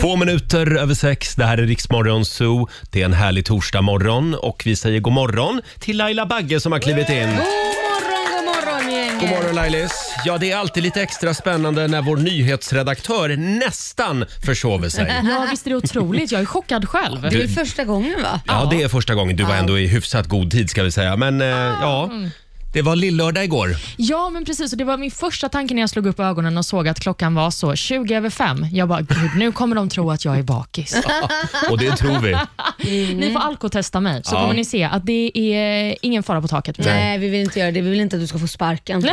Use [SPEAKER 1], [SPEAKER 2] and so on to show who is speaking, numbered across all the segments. [SPEAKER 1] Två minuter över sex, det här är Riksmorgon Zoo. Det är en härlig torsdagmorgon och vi säger god morgon till Laila Bagge som har klivit in.
[SPEAKER 2] God morgon gänget!
[SPEAKER 1] God morgon Lailis! Ja, det är alltid lite extra spännande när vår nyhetsredaktör nästan försover sig.
[SPEAKER 3] Ja, visst är det otroligt. Jag är chockad själv.
[SPEAKER 2] Det är första gången va?
[SPEAKER 1] Ja, det är första gången. Du var ändå i hyfsat god tid ska vi säga. Men eh, ja, det var lillördag igår.
[SPEAKER 3] Ja, men precis. Och det var min första tanke när jag slog upp ögonen och såg att klockan var så 20 över fem. Jag bara, gud, nu kommer de tro att jag är bakis.
[SPEAKER 1] Och det tror vi.
[SPEAKER 3] Ni får alkotesta mig, så
[SPEAKER 1] Mm. Ja.
[SPEAKER 3] kommer ni se att det är ingen fara på taket. med mig.
[SPEAKER 2] Nej, vi vill inte göra det. Vi vill inte att du ska få sparken.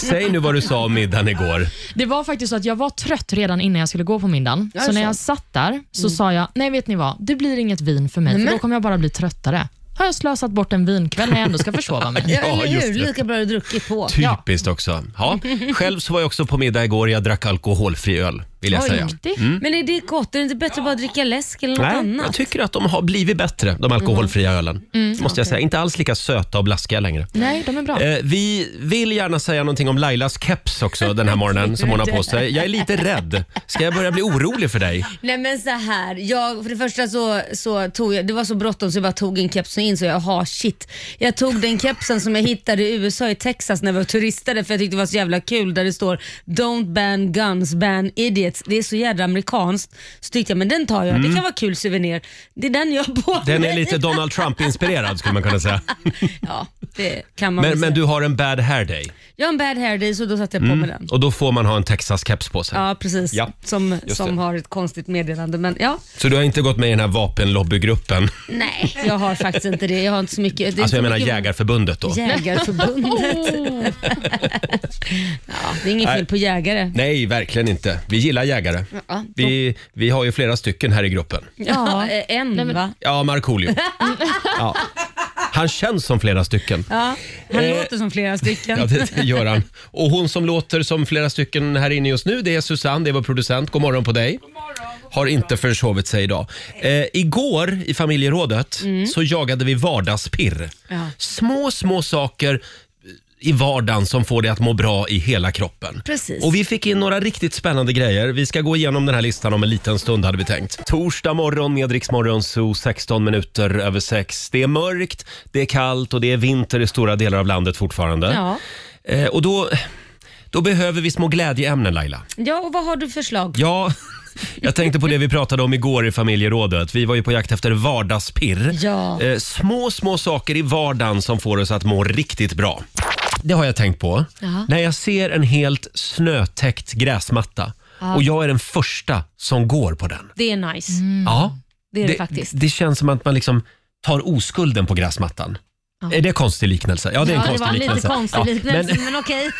[SPEAKER 1] Säg nu vad du sa om middagen igår.
[SPEAKER 3] Det var faktiskt så att jag var trött redan innan jag skulle gå på middagen. Så
[SPEAKER 2] så.
[SPEAKER 3] när jag satt där så
[SPEAKER 1] Mm.
[SPEAKER 3] sa jag, nej vet ni vad, det blir inget vin för mig, för då kommer jag bara bli tröttare. Har jag slösat bort en vinkväll när jag ändå ska försova mig?
[SPEAKER 2] Ja, eller
[SPEAKER 1] just
[SPEAKER 2] hur?
[SPEAKER 1] det.
[SPEAKER 2] Lika bra du druckit på.
[SPEAKER 1] Typiskt också. Ja. Själv så var jag också på middag igår. Jag drack alkoholfri öl, vill jag
[SPEAKER 2] Oj.
[SPEAKER 1] säga. Mm.
[SPEAKER 3] Det-
[SPEAKER 2] Men är det gott? Är det inte bättre att bara dricka läsk eller något
[SPEAKER 1] Nej,
[SPEAKER 2] annat? Mm.
[SPEAKER 1] jag tycker att de har blivit bättre, de alkoholfria ölen. Måste jag säga. Inte alls lika söta och blaskiga längre.
[SPEAKER 3] Nej, de är bra.
[SPEAKER 1] Eh, vi vill gärna säga någonting om Lailas keps också den här morgonen som hon har på sig. Jag är lite rädd. Ska jag börja bli orolig för dig?
[SPEAKER 2] Nej men så här, jag, för det första så, så tog jag, det var så bråttom så jag bara tog en keps och insåg jag, aha shit. Jag tog den kepsen som jag hittade i USA, i Texas när vi var turistade för jag tyckte det var så jävla kul där det står “Don't ban guns, ban idiots”. Det är så jävla amerikanskt. Så tyckte jag, men den tar jag, det kan vara kul souvenir. Det är Mm. den jag har på
[SPEAKER 1] Den är
[SPEAKER 2] mig.
[SPEAKER 1] lite Donald Trump-inspirerad skulle man kunna säga.
[SPEAKER 2] Ja, det kan man väl
[SPEAKER 1] Men,
[SPEAKER 2] säga.
[SPEAKER 1] men du har en bad hair day
[SPEAKER 2] Jag har en bad hair day så då satte jag på mig den.
[SPEAKER 1] och då får man ha en Texas-keps på sig.
[SPEAKER 2] Ja, precis.
[SPEAKER 1] Ja,
[SPEAKER 2] som
[SPEAKER 1] just
[SPEAKER 2] som
[SPEAKER 1] det.
[SPEAKER 2] har ett konstigt meddelande. Men ja,
[SPEAKER 1] Så du har inte gått med i den här vapenlobbygruppen?
[SPEAKER 2] nej, jag har faktiskt inte det. Jag har inte så mycket. det är inte
[SPEAKER 1] Alltså
[SPEAKER 2] så
[SPEAKER 1] jag menar
[SPEAKER 2] mycket-
[SPEAKER 1] Jägarförbundet då?
[SPEAKER 2] Jägarförbundet. ja, det är inget fel på jägare.
[SPEAKER 1] Nej, verkligen inte. Vi gillar jägare.
[SPEAKER 2] Ja.
[SPEAKER 1] Vi, vi har ju flera stycken här i gruppen.
[SPEAKER 2] Ja, eh, en va?
[SPEAKER 1] Ja, Markoolio. Ja. Han känns som flera stycken.
[SPEAKER 2] Ja, han
[SPEAKER 1] Eh,
[SPEAKER 2] låter som flera stycken.
[SPEAKER 1] Ja, det, det gör han. Och hon som låter som flera stycken här inne just nu, det är Susanne, det är vår producent. God morgon på dig. Har inte försovit sig idag. Eh, igår i familjerådet så jagade vi vardagspirr.
[SPEAKER 2] Ja.
[SPEAKER 1] Små, små saker i vardagen som får dig att må bra i hela kroppen.
[SPEAKER 2] Precis.
[SPEAKER 1] Och vi fick in några riktigt spännande grejer. Vi ska gå igenom den här listan om en liten stund hade vi tänkt. Torsdag morgon med Rix Morgon Zoo, 16 minuter över 6. Det är mörkt, det är kallt och det är vinter i stora delar av landet fortfarande.
[SPEAKER 2] Ja.
[SPEAKER 1] Eh, och då, då behöver vi små glädjeämnen Laila.
[SPEAKER 2] ja, och vad har du för förslag?
[SPEAKER 1] Ja, jag tänkte på det vi pratade om igår i familjerådet. Vi var ju på jakt efter vardagspirr.
[SPEAKER 2] Ja.
[SPEAKER 1] Eh, små, små saker i vardagen som får oss att må riktigt bra. Det har jag tänkt på.
[SPEAKER 2] Jaha.
[SPEAKER 1] När jag ser en helt snötäckt gräsmatta och jag är den första som går på den.
[SPEAKER 2] Det är nice.
[SPEAKER 1] Ja,
[SPEAKER 2] Mm. Det är det, faktiskt.
[SPEAKER 1] det känns som att man liksom tar oskulden på gräsmattan. Är det en konstig liknelse? Ja, det är en
[SPEAKER 2] Ja, det
[SPEAKER 1] konstig
[SPEAKER 2] var en
[SPEAKER 1] liknelse.
[SPEAKER 2] lite konstig
[SPEAKER 1] Ja,
[SPEAKER 2] liknelse,
[SPEAKER 1] men- eh,
[SPEAKER 2] men, okej.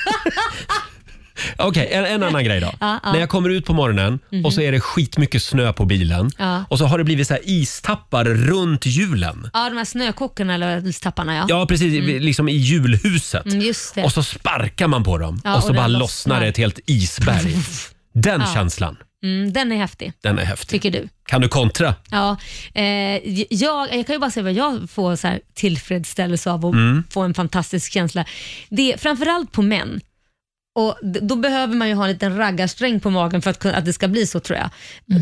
[SPEAKER 1] Okej, en, en annan grej då. När jag kommer ut på morgonen och så är det skitmycket snö på bilen
[SPEAKER 2] Mhm. Ja.
[SPEAKER 1] och så har det blivit så här istappar runt hjulen.
[SPEAKER 2] Ja, de här snökockarna eller istapparna ja.
[SPEAKER 1] Ja, precis. Liksom i julhuset.
[SPEAKER 2] Mm, just det.
[SPEAKER 1] Och så sparkar man på dem
[SPEAKER 2] Ja,
[SPEAKER 1] och så
[SPEAKER 2] och
[SPEAKER 1] bara
[SPEAKER 2] den
[SPEAKER 1] lossnar.
[SPEAKER 2] lossnar.
[SPEAKER 1] det ett helt isberg. Den känslan,
[SPEAKER 2] Mm, den är häftig,
[SPEAKER 1] den är häftig.
[SPEAKER 2] tycker du.
[SPEAKER 1] Kan du kontra?
[SPEAKER 2] Ja, eh, jag, jag kan ju bara säga vad jag får så här tillfredsställelse av och få en fantastisk känsla. Det är framförallt på män. Och d- då behöver man ju ha en liten raggarsträng på magen för att, kunna- att det ska bli så tror jag.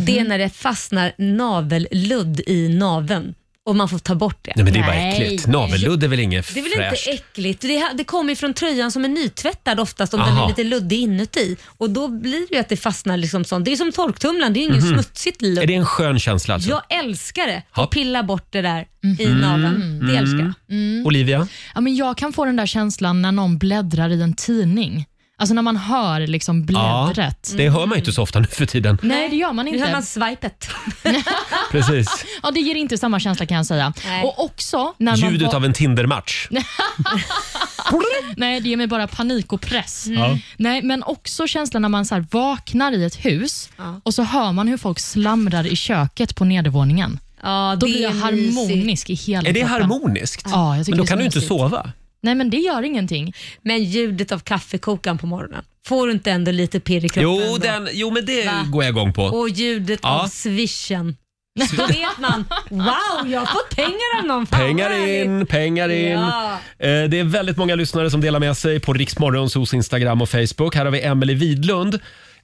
[SPEAKER 2] Det är när det fastnar navelludd i naveln och man får ta bort det.
[SPEAKER 1] Nej, men det är bara
[SPEAKER 3] Nej.
[SPEAKER 1] äckligt. Navelludd är väl inget
[SPEAKER 2] Det är väl
[SPEAKER 1] fräscht?
[SPEAKER 2] inte äckligt? Det, ha- det kommer ju från tröjan som är nytvättad oftast om den
[SPEAKER 1] Aha.
[SPEAKER 2] är lite luddig inuti. Och då blir det ju att det fastnar liksom sånt. Det är som torktumlaren, det är ju ingen smutsigt ludd.
[SPEAKER 1] Är det en skön känsla alltså?
[SPEAKER 2] Jag älskar det.
[SPEAKER 1] Ja.
[SPEAKER 2] Att pilla bort det där i
[SPEAKER 1] Mm.
[SPEAKER 2] naveln. Det älskar jag.
[SPEAKER 1] Olivia?
[SPEAKER 3] Ja, men jag kan få den där känslan när någon bläddrar i en tidning. Alltså när man hör liksom bläddret.
[SPEAKER 1] Det hör man ju inte så ofta nu för tiden.
[SPEAKER 2] Mm.
[SPEAKER 3] Nej, det gör man
[SPEAKER 2] Nu
[SPEAKER 3] inte.
[SPEAKER 2] hör man swipet.
[SPEAKER 1] Precis.
[SPEAKER 3] Ja, det ger inte samma känsla kan jag säga.
[SPEAKER 2] Nej.
[SPEAKER 3] Och också när man...
[SPEAKER 1] Ljudet
[SPEAKER 3] va-
[SPEAKER 1] av en Tindermatch.
[SPEAKER 3] Nej, det ger mig bara panik och press.
[SPEAKER 2] Mm.
[SPEAKER 1] Ja.
[SPEAKER 3] Nej, men också känslan när man så här vaknar i ett hus och så hör man hur folk slamrar i köket på nedervåningen.
[SPEAKER 2] Ja,
[SPEAKER 3] Då
[SPEAKER 2] det
[SPEAKER 3] blir jag
[SPEAKER 2] är mysigt.
[SPEAKER 3] harmonisk i hela
[SPEAKER 1] Är det
[SPEAKER 3] kroppen.
[SPEAKER 1] harmoniskt?
[SPEAKER 3] Ja, jag tycker
[SPEAKER 1] Men då
[SPEAKER 3] det är
[SPEAKER 1] kan
[SPEAKER 3] så
[SPEAKER 1] du inte
[SPEAKER 3] mysigt.
[SPEAKER 1] sova?
[SPEAKER 3] Nej, men det gör ingenting.
[SPEAKER 2] Men ljudet av kaffekokaren på morgonen. Får du inte ändå lite pirr i kroppen?
[SPEAKER 1] Jo,
[SPEAKER 2] då?
[SPEAKER 1] den, jo men det
[SPEAKER 2] Va?
[SPEAKER 1] går jag igång på.
[SPEAKER 2] Och ljudet
[SPEAKER 1] Ja.
[SPEAKER 2] av swishen. Då vet man. Wow, jag har fått pengar av någon. Fan, vad
[SPEAKER 1] Pengar
[SPEAKER 2] härligt.
[SPEAKER 1] in, pengar in.
[SPEAKER 2] Ja.
[SPEAKER 1] Eh, Det är väldigt många lyssnare som delar med sig på Riksmorgonsos Instagram och Facebook. Här har vi Emelie Widlund.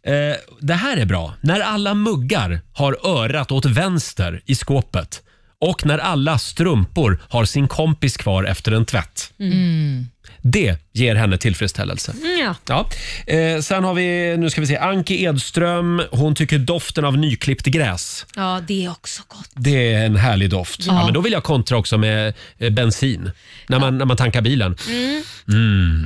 [SPEAKER 1] Eh, det här är bra. När alla muggar har örat åt vänster i skåpet och när alla strumpor har sin kompis kvar efter en tvätt. Det ger henne tillfredsställelse.
[SPEAKER 2] Mm, Ja.
[SPEAKER 1] Ja. Eh, sen har vi, nu ska vi se, Anki Edström. Hon tycker doften av nyklippt gräs.
[SPEAKER 2] ja, det är också gott.
[SPEAKER 1] Det är en härlig doft. Ja. men då vill jag kontra också med eh, bensin. När man, när man tankar bilen.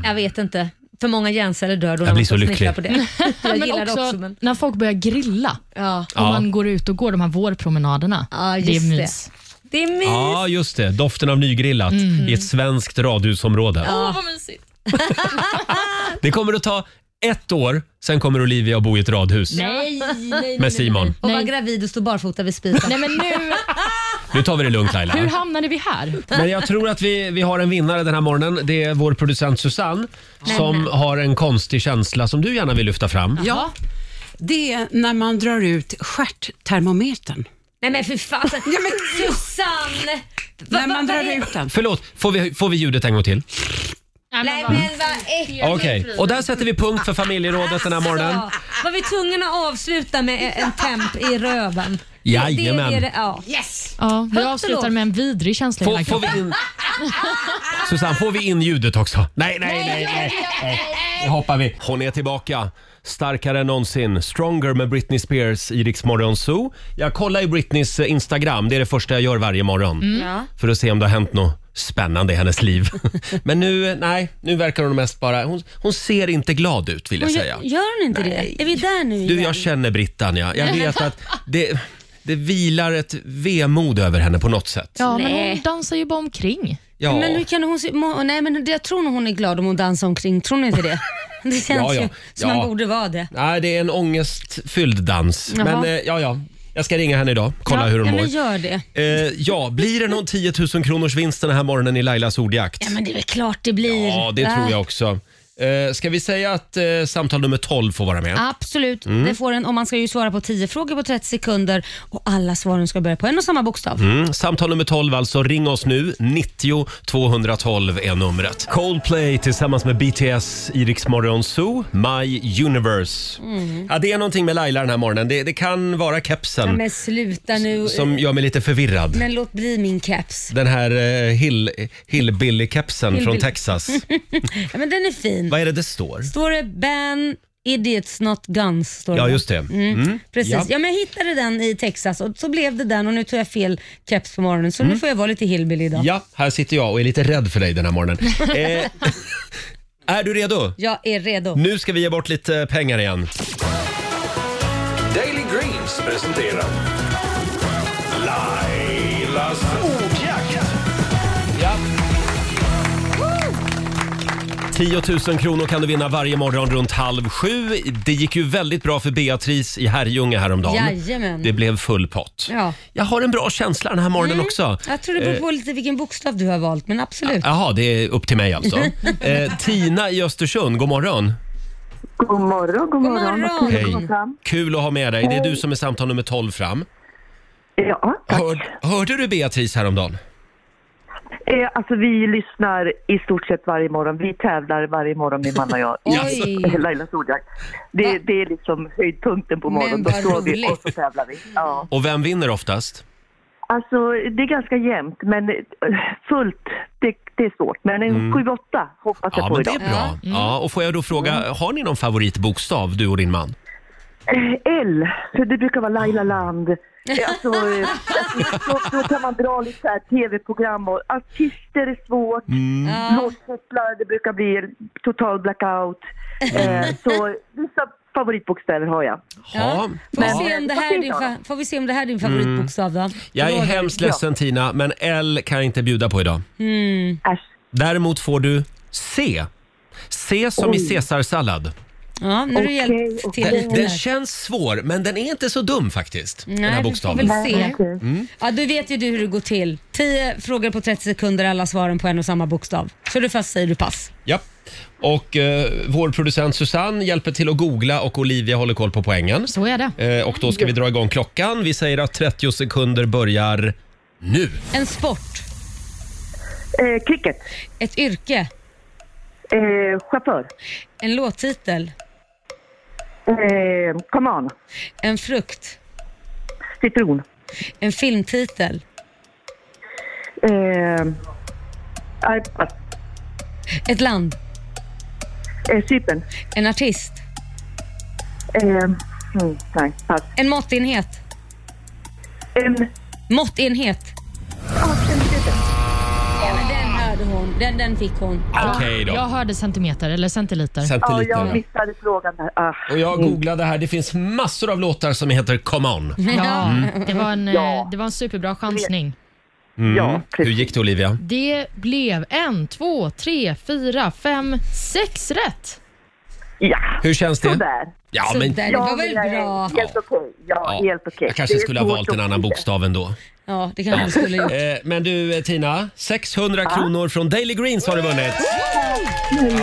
[SPEAKER 2] Jag vet inte. För många hjärnceller dör då. när
[SPEAKER 1] Mm. blir
[SPEAKER 2] man
[SPEAKER 1] så
[SPEAKER 2] får snickra
[SPEAKER 1] lycklig.
[SPEAKER 2] På det. Jag
[SPEAKER 3] Men
[SPEAKER 2] gillar
[SPEAKER 3] också,
[SPEAKER 2] det också. Men...
[SPEAKER 3] när folk börjar grilla
[SPEAKER 2] Ja.
[SPEAKER 3] och man går ut och går de här vårpromenaderna.
[SPEAKER 2] Ja,
[SPEAKER 3] det är
[SPEAKER 2] just det.
[SPEAKER 3] mys.
[SPEAKER 2] Det är mys.
[SPEAKER 1] Ja, just det. Doften av nygrillat i ett svenskt radhusområde.
[SPEAKER 3] Mm. Åh, vad mysigt.
[SPEAKER 1] Det kommer att ta ett år, sen kommer Olivia att bo i ett radhus
[SPEAKER 3] Nej, nej, nej.
[SPEAKER 1] med Simon.
[SPEAKER 2] Och var
[SPEAKER 3] Nej.
[SPEAKER 2] gravid och stå barfota vid spisen.
[SPEAKER 3] nej men nu,
[SPEAKER 1] Nu tar vi det lugnt Laila.
[SPEAKER 3] hur hamnade vi här?
[SPEAKER 1] Men jag tror att vi, vi har en vinnare den här morgonen. Det är vår producent Susanne som har en konstig känsla som du gärna vill lyfta fram.
[SPEAKER 4] Ja, det är när man drar ut stjärttermometern.
[SPEAKER 2] Nej men för fan. Ja, men... Susanne! Va-
[SPEAKER 4] När man
[SPEAKER 2] va-
[SPEAKER 4] drar
[SPEAKER 2] vad är-
[SPEAKER 4] ut den.
[SPEAKER 1] Förlåt, får vi, får vi ljudet en gång till?
[SPEAKER 2] Nej men vad äckligt.
[SPEAKER 1] Okej, och där sätter vi punkt för familjerådet den här morgonen.
[SPEAKER 2] Ja. Var vi tvungna att avsluta med e- en temp i röven?
[SPEAKER 1] Jajamän.
[SPEAKER 2] Det, det, det, ja.
[SPEAKER 3] Ja, vi
[SPEAKER 2] och
[SPEAKER 3] avslutar
[SPEAKER 2] lågt.
[SPEAKER 3] med en vidrig känsla i
[SPEAKER 1] Får,
[SPEAKER 3] hela
[SPEAKER 1] får
[SPEAKER 3] kroppen.
[SPEAKER 1] vi in... Susanne, får vi in ljudet också? Nej, nej, nej. nej, nej. Det hoppar vi. Hon är tillbaka. Starkare än någonsin. Stronger med Britney Spears i Rix Morgon Zoo. Jag kollar ju Britneys eh, Instagram. Det är det första jag gör varje morgon.
[SPEAKER 2] Ja.
[SPEAKER 1] För att se om det har hänt något spännande i hennes liv. Men nu, eh, nej, nu verkar hon mest bara... Hon, hon ser inte glad ut vill jag
[SPEAKER 2] Men
[SPEAKER 1] säga.
[SPEAKER 2] Gör, gör hon inte det? Är vi där nu
[SPEAKER 1] Du,
[SPEAKER 2] igen?
[SPEAKER 1] jag känner Brittan ja. Jag vet att det, det vilar ett vemod över henne på något sätt.
[SPEAKER 3] Ja, men
[SPEAKER 2] Nej.
[SPEAKER 3] hon dansar ju bara omkring.
[SPEAKER 1] Ja.
[SPEAKER 2] Men hur kan hon se, må, nej men det- jag tror nog hon är glad om hon dansar omkring, tror ni inte det? Det känns
[SPEAKER 1] Ja, ja.
[SPEAKER 2] ju
[SPEAKER 1] Ja.
[SPEAKER 2] som man borde vara det.
[SPEAKER 1] Nej, det är en ångestfylld dans.
[SPEAKER 2] Jaha.
[SPEAKER 1] Men eh, ja, ja. Jag ska ringa henne idag, kolla hur hon
[SPEAKER 2] ja,
[SPEAKER 1] mår.
[SPEAKER 2] men gör det.
[SPEAKER 1] Eh, ja, blir det någon 10 000 kronors vinst den här morgonen i Lailas ordjakt?
[SPEAKER 2] Ja men det är väl klart det blir.
[SPEAKER 1] Ja, det
[SPEAKER 2] va?
[SPEAKER 1] tror jag också. Eh, ska vi säga att eh, samtal nummer 12 får vara med?
[SPEAKER 2] Absolut,
[SPEAKER 1] Mm.
[SPEAKER 2] det får en, och man ska ju svara på 10 frågor på 30 sekunder och alla svaren ska börja på en och samma bokstav.
[SPEAKER 1] Mm, samtal nummer 12 alltså. Ring oss nu. 90 212 är numret. Coldplay tillsammans med BTS, Iriks Zoo, My Universe. Ja, det är någonting med Laila den här morgonen. Det, det kan vara
[SPEAKER 2] Mm. Ja,
[SPEAKER 1] kepsen
[SPEAKER 2] men sluta nu,
[SPEAKER 1] som gör mig lite förvirrad.
[SPEAKER 2] men låt bli min keps.
[SPEAKER 1] Den här eh, hill, hillbilly-kepsen från
[SPEAKER 2] Hillbilly.
[SPEAKER 1] Texas.
[SPEAKER 2] Ja, men den är fin.
[SPEAKER 1] Vad är det det står?
[SPEAKER 2] Står det ban idiots not guns? Står
[SPEAKER 1] Ja,
[SPEAKER 2] det.
[SPEAKER 1] just det. Mm.
[SPEAKER 2] Precis.
[SPEAKER 1] Ja.
[SPEAKER 2] Ja. men jag hittade den i Texas och så blev det den och nu tog jag fel keps på morgonen så nu får jag vara lite hillbilly idag.
[SPEAKER 1] Mm. Ja, här sitter jag och är lite rädd för dig den här morgonen. Eh, är du redo?
[SPEAKER 2] Jag är redo.
[SPEAKER 1] Nu ska vi ge bort lite pengar igen.
[SPEAKER 5] Daily Greens presenterar Lailas ordjakt.
[SPEAKER 1] 10 000 kronor kan du vinna varje morgon runt halv sju. Det gick ju väldigt bra för Beatrice i Herrljunga häromdagen.
[SPEAKER 2] Jajamän.
[SPEAKER 1] Det blev full pott.
[SPEAKER 2] Ja. Mm.
[SPEAKER 1] Jag har en bra känsla den här morgonen också.
[SPEAKER 2] Jag tror det
[SPEAKER 1] Eh.
[SPEAKER 2] beror på lite vilken bokstav du har valt men absolut.
[SPEAKER 1] Jaha, det är upp till mig alltså. eh, Tina i Östersund, god morgon.
[SPEAKER 6] God morgon, god
[SPEAKER 2] God
[SPEAKER 6] morgon.
[SPEAKER 2] morgon!
[SPEAKER 1] Hej. Kul att ha med dig. Det är du som är samtal nummer 12 fram.
[SPEAKER 6] Ja, tack.
[SPEAKER 1] Hör, hörde du Beatrice häromdagen?
[SPEAKER 6] Eh, alltså vi lyssnar i stort sett varje morgon. Vi tävlar varje morgon min man och jag i
[SPEAKER 2] Oj.
[SPEAKER 6] Lailas ordjakt. Det,
[SPEAKER 2] Va?
[SPEAKER 6] det är liksom höjdpunkten på
[SPEAKER 2] Men
[SPEAKER 6] morgonen. Då
[SPEAKER 2] vad
[SPEAKER 6] står vi
[SPEAKER 2] roligt.
[SPEAKER 6] och så tävlar vi. Ja.
[SPEAKER 1] Och vem vinner oftast?
[SPEAKER 6] Alltså det är ganska jämnt men eh, fullt, det, det är svårt. Men en 7-8 hoppas
[SPEAKER 1] Mm.
[SPEAKER 6] jag
[SPEAKER 1] Ja,
[SPEAKER 6] på
[SPEAKER 1] men det
[SPEAKER 6] idag.
[SPEAKER 1] är
[SPEAKER 2] Mm.
[SPEAKER 1] bra. Ja, och får jag då fråga, har ni någon favoritbokstav, du och din man?
[SPEAKER 6] Eh, L, för det brukar vara
[SPEAKER 1] Mm.
[SPEAKER 6] Laila Land. Eh, Alltså, eh, då, då kan man dra lite så här tv-program och artister är svårt.
[SPEAKER 1] Mm.
[SPEAKER 2] Ja.
[SPEAKER 6] Låtkopplar, det brukar bli total blackout.
[SPEAKER 2] Mm.
[SPEAKER 6] Eh, så vissa favoritbokstäver har jag.
[SPEAKER 1] Ja.
[SPEAKER 2] Ja. Får, vi
[SPEAKER 6] Men-
[SPEAKER 2] se om det här är din fa- får vi se om det här är din favoritbokstav då?
[SPEAKER 1] Jag är
[SPEAKER 2] Roger.
[SPEAKER 1] hemskt ledsen Tina, men L kan jag inte bjuda på idag.
[SPEAKER 6] Äsch.
[SPEAKER 1] Däremot får du C. C som i caesarsallad.
[SPEAKER 2] Ja, nu har du hjälpt till
[SPEAKER 1] Den,
[SPEAKER 2] lite
[SPEAKER 1] den
[SPEAKER 2] där.
[SPEAKER 1] känns svår, men den är inte så dum faktiskt. den här
[SPEAKER 2] Nej, vi får väl
[SPEAKER 1] bokstaven.
[SPEAKER 2] se.
[SPEAKER 6] Okej.
[SPEAKER 2] Ja, du vet ju du hur det går till. 10 frågor på 30 sekunder, alla svaren på en och samma bokstav. Så du fast säger du pass.
[SPEAKER 1] Ja. Och eh, vår producent Susanne hjälper till att googla och Olivia håller koll på poängen.
[SPEAKER 3] Så är det.
[SPEAKER 1] Eh, och då ska vi dra igång klockan. Vi säger att 30 sekunder börjar nu.
[SPEAKER 2] En sport,
[SPEAKER 6] Eh, cricket.
[SPEAKER 2] ett yrke,
[SPEAKER 6] Eh, chaufför.
[SPEAKER 2] en låttitel,
[SPEAKER 6] Eh, come on.
[SPEAKER 2] En frukt.
[SPEAKER 6] Citron.
[SPEAKER 2] En filmtitel.
[SPEAKER 6] Eh, aj, pass.
[SPEAKER 2] Ett land.
[SPEAKER 6] eh, Cypern.
[SPEAKER 2] En artist.
[SPEAKER 6] Eh, mm, nej, pass.
[SPEAKER 2] En måttenhet.
[SPEAKER 6] En...
[SPEAKER 2] Måttenhet. Ja, men den hörde hon. Den, den fick hon.
[SPEAKER 1] Okej
[SPEAKER 3] Jag
[SPEAKER 1] då.
[SPEAKER 3] hörde centimeter, eller centiliter.
[SPEAKER 6] Ja, jag
[SPEAKER 1] Centiliter.
[SPEAKER 6] missade frågan där. Ah.
[SPEAKER 1] Och jag googlade här. Det finns massor av låtar som heter Come On.
[SPEAKER 3] Ja,
[SPEAKER 1] Mm.
[SPEAKER 3] det, var en, eh,
[SPEAKER 6] Ja.
[SPEAKER 3] det var en superbra chansning.
[SPEAKER 6] Ja,
[SPEAKER 1] Mm. Hur
[SPEAKER 6] precis.
[SPEAKER 1] gick det Olivia?
[SPEAKER 3] Det blev en, två, tre, fyra, fem, sex rätt.
[SPEAKER 6] Ja,
[SPEAKER 1] Hur känns det?
[SPEAKER 6] sådär.
[SPEAKER 1] Ja,
[SPEAKER 2] Så
[SPEAKER 1] men
[SPEAKER 2] där, det
[SPEAKER 6] Ja,
[SPEAKER 2] var väl
[SPEAKER 6] men, eh,
[SPEAKER 2] bra?
[SPEAKER 6] Helt okej. Ja,
[SPEAKER 1] Ja,
[SPEAKER 6] helt okej.
[SPEAKER 1] Jag kanske
[SPEAKER 6] Det är
[SPEAKER 1] skulle ha
[SPEAKER 6] svårt
[SPEAKER 1] valt en
[SPEAKER 6] att-
[SPEAKER 1] annan bokstav ändå.
[SPEAKER 2] Ja, det kanske du skulle gjort.
[SPEAKER 1] Eh, men du eh, Tina, 600 kronor från Daily Greens har du vunnit.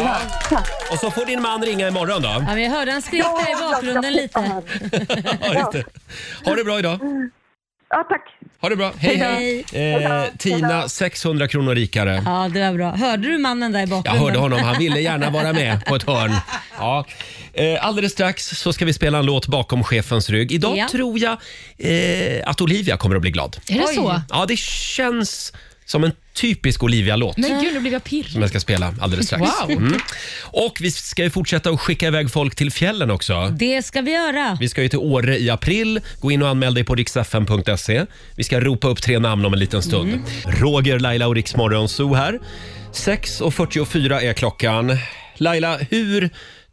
[SPEAKER 1] Ja. Och så får din man ringa imorgon då.
[SPEAKER 2] Ja, men jag hörde han skrika i bakgrunden lite.
[SPEAKER 1] Ja, just det. Ha det bra idag.
[SPEAKER 6] Ja, tack.
[SPEAKER 1] Ha det bra. Hej, hej. Eh, Tina, 600 kronor rikare.
[SPEAKER 2] Ja, det var bra. Hörde du mannen där i
[SPEAKER 1] Jag
[SPEAKER 2] bakgrunden?
[SPEAKER 1] hörde honom, han ville gärna vara med på ett hörn. Ja. Eh, alldeles strax så ska vi spela en låt bakom chefens rygg. Idag
[SPEAKER 2] Ja.
[SPEAKER 1] tror jag eh, att Olivia kommer att bli glad.
[SPEAKER 3] Är det
[SPEAKER 2] Oj.
[SPEAKER 3] så?
[SPEAKER 1] Ja, det känns som en typisk Olivia-låt.
[SPEAKER 3] Men gud, nu blev jag pirrig.
[SPEAKER 1] som jag ska spela alldeles strax.
[SPEAKER 3] Wow.
[SPEAKER 1] Mm. Och vi ska ju fortsätta att skicka iväg folk till fjällen också.
[SPEAKER 2] Det ska vi göra.
[SPEAKER 1] Vi ska ju till Åre i april. Gå in och anmäl dig på riksfn.se. Vi ska ropa upp tre namn om en liten stund. Roger, Laila och Riksmorgon Zoo här. 6.44 är klockan. Laila, hur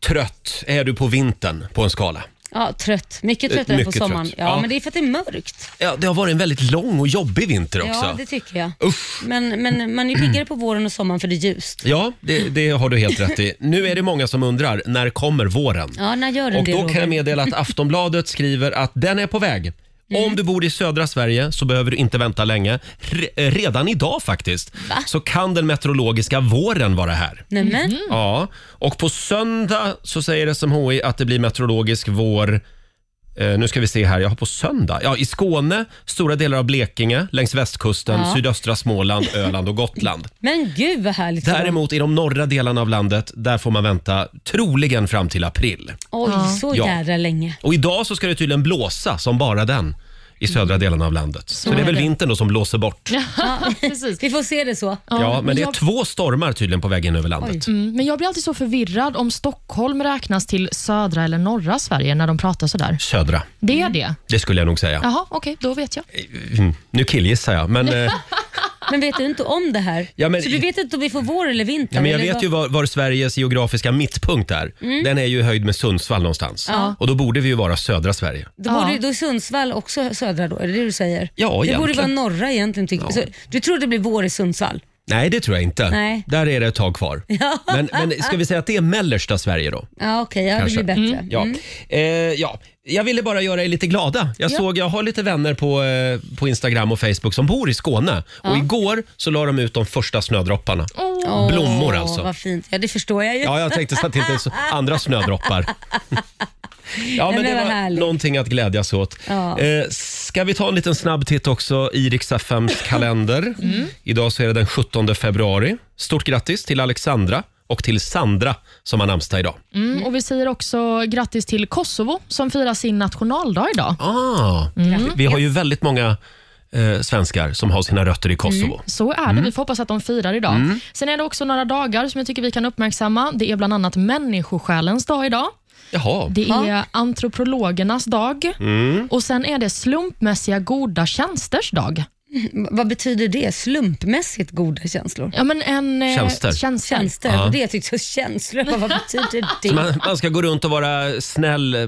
[SPEAKER 1] trött är du på vintern på en skala?
[SPEAKER 2] Ja, trött. Mycket tröttare
[SPEAKER 1] Mycket
[SPEAKER 2] på sommaren.
[SPEAKER 1] trött.
[SPEAKER 2] Ja,
[SPEAKER 1] Ja.
[SPEAKER 2] men det är för att det är mörkt.
[SPEAKER 1] Ja, det har varit en väldigt lång och jobbig vinter också.
[SPEAKER 2] Ja, det tycker jag.
[SPEAKER 1] Uff.
[SPEAKER 2] Men, men man är ju piggare på våren och sommaren för det är ljust.
[SPEAKER 1] Ja, det, det har du helt rätt i. Nu är det många som undrar, när kommer våren?
[SPEAKER 2] Ja, när gör den
[SPEAKER 1] Och
[SPEAKER 2] det
[SPEAKER 1] då kan
[SPEAKER 2] Roger?
[SPEAKER 1] jag meddela att Aftonbladet skriver att den är på väg.
[SPEAKER 2] Mm.
[SPEAKER 1] Om du bor i södra Sverige så behöver du inte vänta länge. Re- eh, redan idag faktiskt så kan den meteorologiska våren vara
[SPEAKER 2] Mm.
[SPEAKER 1] här.
[SPEAKER 2] Nämen.
[SPEAKER 1] Ja, och på söndag så säger SMHI att det blir meteorologisk vår Eh, nu ska vi se här, jag har på söndag. Ja, I Skåne, stora delar av Blekinge, längs västkusten,
[SPEAKER 2] Ja.
[SPEAKER 1] sydöstra Småland, Öland och Gotland.
[SPEAKER 2] Men gud vad härligt. för dem.
[SPEAKER 1] Däremot i de norra delarna av landet, där får man vänta troligen fram till april.
[SPEAKER 2] Oj, så
[SPEAKER 1] Ja.
[SPEAKER 2] jädra länge.
[SPEAKER 1] Och idag så ska det tydligen blåsa som bara den i södra delen av landet. Så, det är
[SPEAKER 3] är
[SPEAKER 1] väl
[SPEAKER 3] det.
[SPEAKER 1] vintern då som blåser bort. Ja,
[SPEAKER 3] Precis.
[SPEAKER 2] Vi får se det så.
[SPEAKER 1] men det är
[SPEAKER 3] jag,
[SPEAKER 1] två stormar tydligen på väg in över landet.
[SPEAKER 3] mm, men jag blir alltid så förvirrad om Stockholm räknas till södra eller norra Sverige när de pratar sådär.
[SPEAKER 1] Södra,
[SPEAKER 3] Det är det?
[SPEAKER 1] det skulle jag nog säga.
[SPEAKER 3] Jaha, okej, då vet jag.
[SPEAKER 1] Mm, Nu killgissar jag, men, eh,
[SPEAKER 2] Men vet du inte om det här?
[SPEAKER 1] Ja, men-
[SPEAKER 2] så du vet inte om vi får vår eller vinter?
[SPEAKER 1] ja, men jag
[SPEAKER 2] eller
[SPEAKER 1] vet
[SPEAKER 2] vad-
[SPEAKER 1] ju var, var Sveriges geografiska mittpunkt är. Den är ju i höjd med Sundsvall någonstans. Och då borde vi ju vara södra Sverige.
[SPEAKER 2] Då
[SPEAKER 3] Ja.
[SPEAKER 2] borde ju- då är Sundsvall också södra då, är det det du säger?
[SPEAKER 1] Ja,
[SPEAKER 2] Det borde
[SPEAKER 1] egentligen.
[SPEAKER 2] vara norra egentligen. Tycker så, du tror det blir vår i Sundsvall?
[SPEAKER 1] Nej, det tror jag inte.
[SPEAKER 2] Nej.
[SPEAKER 1] Där är det ett tag kvar. Men, men ska vi säga att det är mellersta Sverige då?
[SPEAKER 2] Ja, okej. ja, det
[SPEAKER 1] Kanske.
[SPEAKER 2] blir bättre.
[SPEAKER 1] Ja. Eh, ja. Jag ville bara göra er lite glada. Jag såg, jag har lite vänner på, eh, på Instagram och Facebook som bor i Skåne. Och igår så la de ut de första snödropparna.
[SPEAKER 2] Åh,
[SPEAKER 1] Blommor alltså.
[SPEAKER 2] Vad fint. Ja, det förstår jag ju.
[SPEAKER 1] Ja, jag tänkte så att det inte är så andra snödroppar. Ja, men
[SPEAKER 2] men
[SPEAKER 1] det
[SPEAKER 2] vad
[SPEAKER 1] var
[SPEAKER 2] härligt.
[SPEAKER 1] någonting att glädjas åt.
[SPEAKER 2] Ja.
[SPEAKER 1] Eh, ska vi ta en liten snabb titt också i Rix FMs kalender?
[SPEAKER 2] Mm.
[SPEAKER 1] Idag så är det den 17 februari. Stort grattis till Alexandra och till Sandra som har namnsdag idag.
[SPEAKER 3] Mm, och Vi säger också grattis till Kosovo som firar sin nationaldag idag.
[SPEAKER 1] Ah,
[SPEAKER 2] Mm.
[SPEAKER 1] Vi har ju väldigt många eh, svenskar som har sina rötter i Kosovo.
[SPEAKER 2] Mm.
[SPEAKER 3] Så är det. Vi får hoppas att de firar idag. Sen är det också några dagar som jag tycker vi kan uppmärksamma. Det är bland annat människosjälens dag idag.
[SPEAKER 1] Jaha.
[SPEAKER 3] Det är antropologernas dag och sen är det slumpmässiga goda tjänsters dag.
[SPEAKER 2] V- Vad betyder det? Slumpmässigt goda känslor?
[SPEAKER 3] Ja, men en, eh,
[SPEAKER 1] Tjänster.
[SPEAKER 3] tjänster.
[SPEAKER 2] Tjänster?
[SPEAKER 1] Ja.
[SPEAKER 2] Och det jag tyckte jag känslor. Vad betyder det?
[SPEAKER 1] Så man, man ska gå runt och vara snäll eh,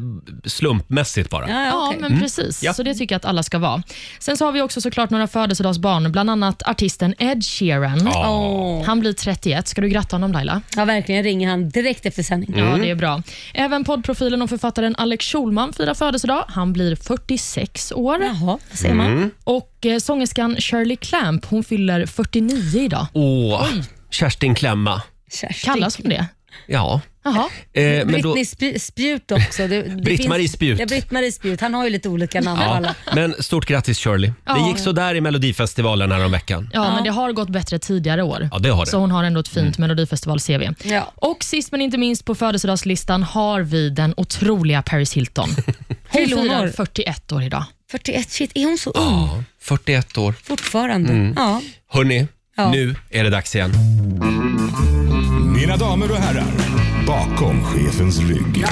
[SPEAKER 1] slumpmässigt bara.
[SPEAKER 2] Ja, ja,
[SPEAKER 3] Ja,
[SPEAKER 2] okej.
[SPEAKER 3] men precis.
[SPEAKER 1] Ja.
[SPEAKER 3] Så det tycker jag att alla ska vara. Sen så har vi också såklart några födelsedagsbarn, bland annat artisten Ed Sheeran.
[SPEAKER 1] Ja.
[SPEAKER 2] Åh.
[SPEAKER 3] Han blir 31. Ska du gratta honom Laila?
[SPEAKER 2] ja, verkligen. ringer han direkt efter sändning.
[SPEAKER 1] Mm.
[SPEAKER 3] Ja, det är bra. Även poddprofilen och författaren Alex Schulman firar födelsedag. Han blir 46 år.
[SPEAKER 2] Jaha, vad säger
[SPEAKER 1] Mm.
[SPEAKER 2] man?
[SPEAKER 3] Och eh, sångerskan Shirley Clamp, hon fyller 49 idag.
[SPEAKER 1] Åh, Kerstin Klemma.
[SPEAKER 2] Kerstin.
[SPEAKER 3] Kallas hon det?
[SPEAKER 1] Ja,
[SPEAKER 3] Jaha.
[SPEAKER 1] Eh, men då-
[SPEAKER 2] Britt-Marie Sp- Spjut också. Det- det
[SPEAKER 1] Britt-Marie
[SPEAKER 2] finns-
[SPEAKER 1] Spjut.
[SPEAKER 2] Ja, Britt-Marie Spjut. Han har ju lite olika namn på
[SPEAKER 1] Ja,
[SPEAKER 2] alla.
[SPEAKER 1] men stort grattis Shirley. Det
[SPEAKER 3] Ja.
[SPEAKER 1] gick så där i Melodifestivalen häromveckan.
[SPEAKER 3] Ja, men det har gått bättre tidigare år.
[SPEAKER 1] Ja, det har det. Mm.
[SPEAKER 3] Så hon har ändå ett fint Melodifestival-CV.
[SPEAKER 2] Ja.
[SPEAKER 3] Och sist men inte minst på födelsedagslistan har vi den otroliga Paris Hilton. Hon
[SPEAKER 2] Fyller hon
[SPEAKER 3] firar
[SPEAKER 2] år?
[SPEAKER 3] 41 år idag.
[SPEAKER 2] 41, shit, är hon så ung
[SPEAKER 1] Ja, Mm. 41 år.
[SPEAKER 2] fortfarande? Ja.
[SPEAKER 1] Hörni,
[SPEAKER 2] Ja.
[SPEAKER 1] nu är det dags igen.
[SPEAKER 5] Mina damer och herrar, bakom chefens rygg.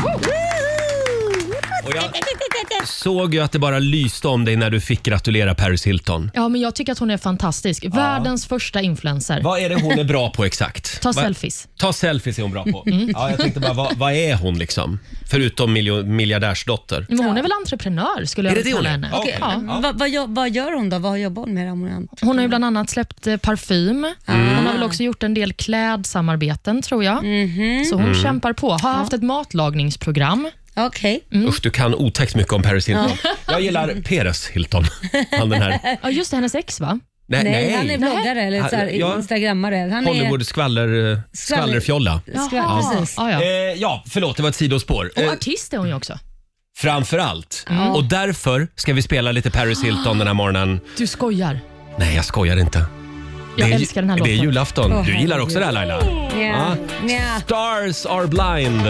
[SPEAKER 1] Och jag såg ju att det bara lyste om dig när du fick gratulera Paris Hilton.
[SPEAKER 3] Ja, men jag tycker att hon är fantastisk. Världens första influencer.
[SPEAKER 1] Vad är det hon är bra på exakt?
[SPEAKER 3] Ta
[SPEAKER 1] Vad-
[SPEAKER 3] selfies.
[SPEAKER 1] Ta selfies är hon bra på.
[SPEAKER 3] Mm.
[SPEAKER 1] Ja, jag tänkte bara, vad, vad är hon liksom? Förutom miljo- miljardärsdotter.
[SPEAKER 3] Men hon är väl entreprenör skulle jag
[SPEAKER 1] Är det
[SPEAKER 3] väl
[SPEAKER 1] det
[SPEAKER 3] kalla
[SPEAKER 1] hon är?
[SPEAKER 3] henne.
[SPEAKER 1] Ja, okej.
[SPEAKER 3] Ja.
[SPEAKER 2] Va, Ehm, vad gör- vad gör hon då? Vad jobbar hon med? Ramon?
[SPEAKER 3] Hon har ju bland annat släppt eh, parfym.
[SPEAKER 1] Mm.
[SPEAKER 3] Hon har väl också gjort en del klädsamarbeten tror jag.
[SPEAKER 1] Mhm.
[SPEAKER 3] Så hon
[SPEAKER 1] Mm.
[SPEAKER 3] kämpar på. Har haft ett matlagningsprogram.
[SPEAKER 2] Okej.
[SPEAKER 3] Mm.
[SPEAKER 1] Usch, du kan otäckt mycket om Paris Hilton. Jag gillar Peres Hilton. Han den här...
[SPEAKER 3] Ja, just det, hennes ex va?
[SPEAKER 1] Nej,
[SPEAKER 2] Nej, han är bloggare eller
[SPEAKER 1] Han-
[SPEAKER 2] så här,
[SPEAKER 1] ja.
[SPEAKER 2] instagrammare. Han är...
[SPEAKER 1] Hollywood skvaller, eh, skvallerfjolla.
[SPEAKER 2] Skvaller, precis.
[SPEAKER 3] Ja, ja.
[SPEAKER 1] Eh, ja, förlåt, det var ett sidospår. Eh,
[SPEAKER 3] Och artist är hon ju också.
[SPEAKER 1] framför allt. Och därför ska vi spela lite Paris Hilton den här morgonen.
[SPEAKER 3] Du skojar.
[SPEAKER 1] Nej, jag skojar inte.
[SPEAKER 3] Jag
[SPEAKER 1] det är,
[SPEAKER 3] älskar den här
[SPEAKER 1] Det är
[SPEAKER 3] låten.
[SPEAKER 1] julafton.
[SPEAKER 2] Åh,
[SPEAKER 1] du gillar
[SPEAKER 2] herregud.
[SPEAKER 1] också det här Laila?
[SPEAKER 2] Ja.
[SPEAKER 1] Ja.
[SPEAKER 2] Ja.
[SPEAKER 1] Stars are blind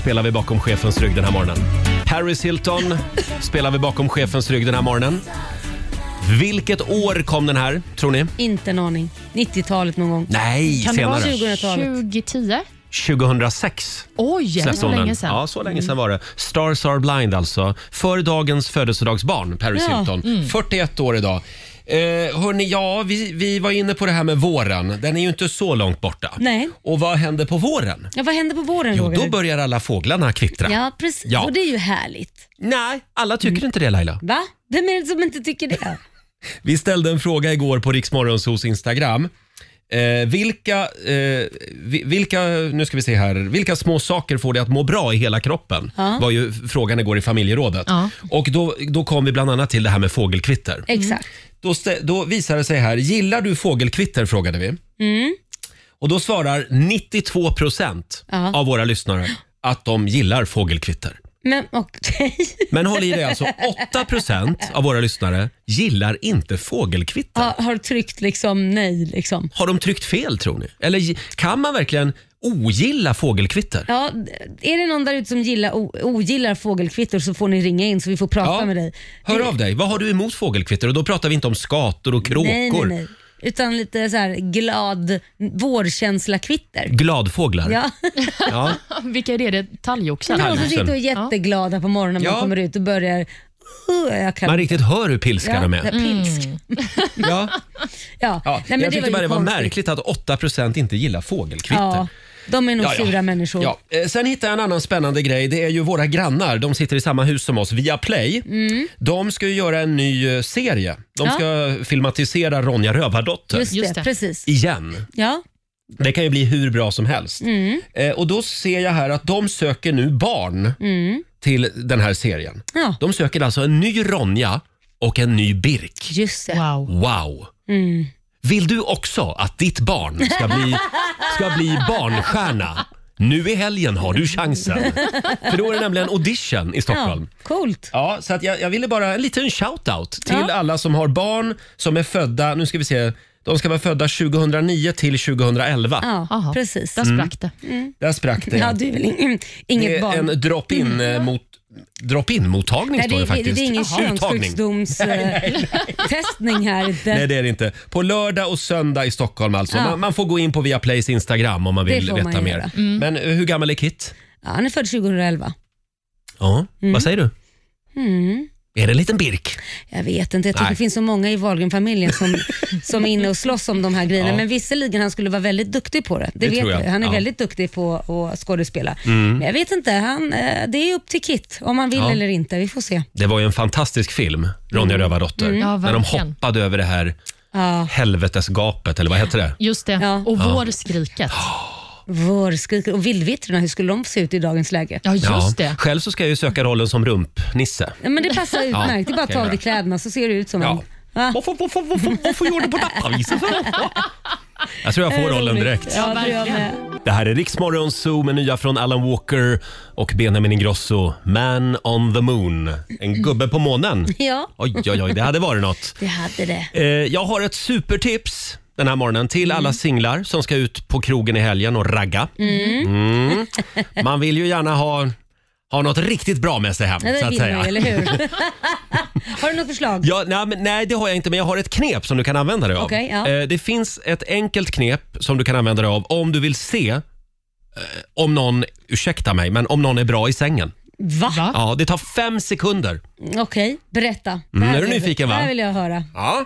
[SPEAKER 1] spelar vi bakom chefens rygg den här morgonen. Paris Hilton spelar vi bakom chefens rygg den här morgonen. Vilket år kom den här, tror ni?
[SPEAKER 2] Inte en aning. 90-talet någon gång.
[SPEAKER 1] Nej,
[SPEAKER 2] Kan det vara
[SPEAKER 1] senare.
[SPEAKER 2] 2000-talet?
[SPEAKER 3] 2010.
[SPEAKER 1] 2006
[SPEAKER 3] Oj, det var
[SPEAKER 1] släppte
[SPEAKER 3] så
[SPEAKER 1] hon
[SPEAKER 3] länge
[SPEAKER 1] den.
[SPEAKER 3] sedan.
[SPEAKER 1] Ja, så
[SPEAKER 2] Mm.
[SPEAKER 1] länge sedan var det. Stars are blind alltså. För dagens födelsedagsbarn, Paris
[SPEAKER 2] Ja, mm.
[SPEAKER 1] Hilton. 41 år idag. Eh, hörni, ja, vi, vi var inne på det här med våren. Den är ju inte så långt borta.
[SPEAKER 2] Nej.
[SPEAKER 1] Och vad händer på våren?
[SPEAKER 2] Ja, vad händer på våren
[SPEAKER 1] Jo,
[SPEAKER 2] Roger?
[SPEAKER 1] då börjar alla fåglarna kvittra.
[SPEAKER 2] Ja, precis.
[SPEAKER 1] Ja.
[SPEAKER 2] Och det är ju härligt.
[SPEAKER 1] Nej, alla tycker
[SPEAKER 2] Mm.
[SPEAKER 1] inte det Laila.
[SPEAKER 2] Va? Vem är det som inte tycker det?
[SPEAKER 1] Vi ställde en fråga igår på Riksmorgonsos Instagram. Eh, vilka, eh, vi- vilka, nu ska vi se här, vilka små saker får dig att må bra i hela kroppen?
[SPEAKER 2] Ja.
[SPEAKER 1] var ju frågan igår i familjerådet.
[SPEAKER 3] Ja.
[SPEAKER 1] Och då, då kom vi bland annat till det här med fågelkvitter.
[SPEAKER 2] Exakt.
[SPEAKER 1] Då, stä- då visade det sig här, gillar du fågelkvitter? frågade vi.
[SPEAKER 2] Mm.
[SPEAKER 1] Och då svarar 92 procent
[SPEAKER 2] Ja.
[SPEAKER 1] av våra lyssnare att de gillar fågelkvitter.
[SPEAKER 2] Men okej.
[SPEAKER 1] Men håll i dig alltså, 8% av våra lyssnare gillar inte fågelkvitter.
[SPEAKER 2] Har, har tryckt liksom nej liksom.
[SPEAKER 1] Har de tryckt fel tror ni? Eller gi- kan man verkligen ogilla fågelkvitter?
[SPEAKER 2] Ja, är det någon där ute som gillar, o- ogillar fågelkvitter så får ni ringa in så vi får prata med dig.
[SPEAKER 1] Hör av dig, vad har du emot fågelkvitter? Och då pratar vi inte om skator och kråkor.
[SPEAKER 2] Nej, nej, nej. Utan lite så här glad vårkänsla-kvitter.
[SPEAKER 1] Gladfåglar.
[SPEAKER 2] Ja.
[SPEAKER 1] Ja.
[SPEAKER 3] Vilka är det? Det är
[SPEAKER 2] Det
[SPEAKER 3] Talgoxar?
[SPEAKER 2] är de som
[SPEAKER 1] Halsen.
[SPEAKER 2] sitter och är jätteglada på morgonen när
[SPEAKER 1] Ja.
[SPEAKER 2] man kommer ut och börjar... "Uh, jag kan...
[SPEAKER 1] Man riktigt hör hur pilska
[SPEAKER 2] ja,
[SPEAKER 1] de
[SPEAKER 2] det
[SPEAKER 1] är.
[SPEAKER 2] här
[SPEAKER 3] Mm.
[SPEAKER 2] pilsk.
[SPEAKER 1] Ja.
[SPEAKER 2] Ja.
[SPEAKER 1] Ja.
[SPEAKER 2] Nej,
[SPEAKER 1] jag
[SPEAKER 2] men det var
[SPEAKER 1] tyckte
[SPEAKER 2] ju
[SPEAKER 1] bara det var
[SPEAKER 2] konstigt.
[SPEAKER 1] märkligt att 8% inte gillar fågelkvitter.
[SPEAKER 2] Ja, de är nog
[SPEAKER 1] Ja, ja.
[SPEAKER 2] sura människor.
[SPEAKER 1] Ja. Eh, Sen hittade jag en annan spännande grej. Det är ju våra grannar. De sitter i samma hus som oss, via Play. De ska ju göra en ny eh, serie. De
[SPEAKER 2] Mm. Ja.
[SPEAKER 1] ska filmatisera Ronja Rövardotter
[SPEAKER 2] Just,
[SPEAKER 3] Just
[SPEAKER 2] det,
[SPEAKER 3] det.
[SPEAKER 2] precis.
[SPEAKER 1] igen.
[SPEAKER 2] Ja.
[SPEAKER 1] Det kan ju bli hur bra som helst.
[SPEAKER 2] Mm.
[SPEAKER 1] Eh, och då ser jag här att de söker nu barn
[SPEAKER 2] Mm.
[SPEAKER 1] till den här serien.
[SPEAKER 2] ja,
[SPEAKER 1] De söker alltså en ny Ronja och en ny Birk.
[SPEAKER 2] just det.
[SPEAKER 3] Wow.
[SPEAKER 1] Wow!
[SPEAKER 2] Mm.
[SPEAKER 1] Vill du också att ditt barn ska bli, ska bli barnstjärna? Nu i helgen har du chansen. För då är det nämligen audition i
[SPEAKER 2] Ja,
[SPEAKER 1] Stockholm. Ja.
[SPEAKER 2] coolt.
[SPEAKER 1] så att jag, jag ville bara en liten shout-out till
[SPEAKER 2] Ja.
[SPEAKER 1] alla som har barn som är födda, nu ska vi se, de ska vara födda 2009 till 2011.
[SPEAKER 2] Ja,
[SPEAKER 3] Aha.
[SPEAKER 2] precis.
[SPEAKER 3] Där sprack det.
[SPEAKER 1] Där sprack det.
[SPEAKER 2] Ja, du är väl in,
[SPEAKER 1] Mm. det
[SPEAKER 2] inget
[SPEAKER 1] är
[SPEAKER 2] barn?
[SPEAKER 1] en drop-in eh, mot Drop-in-mottagning
[SPEAKER 2] Nej,
[SPEAKER 1] står
[SPEAKER 2] det,
[SPEAKER 1] det
[SPEAKER 2] det,
[SPEAKER 1] faktiskt.
[SPEAKER 2] det är ingen
[SPEAKER 1] Jaha. Uttagning.
[SPEAKER 2] könssjukdomstestning här inte.
[SPEAKER 1] Nej, det är det inte. På lördag och söndag i Stockholm alltså.
[SPEAKER 2] Ja.
[SPEAKER 1] Man, man får gå in på Viaplays Instagram om man
[SPEAKER 2] Det
[SPEAKER 1] vill
[SPEAKER 2] får
[SPEAKER 1] veta
[SPEAKER 2] man
[SPEAKER 1] mer.
[SPEAKER 2] göra.
[SPEAKER 1] Men eh, hur gammal är Kit?
[SPEAKER 2] Ja, han är född 2011.
[SPEAKER 1] Ja, vad säger du?
[SPEAKER 2] Mm.
[SPEAKER 1] Är det en liten Birk?
[SPEAKER 2] Jag vet inte, jag tycker
[SPEAKER 1] Nej.
[SPEAKER 2] det finns så många i Wahlgren-familjen som, som är inne och slåss om de här grejerna.
[SPEAKER 1] Ja.
[SPEAKER 2] Men visserligen, han skulle vara väldigt duktig på det. Det,
[SPEAKER 1] Det
[SPEAKER 2] vet
[SPEAKER 1] tror jag.
[SPEAKER 2] jag. Han är
[SPEAKER 1] Ja. Mm.
[SPEAKER 2] väldigt duktig på att skådespela. Men jag vet inte, han, eh, det är upp till Kit om han vill
[SPEAKER 1] Ja.
[SPEAKER 2] eller inte. Vi får se.
[SPEAKER 1] Det var ju en fantastisk film, Ronja Rövardotter.
[SPEAKER 3] Ja,
[SPEAKER 1] när de
[SPEAKER 3] verkligen.
[SPEAKER 1] hoppade över det här
[SPEAKER 2] Ja,
[SPEAKER 1] helvetesgapet, eller vad heter det?
[SPEAKER 3] Just det.
[SPEAKER 2] Ja.
[SPEAKER 3] Och vårskriket.
[SPEAKER 2] vårskrik och vildvittrorna, hur skulle de se ut i dagens läge?
[SPEAKER 3] Ja, just det.
[SPEAKER 1] Själv så ska jag ju söka rollen som rumpnisse.
[SPEAKER 2] Ja, men det passar utmärkt. det är bara att
[SPEAKER 1] okej,
[SPEAKER 2] ta av
[SPEAKER 1] bra.
[SPEAKER 2] dig kläderna så ser du ut som
[SPEAKER 1] Ja.
[SPEAKER 2] han. Va?
[SPEAKER 1] Varför, varför, varför, varför gjorde du på detta viset? Jag tror jag får rollen direkt.
[SPEAKER 2] Eh, Ja, det gör jag
[SPEAKER 3] verkligen.
[SPEAKER 2] med.
[SPEAKER 1] Det här är Riksmorgon Zoo med nya från Alan Walker och Benjamin Ingrosso. Man on the moon. En gubbe på månen.
[SPEAKER 2] Ja,
[SPEAKER 1] Oj, oj, oj. Det hade varit något.
[SPEAKER 2] det hade det.
[SPEAKER 1] Eh, jag har ett supertips den här morgonen till
[SPEAKER 2] Mm.
[SPEAKER 1] alla singlar som ska ut på krogen i helgen och ragga. Mm. Man vill ju gärna ha, ha något riktigt bra med sig hem.
[SPEAKER 2] Ja,
[SPEAKER 1] så
[SPEAKER 2] det
[SPEAKER 1] att
[SPEAKER 2] vill man ju, eller
[SPEAKER 1] säga.
[SPEAKER 2] hur? Har du något förslag?
[SPEAKER 1] Ja, nej, men, nej, det har jag inte, men jag har ett knep som du kan använda dig av.
[SPEAKER 2] Okej, ja.
[SPEAKER 1] eh, det finns ett enkelt knep som du kan använda dig av om du vill se eh, om någon, ursäkta mig, men om någon är bra i sängen.
[SPEAKER 2] Va?
[SPEAKER 3] Va?
[SPEAKER 1] Ja, det tar fem sekunder.
[SPEAKER 2] Okej, berätta. Det
[SPEAKER 1] Mm,
[SPEAKER 2] här
[SPEAKER 1] är du
[SPEAKER 2] vill-
[SPEAKER 1] nyfiken, va?
[SPEAKER 2] Det här vill jag höra.
[SPEAKER 1] Ja.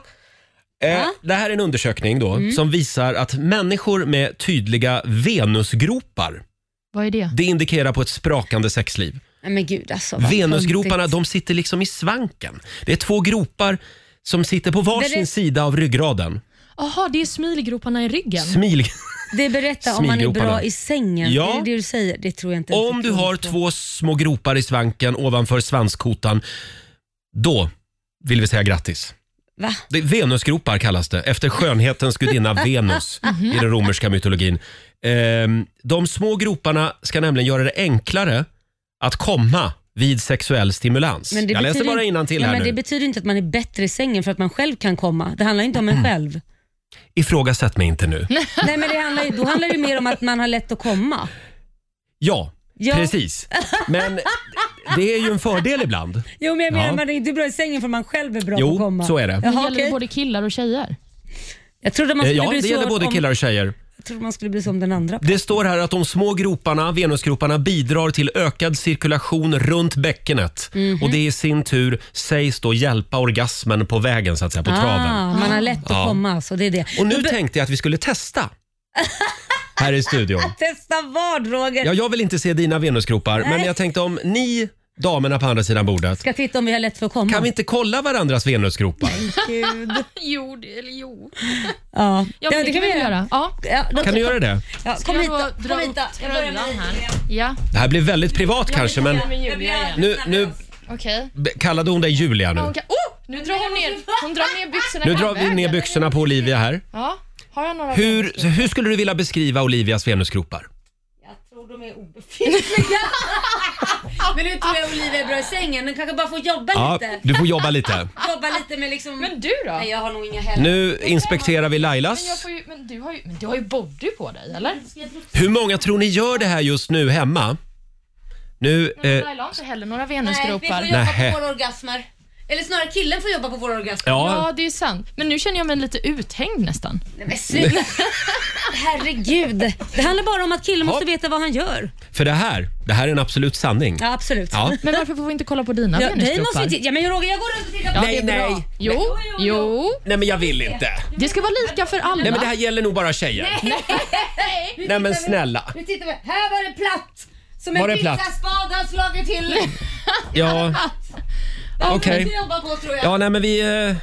[SPEAKER 1] Eh, Det här är en undersökning då,
[SPEAKER 2] Mm.
[SPEAKER 1] som visar att människor med tydliga venusgropar,
[SPEAKER 3] Vad är det?
[SPEAKER 1] det indikerar på ett sprakande sexliv.
[SPEAKER 2] Nej, men gud alltså. vad
[SPEAKER 1] Venusgroparna
[SPEAKER 2] töntigt.
[SPEAKER 1] de sitter liksom i svanken. Det är två gropar som sitter på
[SPEAKER 2] Det
[SPEAKER 1] varsin
[SPEAKER 2] är det-
[SPEAKER 1] sida av ryggraden.
[SPEAKER 3] Jaha, det är smilgroparna i ryggen.
[SPEAKER 1] Smil.
[SPEAKER 2] Det berättar om man är
[SPEAKER 1] Smilgroparna.
[SPEAKER 2] bra i sängen.
[SPEAKER 1] Ja.
[SPEAKER 2] Är det det du säger? Det tror jag inte.
[SPEAKER 1] Om du har två små gropar i svanken ovanför svanskotan, då vill vi säga grattis.
[SPEAKER 2] Va?
[SPEAKER 1] Det, Venusgropar kallas det, efter skönhetens gudinna Venus i den romerska mytologin. Ehm, de små groparna ska nämligen göra det enklare att komma vid sexuell stimulans.
[SPEAKER 2] Men det
[SPEAKER 1] Jag läser
[SPEAKER 2] betyder
[SPEAKER 1] bara
[SPEAKER 2] inte-
[SPEAKER 1] innantill
[SPEAKER 2] ja,
[SPEAKER 1] här
[SPEAKER 2] men
[SPEAKER 1] nu.
[SPEAKER 2] Det betyder inte att man är bättre i sängen för att man själv kan komma. Det handlar inte om
[SPEAKER 1] Mm.
[SPEAKER 2] en själv.
[SPEAKER 1] Ifrågasätt mig inte nu.
[SPEAKER 2] Nej, men det handlar, ju- då handlar det mer om att man har lätt att komma.
[SPEAKER 1] Ja,
[SPEAKER 2] Ja.
[SPEAKER 1] precis. Men det är ju en fördel ibland.
[SPEAKER 2] Jo, men jag menar
[SPEAKER 1] Ja.
[SPEAKER 2] man är inte bra i sängen för man själv är bra på att
[SPEAKER 1] Jo,
[SPEAKER 2] komma.
[SPEAKER 1] så är det.
[SPEAKER 3] Men
[SPEAKER 2] Jaha,
[SPEAKER 3] gäller det
[SPEAKER 2] okej.
[SPEAKER 3] både killar och tjejer?
[SPEAKER 2] Jag trodde man
[SPEAKER 1] Eh,
[SPEAKER 2] skulle
[SPEAKER 1] Ja,
[SPEAKER 2] bli
[SPEAKER 1] det
[SPEAKER 2] så
[SPEAKER 1] gäller både
[SPEAKER 2] om,
[SPEAKER 1] killar och tjejer.
[SPEAKER 2] Jag trodde man skulle bli som den andra.
[SPEAKER 1] Det står här att de små groparna, venusgroparna, bidrar till ökad cirkulation runt bäckenet. Och det i sin tur sägs då hjälpa orgasmen på vägen, så att säga, på traven.
[SPEAKER 2] Ah, man har lätt att
[SPEAKER 1] Ja.
[SPEAKER 2] komma, så det är det.
[SPEAKER 1] Och nu
[SPEAKER 2] Då be-
[SPEAKER 1] tänkte jag att vi skulle testa. Här i studion.
[SPEAKER 2] Testa vad Roger?
[SPEAKER 1] Ja, jag vill inte se dina venusgropar, men
[SPEAKER 2] Nej.
[SPEAKER 1] jag tänkte om ni damerna på andra sidan bordet,
[SPEAKER 2] Ska titta om vi har lätt för att komma.
[SPEAKER 1] kan vi inte kolla varandras venusgropar?
[SPEAKER 2] Gud.
[SPEAKER 3] Jo, det, eller jo.
[SPEAKER 2] Ja.
[SPEAKER 3] Ja, men det kan vi väl göra. Ja.
[SPEAKER 2] Ja, då-
[SPEAKER 1] Kan du göra det?
[SPEAKER 2] Ja,
[SPEAKER 3] Ska
[SPEAKER 2] kom
[SPEAKER 3] jag
[SPEAKER 2] hit
[SPEAKER 3] då
[SPEAKER 2] då.
[SPEAKER 3] dra
[SPEAKER 2] Kom hit då.
[SPEAKER 3] upp
[SPEAKER 2] Jag börjar med
[SPEAKER 3] rullan
[SPEAKER 2] dig,
[SPEAKER 3] här?
[SPEAKER 2] Julia.
[SPEAKER 3] ja.
[SPEAKER 1] Det här blir väldigt privat kanske, men nu, nu
[SPEAKER 3] Okej.
[SPEAKER 1] be- kallade hon dig Julia
[SPEAKER 3] Ja,
[SPEAKER 1] nu.
[SPEAKER 3] hon kan- Oh, nu drar hon ner, hon drar ner byxorna
[SPEAKER 1] Nu
[SPEAKER 3] i
[SPEAKER 1] drar vi
[SPEAKER 3] halvvägs.
[SPEAKER 1] ner byxorna på Olivia här.
[SPEAKER 3] Ja. Har jag några
[SPEAKER 1] Hur, hur skulle du vilja beskriva Olivias venusgropar?
[SPEAKER 2] Jag tror de är obefintliga. Men nu tror jag Olivia är bra i sängen. Den kanske bara får jobba
[SPEAKER 1] Ja,
[SPEAKER 2] lite.
[SPEAKER 1] du får jobba lite.
[SPEAKER 2] Jobba lite med liksom...
[SPEAKER 3] Men du då?
[SPEAKER 2] Nej, jag har nog inga heller.
[SPEAKER 1] Nu inspekterar vi
[SPEAKER 3] Men, jag
[SPEAKER 1] Lailas.
[SPEAKER 3] får ju, men, du har ju, men du har ju body på dig, eller?
[SPEAKER 1] Hur många tror ni gör det här just nu hemma? Nu...
[SPEAKER 3] Men
[SPEAKER 1] Eh,
[SPEAKER 3] Laila har inte heller några
[SPEAKER 2] Nej, vi får
[SPEAKER 3] venusgropar.
[SPEAKER 2] jobba
[SPEAKER 1] Nähä.
[SPEAKER 2] på våra orgasmer. Eller snarare killen får jobba på våra orgasmer.
[SPEAKER 1] ja,
[SPEAKER 3] Ja, det är sant. Men nu känner jag mig lite uthängd nästan.
[SPEAKER 2] Nej, men sluta. Herregud. Det handlar bara om att killen måste
[SPEAKER 1] Ja.
[SPEAKER 2] veta vad han gör.
[SPEAKER 1] för det här, det här är en absolut sanning.
[SPEAKER 2] Ja, absolut.
[SPEAKER 1] Ja.
[SPEAKER 3] Men varför får vi inte kolla på dina
[SPEAKER 2] Ja, dig måste vi
[SPEAKER 3] venusgropar?
[SPEAKER 2] titta. Ja, men Roger, jag går runt och tittar på
[SPEAKER 1] Nej,
[SPEAKER 2] det är bra.
[SPEAKER 1] nej.
[SPEAKER 3] Jo,
[SPEAKER 2] jo,
[SPEAKER 3] jo.
[SPEAKER 1] Nej, men jag vill inte.
[SPEAKER 3] Det ska vara lika för alla.
[SPEAKER 1] Nej, men det här gäller nog bara tjejer.
[SPEAKER 2] Nu
[SPEAKER 1] Nej, men
[SPEAKER 2] tittar vi-
[SPEAKER 1] snälla.
[SPEAKER 2] Nu tittar vi. Här var det platt. Som
[SPEAKER 1] Var
[SPEAKER 2] en
[SPEAKER 1] det platt?
[SPEAKER 2] pizzaspadad slagit till.
[SPEAKER 1] Ja, okej.
[SPEAKER 2] Det jobbar på tror jag.
[SPEAKER 1] Ja, nej, men vi... Eh,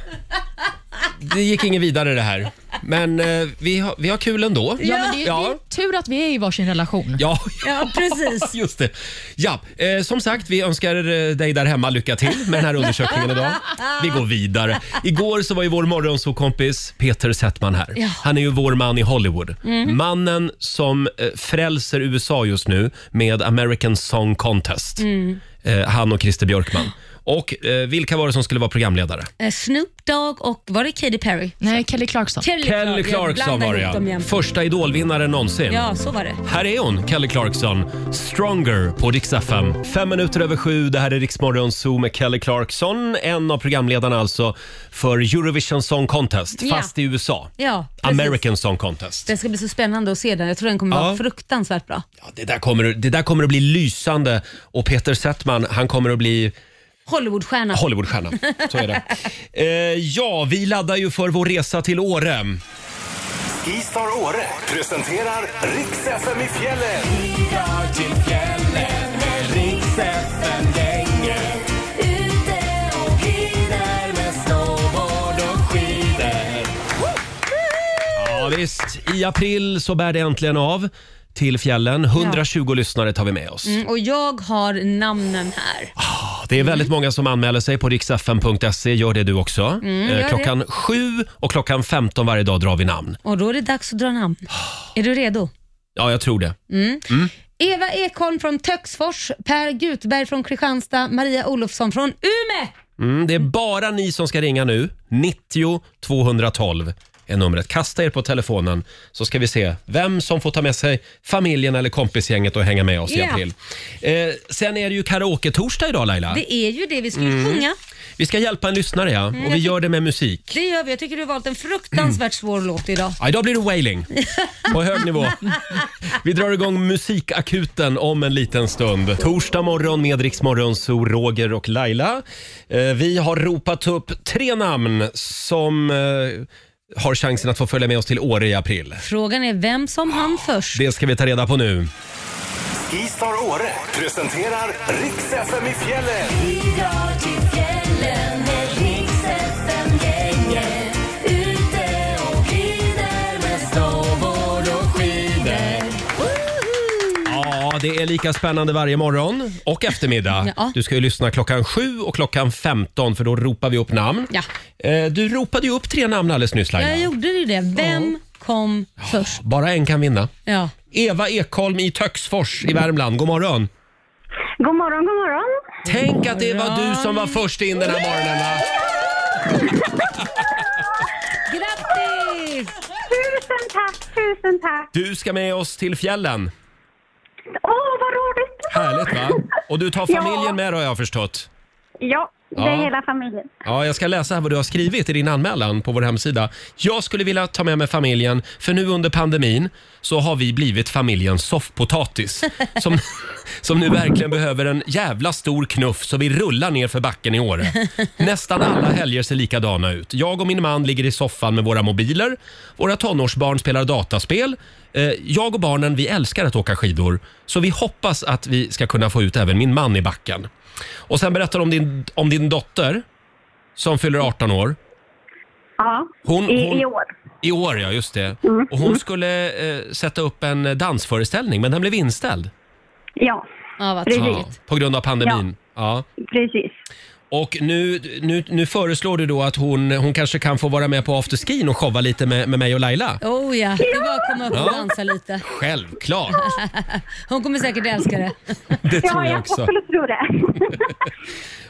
[SPEAKER 1] det gick inget vidare det här. Men eh, vi, har, vi har kul ändå.
[SPEAKER 3] Ja, men det är,
[SPEAKER 1] Ja.
[SPEAKER 3] det är tur att vi är i varsin relation.
[SPEAKER 1] Ja,
[SPEAKER 2] Ja, precis.
[SPEAKER 1] Just det. Ja, eh, som sagt, vi önskar eh, dig där hemma lycka till med den här undersökningen idag. Vi går vidare. Igår så var ju vår morgonsåkompis Peter Settman här. Han är ju vår man i Hollywood.
[SPEAKER 2] Mm.
[SPEAKER 1] Mannen som eh, frälser USA just nu med American Song Contest.
[SPEAKER 2] Mm.
[SPEAKER 1] Eh, han och Christer Björkman. Och eh, vilka var det som skulle vara programledare?
[SPEAKER 2] Eh, Snoop Dogg och var det Katy Perry?
[SPEAKER 3] Nej, Kelly Clarkson.
[SPEAKER 2] Kelly,
[SPEAKER 1] Kelly
[SPEAKER 2] Jag
[SPEAKER 1] Clarkson
[SPEAKER 2] blandar
[SPEAKER 1] var det
[SPEAKER 2] ihop dem
[SPEAKER 1] ja.
[SPEAKER 2] jämt.
[SPEAKER 1] Första idolvinnaren någonsin.
[SPEAKER 2] Ja, så var det.
[SPEAKER 1] Här är hon, Kelly Clarkson. Stronger på Rix FM. Fem minuter över sju. Det här är Riksmorgon Zoo med Kelly Clarkson. En av programledarna alltså för Eurovision Song Contest,
[SPEAKER 2] Ja.
[SPEAKER 1] fast i USA.
[SPEAKER 2] Ja, precis.
[SPEAKER 1] American Song Contest.
[SPEAKER 2] Det ska bli så spännande att se den. Jag tror den kommer
[SPEAKER 1] Ja.
[SPEAKER 2] vara fruktansvärt bra.
[SPEAKER 1] Ja, det, där kommer, det där kommer att bli lysande och Peter Settman, han kommer att bli
[SPEAKER 2] Hollywoodstjärna.
[SPEAKER 1] Hollywoodstjärna. Så är det. eh, ja, vi laddar ju för vår resa till Åre.
[SPEAKER 5] Skistar Åre presenterar Riks FM i fjällen.
[SPEAKER 1] Ja, visst. I april så bär det äntligen av. till fjällen. 120 lyssnare tar vi med oss.
[SPEAKER 2] Mm, och jag har namnen här.
[SPEAKER 1] Det är väldigt många som anmäler sig på riksfn.se. Gör det du också. Eh,
[SPEAKER 2] Mm, gör det.
[SPEAKER 1] klockan 7 och klockan 15 varje dag drar vi namn.
[SPEAKER 2] Och då är det dags att dra namn.
[SPEAKER 1] Ah.
[SPEAKER 2] Är du redo?
[SPEAKER 1] Ja, jag tror det.
[SPEAKER 2] Eva Ekholm från Töcksfors, Per Gutberg från Kristianstad, Maria Olofsson från Ume.
[SPEAKER 1] Mm, det är bara ni som ska ringa nu. 90 212 är numret. Kasta er på telefonen så ska vi se vem som får ta med sig familjen eller kompisgänget och hänga med oss i
[SPEAKER 2] Ja.
[SPEAKER 1] april. Eh, sen är det ju karaoke-torsdag idag Laila.
[SPEAKER 2] Det Mm, är ju det vi ska ju sjunga.
[SPEAKER 1] Vi ska hjälpa en lyssnare ja, och vi gör det med musik.
[SPEAKER 2] Det gör vi. Jag tycker du har valt en fruktansvärt svår låt idag.
[SPEAKER 1] Ja, idag blir det wailing på hög nivå. Vi drar igång musikakuten om en liten stund. Torsdag morgon med Rix Morgon, så Roger och Laila. Eh, Vi har ropat upp tre namn som eh, har chansen att få följa med oss till Åre i april.
[SPEAKER 2] Frågan är vem som hann först.
[SPEAKER 1] Det ska vi ta reda på nu.
[SPEAKER 5] Skistar Åre presenterar Riks FM i fjällen.
[SPEAKER 1] Ja, det är lika spännande varje morgon och eftermiddag.
[SPEAKER 2] Ja.
[SPEAKER 1] Du ska ju lyssna klockan 7 och klockan 15 för då ropar vi upp namn.
[SPEAKER 2] Ja.
[SPEAKER 1] Eh, Du ropade ju upp tre namn alldeles nyss Laila.
[SPEAKER 2] Jag gjorde ju det. Vem kom först?
[SPEAKER 1] Bara en kan vinna.
[SPEAKER 2] Ja.
[SPEAKER 1] Eva Ekholm i Töcksfors i Värmland. God morgon.
[SPEAKER 7] God morgon, god morgon.
[SPEAKER 1] Tänk att det var du som var först in den här morgonen. va?
[SPEAKER 2] Grattis!
[SPEAKER 7] Tusen tack, tusen tack.
[SPEAKER 1] Du ska med oss till fjällen.
[SPEAKER 7] Åh, vad roligt.
[SPEAKER 1] Härligt va? Och du tar
[SPEAKER 7] Ja.
[SPEAKER 1] familjen med dig har jag förstått.
[SPEAKER 7] Ja, det är
[SPEAKER 1] Ja.
[SPEAKER 7] hela familjen.
[SPEAKER 1] Ja, jag ska läsa här vad du har skrivit i din anmälan på vår hemsida. Jag skulle vilja ta med mig familjen, för nu under pandemin så har vi blivit familjens soffpotatis. Som, som nu verkligen behöver en jävla stor knuff så vi rullar ner för backen i år. Nästan alla helger ser likadana ut. Jag och min man ligger i soffan med våra mobiler. Våra tonårsbarn spelar dataspel. Eh, Jag och barnen, vi älskar att åka skidor. Så vi hoppas att vi ska kunna få ut även min man i backen. Och sen berättar du om din, om din dotter som fyller 18 år.
[SPEAKER 7] Ja,
[SPEAKER 1] Hon-
[SPEAKER 7] i,
[SPEAKER 1] hon-
[SPEAKER 7] i år. Mm.
[SPEAKER 1] I år, ja. Just det. Och hon skulle eh, sätta upp en dansföreställning, men den blev inställd.
[SPEAKER 7] Ja,
[SPEAKER 2] Ja, vad
[SPEAKER 7] Precis.
[SPEAKER 1] Ja, på grund av pandemin. Ja.
[SPEAKER 7] precis.
[SPEAKER 1] Och nu, nu, nu föreslår du då att hon, hon kanske kan få vara med på afterskin och showa lite med, med mig och Laila?
[SPEAKER 2] Oh ja, det är bara att komma upp
[SPEAKER 1] Ja.
[SPEAKER 2] och dansa lite.
[SPEAKER 1] Självklart!
[SPEAKER 2] Hon kommer säkert älska det.
[SPEAKER 1] Det tror
[SPEAKER 7] Ja,
[SPEAKER 1] jag
[SPEAKER 7] jag
[SPEAKER 1] också.
[SPEAKER 7] skulle tro det.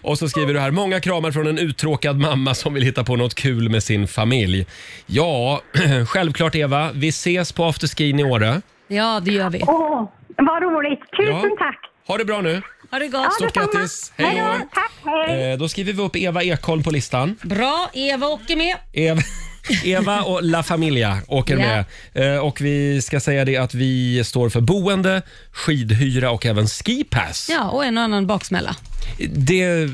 [SPEAKER 1] Och så skriver du här, många kramar från en uttråkad mamma som vill hitta på något kul med sin familj. Ja, självklart Eva. Vi ses på afterskin i Åre.
[SPEAKER 2] Ja, det gör vi.
[SPEAKER 7] Åh, vad roligt. Tusen
[SPEAKER 1] Ja.
[SPEAKER 7] tack.
[SPEAKER 1] Ha det bra nu!
[SPEAKER 2] Ha det
[SPEAKER 7] Ja,
[SPEAKER 2] gott.
[SPEAKER 1] Stort
[SPEAKER 7] detsamma.
[SPEAKER 1] grattis. Hej då.
[SPEAKER 7] Tack, hej.
[SPEAKER 1] Eh, då skriver vi upp Eva Ekholm på listan.
[SPEAKER 2] Bra, Eva åker med.
[SPEAKER 1] Eva, Eva och La Familia åker
[SPEAKER 2] Ja.
[SPEAKER 1] med. Eh, och vi ska säga det att vi står för boende, skidhyra och även skipass.
[SPEAKER 2] Ja, och en och annan baksmälla.
[SPEAKER 1] Det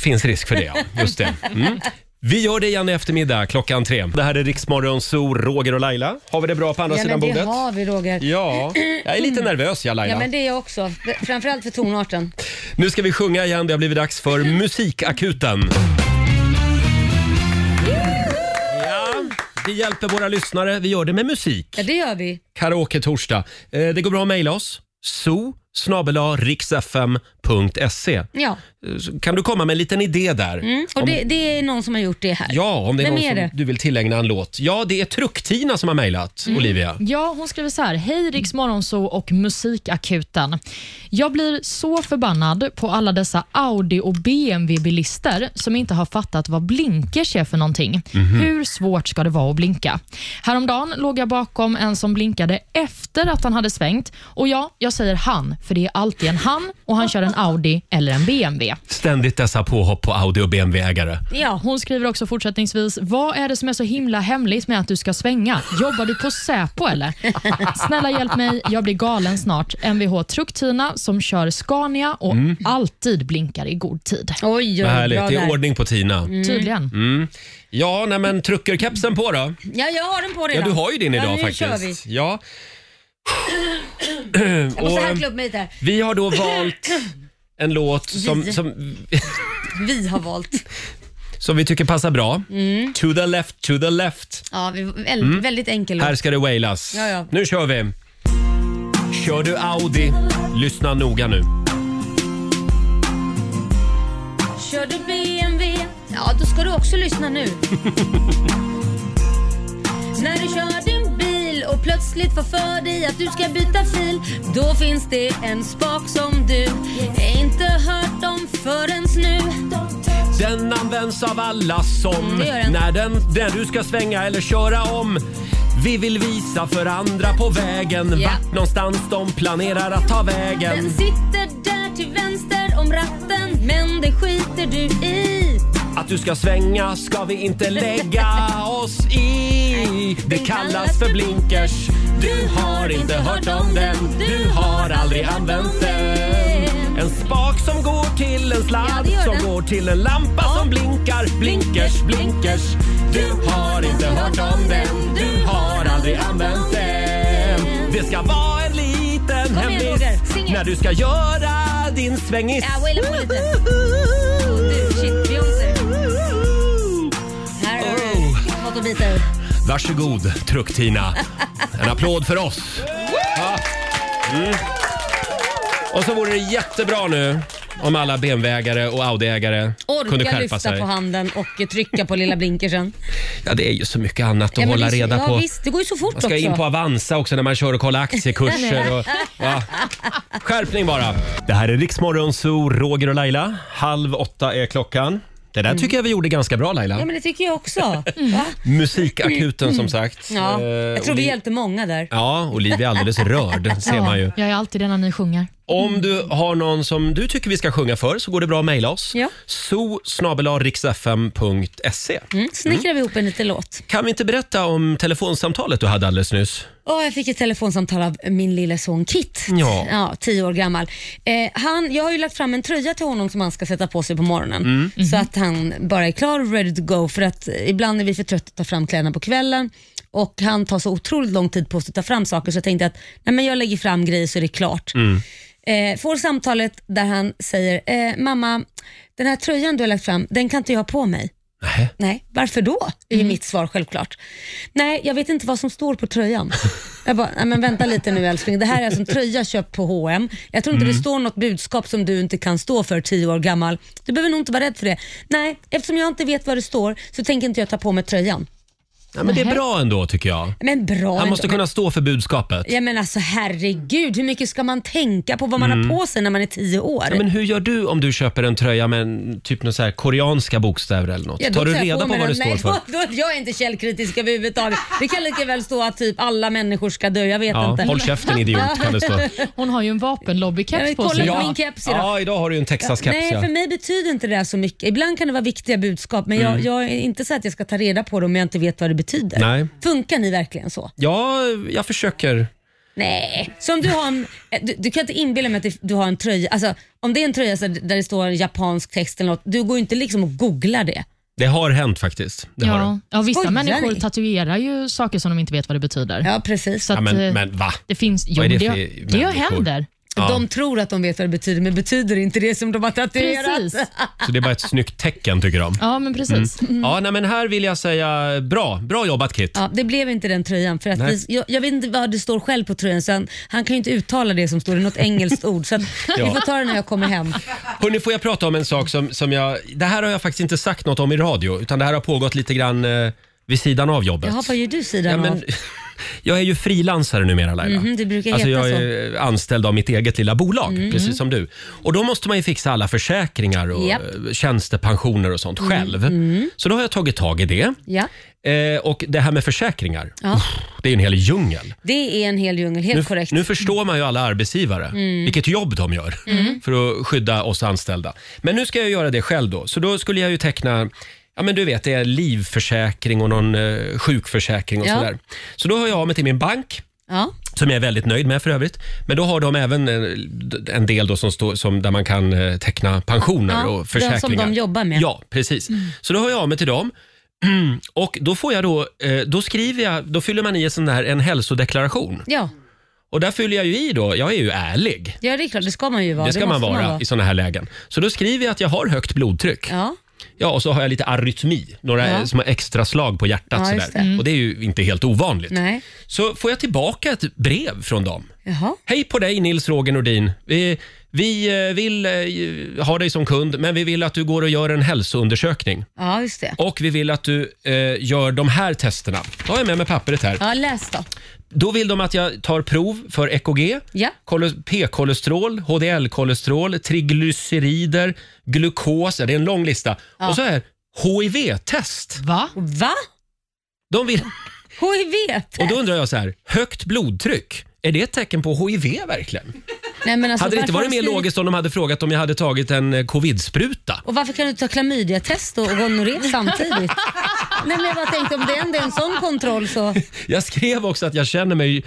[SPEAKER 1] finns risk för det, ja. Just det. Mm. Vi gör det igen i eftermiddag klockan tre. Det här är Riksmorgon Zoo, Roger och Laila. Har vi det bra på andra
[SPEAKER 2] Ja,
[SPEAKER 1] sidan
[SPEAKER 2] men det
[SPEAKER 1] bordet?
[SPEAKER 2] har vi Roger.
[SPEAKER 1] Ja, jag är lite nervös jag Laila.
[SPEAKER 2] Ja, men det är jag också. Framförallt för tonarten.
[SPEAKER 1] Nu ska vi sjunga igen. Det har blivit dags för Musikakuten. Ja, vi hjälper våra lyssnare. Vi gör det med musik.
[SPEAKER 2] Ja, det gör vi.
[SPEAKER 1] Karaoke-torsdag. Eh, Det går bra att mejla oss. so riksfm.se
[SPEAKER 2] Ja,
[SPEAKER 1] Eh, Kan du komma med en liten idé där?
[SPEAKER 2] mm. och det, det är någon som har gjort det här.
[SPEAKER 1] Ja, om det är
[SPEAKER 2] Vem
[SPEAKER 1] någon
[SPEAKER 2] är
[SPEAKER 1] som
[SPEAKER 2] det?
[SPEAKER 1] du vill tillägna en låt. Ja, det är Trucktina som har mejlat,
[SPEAKER 2] Mm.
[SPEAKER 1] Olivia.
[SPEAKER 3] Ja, hon skriver så här. Hej Riks Morgonzoo och Musikakuten. Jag blir så förbannad på alla dessa Audi och BMW-bilister som inte har fattat vad blinkers är för någonting. Hur svårt ska det vara att blinka? Häromdagen låg jag bakom en som blinkade efter att han hade svängt. Och ja, jag säger han, för det är alltid en han och han kör en Audi eller en BMW.
[SPEAKER 1] Ständigt dessa påhopp på Audi och BMW-ägare.
[SPEAKER 2] Ja.
[SPEAKER 3] Hon skriver också fortsättningsvis, vad är det som är så himla hemligt med att du ska svänga? Jobbar du på Säpo eller? Snälla hjälp mig, jag blir galen snart. Mvh Trucktina som kör Scania och
[SPEAKER 1] Mm.
[SPEAKER 3] alltid blinkar i god tid.
[SPEAKER 2] Oj,
[SPEAKER 1] Vad
[SPEAKER 2] oj,
[SPEAKER 1] härligt.
[SPEAKER 2] bra
[SPEAKER 1] Det är
[SPEAKER 2] där. Mm.
[SPEAKER 1] ordning på Tina.
[SPEAKER 3] Tydligen.
[SPEAKER 1] Mm, Ja, nej men truckerkepsen på då.
[SPEAKER 2] Ja, jag har den på
[SPEAKER 1] Ja,
[SPEAKER 2] redan.
[SPEAKER 1] du har ju din idag
[SPEAKER 2] ja, nu
[SPEAKER 1] faktiskt.
[SPEAKER 2] Kör vi.
[SPEAKER 1] Ja.
[SPEAKER 2] Jag måste
[SPEAKER 1] Och,
[SPEAKER 2] harkla upp mig lite här.
[SPEAKER 1] vi har då valt en låt som,
[SPEAKER 2] Vi.
[SPEAKER 1] som,
[SPEAKER 2] Vi har valt.
[SPEAKER 1] som vi tycker passar bra.
[SPEAKER 2] Mm.
[SPEAKER 1] To the left, to the left. Mm.
[SPEAKER 2] Ja, vi, väldigt, väldigt enkel.
[SPEAKER 1] Här ska det wailas.
[SPEAKER 2] Ja, ja.
[SPEAKER 1] Nu kör vi! Kör du Audi, lyssna noga nu.
[SPEAKER 2] Kör du BMW? Ja, då ska du också lyssna nu. När du kör din bil och plötsligt får för dig att du ska byta fil Då finns det en spak som du inte hört om förrän nu
[SPEAKER 1] Den används av alla som
[SPEAKER 2] Mm, det gör den.
[SPEAKER 1] när, den, när du ska svänga eller köra om. Vi vill visa för andra på vägen
[SPEAKER 2] Ja.
[SPEAKER 1] vart någonstans de planerar att ta
[SPEAKER 2] Den
[SPEAKER 1] vägen.
[SPEAKER 2] sitter där till vänster om ratten men det skiter du i
[SPEAKER 1] Att du ska svänga ska vi inte lägga oss i. Det kallas för blinkers. Du har inte hört om den. Du har aldrig använt den. En spak som går till en
[SPEAKER 2] Ja,
[SPEAKER 1] sladd
[SPEAKER 2] det gör den.
[SPEAKER 1] som går till en lampa som blinkar. Blinkers, blinkers. Du har inte hört om den. Du har aldrig använt den. Det ska vara en liten
[SPEAKER 2] igen, Roger.
[SPEAKER 1] hemlis
[SPEAKER 2] Sing it.
[SPEAKER 1] när du ska göra din svängis.
[SPEAKER 2] Ja, waila på lite. Du, shit, Beyoncé. Här har
[SPEAKER 1] Oh.
[SPEAKER 2] du något att bita i.
[SPEAKER 1] Varsågod, Truck-Tina. En applåd för oss. Ja. Mm. Och så vore det jättebra nu om alla BMW-ägare och Audi-ägare kunde
[SPEAKER 2] Orka
[SPEAKER 1] skärpa
[SPEAKER 2] lyfta
[SPEAKER 1] sig.
[SPEAKER 2] på handen och trycka på lilla blinkersen.
[SPEAKER 1] Ja, det är ju så mycket annat att
[SPEAKER 2] men
[SPEAKER 1] hålla
[SPEAKER 2] det, är så-
[SPEAKER 1] reda
[SPEAKER 2] ja,
[SPEAKER 1] på.
[SPEAKER 2] Visst, det går ju så fort
[SPEAKER 1] Man ska
[SPEAKER 2] också.
[SPEAKER 1] in på Avanza också när man kör och kollar aktiekurser. Och, ja. Skärpning bara! Det här är Riksmorgon Zoo, Roger och Laila. Halv åtta är klockan. Det där tycker jag vi gjorde ganska bra Laila.
[SPEAKER 2] Mm. Ja, men det tycker jag också. Va?
[SPEAKER 1] Musikakuten som sagt.
[SPEAKER 2] Ja,
[SPEAKER 1] Eh,
[SPEAKER 2] jag tror vi
[SPEAKER 1] Olivia-
[SPEAKER 2] hjälpte många där.
[SPEAKER 1] Ja, Olivia är alldeles rörd ser man ju.
[SPEAKER 3] Jag är alltid det när ni sjunger.
[SPEAKER 1] Om du har någon som du tycker vi ska sjunga för så går det bra att mejla oss.
[SPEAKER 2] Ja.
[SPEAKER 1] so riksfm.se
[SPEAKER 2] Mm. Snickrade vi ihop en liten låt.
[SPEAKER 1] Kan vi inte berätta om telefonsamtalet du hade alldeles nyss?
[SPEAKER 2] Åh, jag fick ett telefonsamtal av min lilla son Kit,
[SPEAKER 1] Ja.
[SPEAKER 2] tio år gammal. Eh, han, jag har ju lagt fram en tröja till honom som han ska sätta på sig på morgonen. Så att han bara är klar och ready to go. För att eh, ibland är vi för trötta att ta fram kläderna på kvällen och han tar så otroligt lång tid på sig att ta fram saker så jag tänkte att nej, men jag lägger fram grejer så är det klart. Eh, får samtalet där han säger, eh, mamma den här tröjan du har lagt fram, den kan inte jag ha på mig.
[SPEAKER 1] Nej.
[SPEAKER 2] Nej, varför då? är
[SPEAKER 1] Mm.
[SPEAKER 2] ju mitt svar självklart. Nej, jag vet inte vad som står på tröjan. Jag bara, nej men vänta lite nu älskling. Det här är alltså en tröja köpt på H&M. Jag tror inte
[SPEAKER 1] Mm.
[SPEAKER 2] det står något budskap som du inte kan stå för tio år gammal. Du behöver nog inte vara rädd för det. Nej, eftersom jag inte vet vad det står så tänker inte jag ta på mig tröjan.
[SPEAKER 1] Ja, men det är bra ändå tycker jag.
[SPEAKER 2] Men bra
[SPEAKER 1] Han
[SPEAKER 2] ändå.
[SPEAKER 1] måste kunna stå för budskapet.
[SPEAKER 2] Ja men alltså herregud, hur mycket ska man tänka på vad man har på sig när man är tio år?
[SPEAKER 1] Mm. Ja, men hur gör du om du köper en tröja med en, typ någon så här koreanska bokstäver eller något?
[SPEAKER 2] Ja, då
[SPEAKER 1] Tar du
[SPEAKER 2] jag
[SPEAKER 1] reda på
[SPEAKER 2] mig
[SPEAKER 1] vad det
[SPEAKER 2] den.
[SPEAKER 1] står för?
[SPEAKER 2] Nej, då, då, jag är inte källkritisk överhuvudtaget. Det kan lika väl stå att typ alla människor ska dö, jag vet
[SPEAKER 1] Ja,
[SPEAKER 2] inte.
[SPEAKER 1] håll käften idiot kan det stå.
[SPEAKER 3] Hon har ju en
[SPEAKER 2] Jag
[SPEAKER 3] vapenlobbykeps på
[SPEAKER 2] kollar
[SPEAKER 3] sig.
[SPEAKER 2] på min keps idag.
[SPEAKER 1] Ja, idag har du ju en Texas-keps.
[SPEAKER 2] Nej,
[SPEAKER 1] ja.
[SPEAKER 2] för mig betyder inte det här så mycket. Ibland kan det vara viktiga budskap, men
[SPEAKER 1] Mm.
[SPEAKER 2] jag, jag är inte så att jag ska ta reda på det om jag inte vet vad det betyder.
[SPEAKER 1] Nej.
[SPEAKER 2] Funkar ni verkligen så?
[SPEAKER 1] ja, jag försöker.
[SPEAKER 2] Nej. Så om du, har en, eh, du, du kan inte inbilla mig att det- du har en tröja, alltså, om det är en tröja så där det står en japansk text eller något, du går ju inte liksom och googlar det.
[SPEAKER 1] Det har hänt faktiskt. Det har det.
[SPEAKER 3] Ja, ja, vissa
[SPEAKER 2] Skojar
[SPEAKER 3] människor
[SPEAKER 2] ni?
[SPEAKER 3] tatuerar ju saker som de inte vet vad det betyder.
[SPEAKER 2] Ja, precis.
[SPEAKER 3] Så att,
[SPEAKER 1] Ja,
[SPEAKER 3] eh,
[SPEAKER 1] men, men va?
[SPEAKER 3] det finns, jo,
[SPEAKER 1] Vad är det
[SPEAKER 3] det,
[SPEAKER 1] för
[SPEAKER 3] det, det
[SPEAKER 1] människor?
[SPEAKER 3] händer.
[SPEAKER 1] Ja.
[SPEAKER 2] De tror att de vet vad det betyder, men betyder inte det som de har tatuerat.
[SPEAKER 3] Precis.
[SPEAKER 1] Så det är bara ett snyggt tecken tycker
[SPEAKER 2] Mm.
[SPEAKER 1] de.
[SPEAKER 3] Ja, men precis.
[SPEAKER 1] Ja, nej, men här vill jag säga bra. Bra jobbat Kit.
[SPEAKER 2] Ja, det blev inte den tröjan. För att
[SPEAKER 1] Nej.
[SPEAKER 2] vi, jag, jag vet inte vad det står själv på tröjan, så han, han kan ju inte uttala det som står i något engelskt ord. Så att, vi får ta det när jag kommer hem.
[SPEAKER 1] Hörni, får jag prata om en sak som, som jag... Det här har jag faktiskt inte sagt något om i radio, utan det här har pågått lite grann eh, vid sidan av jobbet.
[SPEAKER 2] Jaha, vad gör du sidan
[SPEAKER 1] ja,
[SPEAKER 2] av?
[SPEAKER 1] men, jag är ju frilansare numera Laila.
[SPEAKER 2] Mhm, det brukar
[SPEAKER 1] alltså,
[SPEAKER 2] heta
[SPEAKER 1] jag
[SPEAKER 2] så. Mhm.
[SPEAKER 1] är anställd av mitt eget lilla bolag, precis som du. Och då måste man ju fixa alla försäkringar och
[SPEAKER 2] Japp. Mhm. Mm.
[SPEAKER 1] eh, tjänstepensioner och sånt själv. Så då har jag tagit tag i det.
[SPEAKER 2] Ja,
[SPEAKER 1] Eh, och det här med försäkringar,
[SPEAKER 2] Ja.
[SPEAKER 1] uff, det är ju en hel djungel.
[SPEAKER 2] det är en hel djungel, helt
[SPEAKER 1] Nu,
[SPEAKER 2] korrekt. Mm.
[SPEAKER 1] nu förstår man ju alla arbetsgivare, vilket jobb de gör för att skydda oss anställda. Men nu ska jag göra det själv då, så då skulle jag ju teckna Ja men du vet, det är livförsäkring och någon eh, sjukförsäkring och
[SPEAKER 2] Ja.
[SPEAKER 1] sådär. Så då hör jag av mig till min bank,
[SPEAKER 2] Ja.
[SPEAKER 1] som jag är väldigt nöjd med för övrigt. Men då har de även eh, d- en del då som står, som, där man kan eh, teckna pensioner
[SPEAKER 2] Ja,
[SPEAKER 1] och
[SPEAKER 2] den som
[SPEAKER 1] försäkringar.
[SPEAKER 2] de jobbar med. Mm.
[SPEAKER 1] Ja, precis. Så då hör jag av mig till dem. Och då får jag då, eh, då skriver jag, då fyller man i en sån här, en hälsodeklaration.
[SPEAKER 2] Ja.
[SPEAKER 1] Och där fyller jag ju i då, jag är ju ärlig.
[SPEAKER 2] ja, det är klart, det ska man ju vara.
[SPEAKER 1] Det ska man
[SPEAKER 2] måste
[SPEAKER 1] vara i såna här lägen. Så då skriver jag att jag har högt blodtryck.
[SPEAKER 2] Ja.
[SPEAKER 1] Ja, och så har jag lite arytmi, några
[SPEAKER 2] Ja.
[SPEAKER 1] små extra slag på hjärtat
[SPEAKER 2] Ja, just
[SPEAKER 1] sådär.
[SPEAKER 2] det. Mm.
[SPEAKER 1] Och det är ju inte helt ovanligt.
[SPEAKER 2] Nej.
[SPEAKER 1] Så får jag tillbaka ett brev från dem.
[SPEAKER 2] Jaha.
[SPEAKER 1] Hej på dig Nils Roger Nordin. Vi, vi eh, vill eh, ha dig som kund, men vi vill att du går och gör en hälsoundersökning.
[SPEAKER 2] Ja, just det.
[SPEAKER 1] Och vi vill att du eh, gör de här testerna. Då har jag med mig pappret här.
[SPEAKER 2] Ja, läs då.
[SPEAKER 1] Då vill de att jag tar prov för EKG,
[SPEAKER 2] Ja.
[SPEAKER 1] kole- P-kolesterol, HDL-kolesterol, triglycerider, glukos. Ja, Det är en lång lista. Och så här, HIV-test.
[SPEAKER 3] Va?
[SPEAKER 2] Va?
[SPEAKER 1] De vill,
[SPEAKER 2] HIV?
[SPEAKER 1] och då undrar jag så här, högt blodtryck, är det ett tecken på HIV verkligen?
[SPEAKER 2] Nej, men alltså,
[SPEAKER 1] hade det inte
[SPEAKER 2] varför
[SPEAKER 1] varit
[SPEAKER 2] har
[SPEAKER 1] mer
[SPEAKER 2] skrivit-
[SPEAKER 1] logiskt om de hade frågat om jag hade tagit en eh, covid-spruta?
[SPEAKER 2] Och varför kan du inte ta klamydiatest och och gonorré samtidigt? Nej, men jag bara tänkte om det ändå är en sån kontroll så...
[SPEAKER 1] Jag skrev också att jag känner mig eh,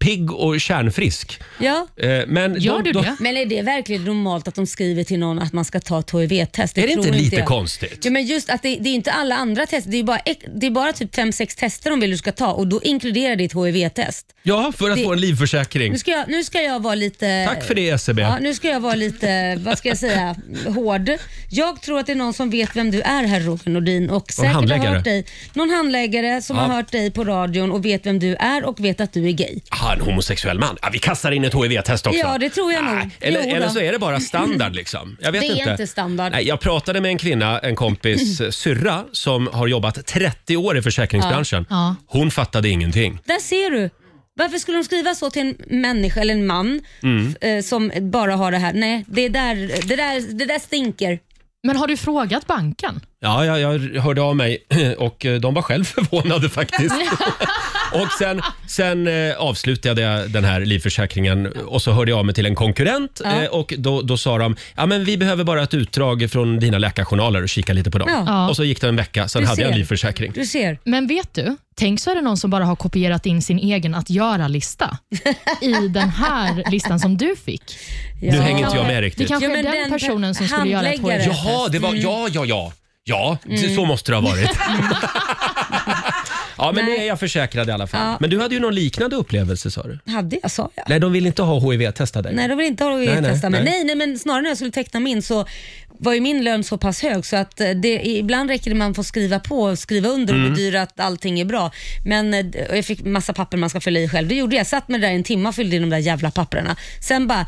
[SPEAKER 1] pigg och kärnfrisk.
[SPEAKER 2] Ja.
[SPEAKER 1] Eh, Men
[SPEAKER 3] Gör
[SPEAKER 1] de,
[SPEAKER 3] du
[SPEAKER 1] de,
[SPEAKER 3] det?
[SPEAKER 2] Men är det verkligen normalt att de skriver till någon att man ska ta ett HIV-test?
[SPEAKER 1] Är det
[SPEAKER 2] tror
[SPEAKER 1] inte lite
[SPEAKER 2] jag.
[SPEAKER 1] konstigt?
[SPEAKER 2] Ja, men just att det, det är inte alla andra tester, det är bara, ek- det är bara typ 5-6 tester de vill du ska ta och då inkluderar det ett HIV-test.
[SPEAKER 1] Ja, för att
[SPEAKER 2] Det-
[SPEAKER 1] få en livförsäkring.
[SPEAKER 2] Nu ska, jag, nu ska jag vara lite...
[SPEAKER 1] Tack för det E SCB.
[SPEAKER 2] Ja, nu ska jag vara lite, vad ska jag säga, hård. Jag tror att det är någon som vet vem du är herr Roger Nordin och säkert
[SPEAKER 1] handläggare.
[SPEAKER 2] har hört dig. Någon handläggare som
[SPEAKER 1] Ja.
[SPEAKER 2] har hört dig på radion och vet vem du är och vet att du är gay.
[SPEAKER 1] Ah, en homosexuell man. Ah, vi kastar in ett HIV-test också.
[SPEAKER 2] Ja, det tror jag nog.
[SPEAKER 1] Nej, eller,
[SPEAKER 2] Jo då.
[SPEAKER 1] eller så är det bara standard liksom. Jag vet
[SPEAKER 2] Det är
[SPEAKER 1] inte.
[SPEAKER 2] inte standard.
[SPEAKER 1] Nej, jag pratade med en kvinna, en kompis eh, syrra, som har jobbat 30 år i försäkringsbranschen.
[SPEAKER 3] Ja.
[SPEAKER 1] Hon fattade ingenting.
[SPEAKER 2] Där ser du. Varför skulle de skriva så till en människa eller en man
[SPEAKER 1] Mm.
[SPEAKER 2] f- eh, som bara har det här? Nej, det där, det där, det där stinker.
[SPEAKER 3] Men har du frågat banken?
[SPEAKER 1] Ja, jag, jag hörde av mig och eh, de var själv förvånade faktiskt. Och sen, sen eh, avslutade jag den här livförsäkringen och så hörde jag av mig till en konkurrent
[SPEAKER 2] Ja.
[SPEAKER 1] eh, och då, då sa de ja, men vi behöver bara ett utdrag från dina läkarjournaler och kika lite på dem.
[SPEAKER 2] Ja.
[SPEAKER 3] Ja.
[SPEAKER 1] Och så gick det en vecka, sen
[SPEAKER 2] Du
[SPEAKER 1] hade jag en
[SPEAKER 2] ser.
[SPEAKER 1] livförsäkring.
[SPEAKER 2] Du ser.
[SPEAKER 3] Men vet du, tänk så är det någon som bara har kopierat in sin egen att göra-lista i den här listan som du fick.
[SPEAKER 1] Nu hänger inte jag med
[SPEAKER 3] Det
[SPEAKER 1] riktigt.
[SPEAKER 3] kanske
[SPEAKER 2] Ja,
[SPEAKER 3] är
[SPEAKER 2] men
[SPEAKER 3] den,
[SPEAKER 2] den
[SPEAKER 3] personen som skulle göra ett
[SPEAKER 2] handläggaren.
[SPEAKER 3] HIV-test.
[SPEAKER 1] Jaha, det var,
[SPEAKER 2] Mm.
[SPEAKER 1] ja, ja, ja. Ja, det- så måste det ha varit. ja, men nu
[SPEAKER 2] Nej.
[SPEAKER 1] är jag försäkrad i alla fall.
[SPEAKER 2] Ja.
[SPEAKER 1] Men du hade ju någon liknande upplevelse sa du?
[SPEAKER 2] Hade jag, sa jag?
[SPEAKER 1] Nej, de vill inte ha HIV-testa dig.
[SPEAKER 2] Nej, de vill inte ha
[SPEAKER 1] Nej, nej,
[SPEAKER 2] HIV-testa mig.
[SPEAKER 1] nej.
[SPEAKER 2] Nej, nej, men snarare när jag skulle teckna min så var ju min lön så pass hög så att eh, det, ibland räcker det man får skriva på, skriva under och
[SPEAKER 1] Mm.
[SPEAKER 2] bedyra att allting är bra. Men eh, och jag fick massa papper man ska fylla i själv. Det gjorde jag. Jag satt med det där i en timme och fyllde i de där jävla papperna. Sen bara